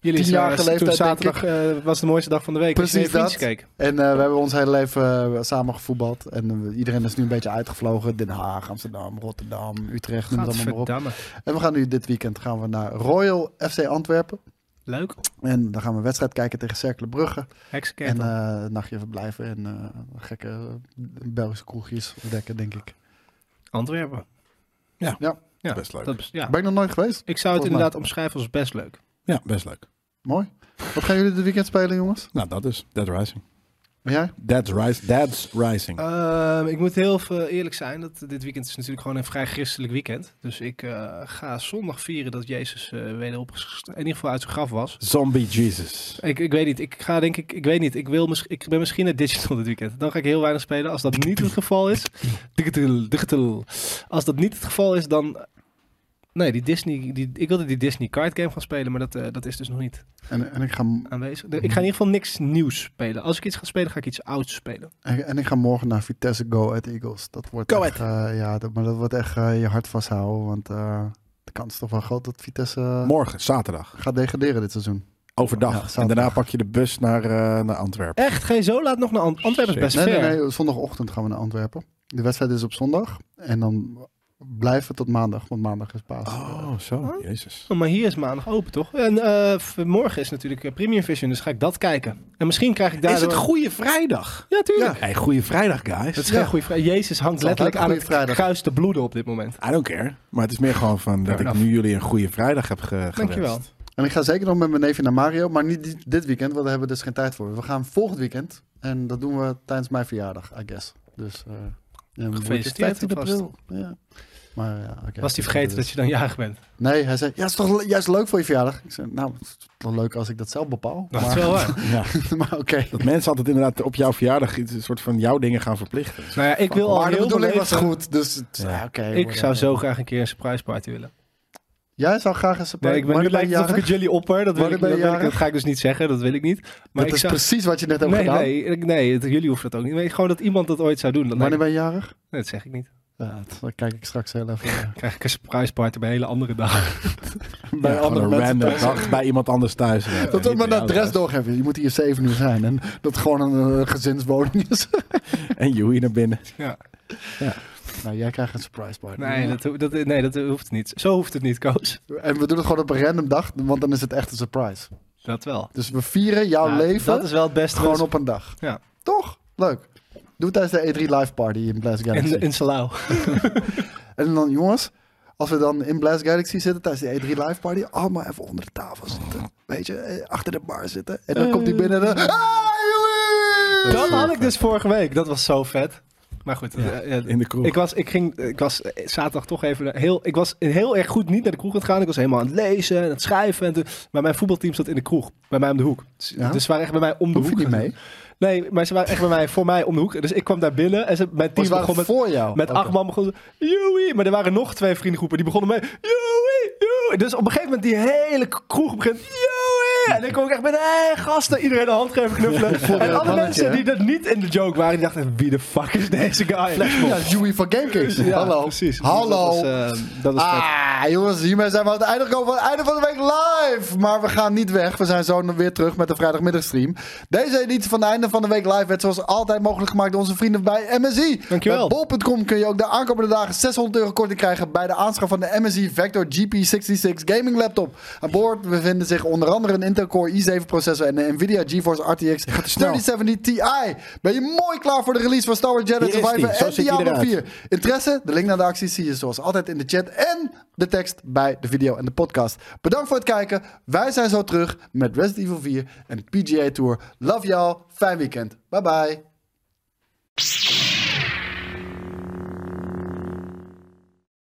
Jullie
Tien jaar
eh,
geleden,
toen
denk
zaterdag eh, was de mooiste dag van de week. Als je
Precies
naar je
dat.
vriendjes keek.
En eh, we hebben ons hele leven eh, samen gevoetbald. En eh, iedereen is nu een beetje uitgevlogen. Den Haag, Amsterdam, Rotterdam, Utrecht. noem het allemaal maar op.
Gadverdamme.
En we gaan nu dit weekend gaan we naar Royal FC Antwerpen.
Leuk.
En dan gaan we een wedstrijd kijken tegen Cercle Brugge. En
Heksenketel.
eh een nachtje verblijven en eh, gekke Belgische kroegjes ontdekken, denk ik.
Antwerpen. Ja,
Best leuk.
Dat, is- ja.
Ben ik nog nooit geweest.
Ik zou het
Volgens mij.
inderdaad omschrijven als best leuk.
Ja, best leuk.
Mooi. Wat gaan jullie dit weekend spelen, jongens?
Nou, dat is Dead Rising.
En jij?
Dead Rising. Dead's Rising.
Ehm, ik moet heel veel eerlijk zijn. Dat, dit weekend is natuurlijk gewoon een vrij christelijk weekend. Dus ik eh, ga zondag vieren dat Jezus eh wederop in ieder geval uit zijn graf was.
Zombie Jesus.
Ik, ik weet niet. Ik ga denk ik. Ik weet niet. Ik, wil mis- ik ben misschien een digital dit weekend. Dan ga ik heel weinig spelen. Als dat niet het geval is. Digital, digital. Als dat niet het geval is, dan Nee, die Disney, die, ik wilde die Disney card game gaan spelen, maar dat, eh, dat is dus nog niet
En, en, ik ga, m-
aanwezig. Ik ga in ieder geval niks nieuws spelen. Als ik iets ga spelen, ga ik iets ouds spelen.
en, en ik ga morgen naar Vitesse Go Ahead Eagles. Dat wordt
Go
echt, eh, ja, dat, maar dat wordt echt eh, je hart vasthouden. Want eh, de kans is toch wel groot dat Vitesse eh,
Morgen, zaterdag.
gaat degraderen dit seizoen. Ja,
Overdag. en
zaterdag.
daarna pak je de bus naar, eh, naar Antwerpen.
Echt, ga je zo laat nog naar Ant- Antwerpen? is best
Nee,
ver.
nee, nee, zondagochtend gaan we naar Antwerpen. De wedstrijd is op zondag. En dan blijven we tot maandag, want maandag is paas.
Oh, zo. Jezus.
Oh, maar hier is maandag open, toch? En eh, v- morgen is natuurlijk eh, Premium Vision, dus ga ik dat kijken. En misschien krijg ik daar.
Is het Goede Vrijdag?
Ja, tuurlijk.
Hey, Goede Vrijdag, guys.
Dat is geen goede vrijdag. Jezus hangt
Het is altijd
letterlijk aan
Goeie
het
Vrijdag.
kruis te bloeden op dit moment.
I don't care. Maar het is meer gewoon van dat ik nu jullie een Goede Vrijdag heb ge gewenst.
Dankjewel.
En ik ga zeker nog met mijn neefje naar Mario, maar niet di- dit weekend, want daar hebben we dus geen tijd voor. We gaan volgend weekend en dat doen we tijdens mijn verjaardag, I guess. Dus eh, ja, dan wordt het
Gefeliciteerd
15
alvast.
april. Ja. Maar ja, oké.
Was hij vergeten dat je dan jarig bent?
Nee, hij zei, ja, het is toch le- juist leuk voor je verjaardag? Ik zei, nou, het is toch leuk als ik dat zelf bepaal.
Dat is
maar
wel waar.
Ja.
maar oké.
Dat mensen altijd inderdaad op jouw verjaardag iets- een soort van jouw dingen gaan verplichten.
Nou ja, ik wil al
Maar de
heel
bedoeling was
beleefd-
goed, dus het-
Ja.
ja, oké.
Ik
whatever.
zou zo graag een keer een surprise party willen.
Jij zou graag een surprise...
Nee, ik ben nu
Wanneer
lijkt het alsof ik
jarig?
het jullie opper. Dat, wil
Wanneer
ik,
ben
dat,
je
wil ik, dat
jarig?
ga ik dus niet zeggen, dat wil ik niet. Maar
Dat
ik
is
zou...
precies wat je net hebt
Nee,
gedaan.
nee, ik- nee, het- jullie hoeven dat ook niet. Nee, gewoon dat iemand dat ooit zou doen. Dat,
Wanneer
lijkt-
ben je jarig?
nee, dat zeg ik niet.
Ja, dat kijk ik straks heel even. eh,
Dan krijg ik een surprise party bij een hele andere dag.
Bij
Ja,
andere
gewoon een
mensen
random
thuis.
dag bij iemand anders thuis. eh, Ja,
Dat
niet
we maar
bij
een
jou
adres
thuis.
doorgeven. Je moet hier 7 uur zijn. En dat het gewoon een eh, gezinswoning is.
En Joey naar binnen.
nou, jij krijgt een surprise party.
Nee, dat, ho- dat, nee, dat hoeft niet. Zo hoeft het niet, Koos.
En we doen het gewoon op een random dag, want dan is het echt een surprise.
Dat wel.
Dus we vieren jouw
Ja,
leven
Dat is wel het beste.
gewoon op een dag.
Ja.
Toch? Leuk. Doe het tijdens de E3 live party in Blast Galaxy.
in, in Salau.
En dan, jongens, als we dan in Blast Galaxy zitten tijdens de E3 live party, allemaal even onder de tafel zitten. Weet je, eh, achter de bar zitten. En dan komt hij binnen en dan...
Eh.
"Ah,
Dat had ik dus vorige week. Dat was zo vet. Maar goed, eh, eh,
In de kroeg.
Ik was, ik ging, ik was eh, zaterdag toch even heel, ik was heel erg goed niet naar de kroeg aan het gaan. Ik was helemaal aan het lezen en aan het schrijven. En toen- maar mijn voetbalteam zat in de kroeg, bij mij om de hoek. Dus,
Ja?
dus ze waren echt bij mij om de
Hoef je
hoek.
niet mee?
Nee, maar ze waren echt bij mij, voor mij om de hoek. Dus ik kwam daar binnen en ze, mijn team
Die
begon
waren
met,
voor jou.
met
Oké.
acht man begonnen ze, joeie. Maar er waren nog twee vriendengroepen, die begonnen mee, joeie, joeie. Dus op een gegeven moment die hele kroeg begint, joeie. En ik kwam ik echt met, hé gasten, iedereen de hand geven knuffelen.
dat
en alle
mannetje,
mensen
hè?
die dat niet in de joke waren, die dachten, wie de fuck is deze guy?
Ja, Joey van GameKings. Hallo.
precies.
Hallo.
Dat was, eh, dat was vet.
Ah, jongens, hiermee zijn we aan het einde gekomen van het einde van de week live. Maar we gaan niet weg. We zijn zo nog weer terug met de vrijdagmiddagstream. Deze editie van het einde van de week live werd zoals altijd mogelijk gemaakt door onze vrienden bij MSI.
Dankjewel.
Bij bol.com kun je ook de aankomende dagen 600 euro korting krijgen bij de aanschaf van de MSI Vector GP66 gaming laptop. Aan boord bevinden zich onder andere een Intel Core i7 processor en een Nvidia GeForce RTX
nou?
3070 Ti. Ben je mooi klaar voor de release van Star Wars Jedi
Hier is
Survivor
die. Zo
en
ziet hij
Diablo
eruit.
4? Interesse? De link naar de actie zie je zoals altijd in de chat en de tekst bij de video en de podcast. Bedankt voor het kijken. Wij zijn zo terug met Resident Evil 4 en PGA Tour. Love y'all. Fijn weekend. Bye bye.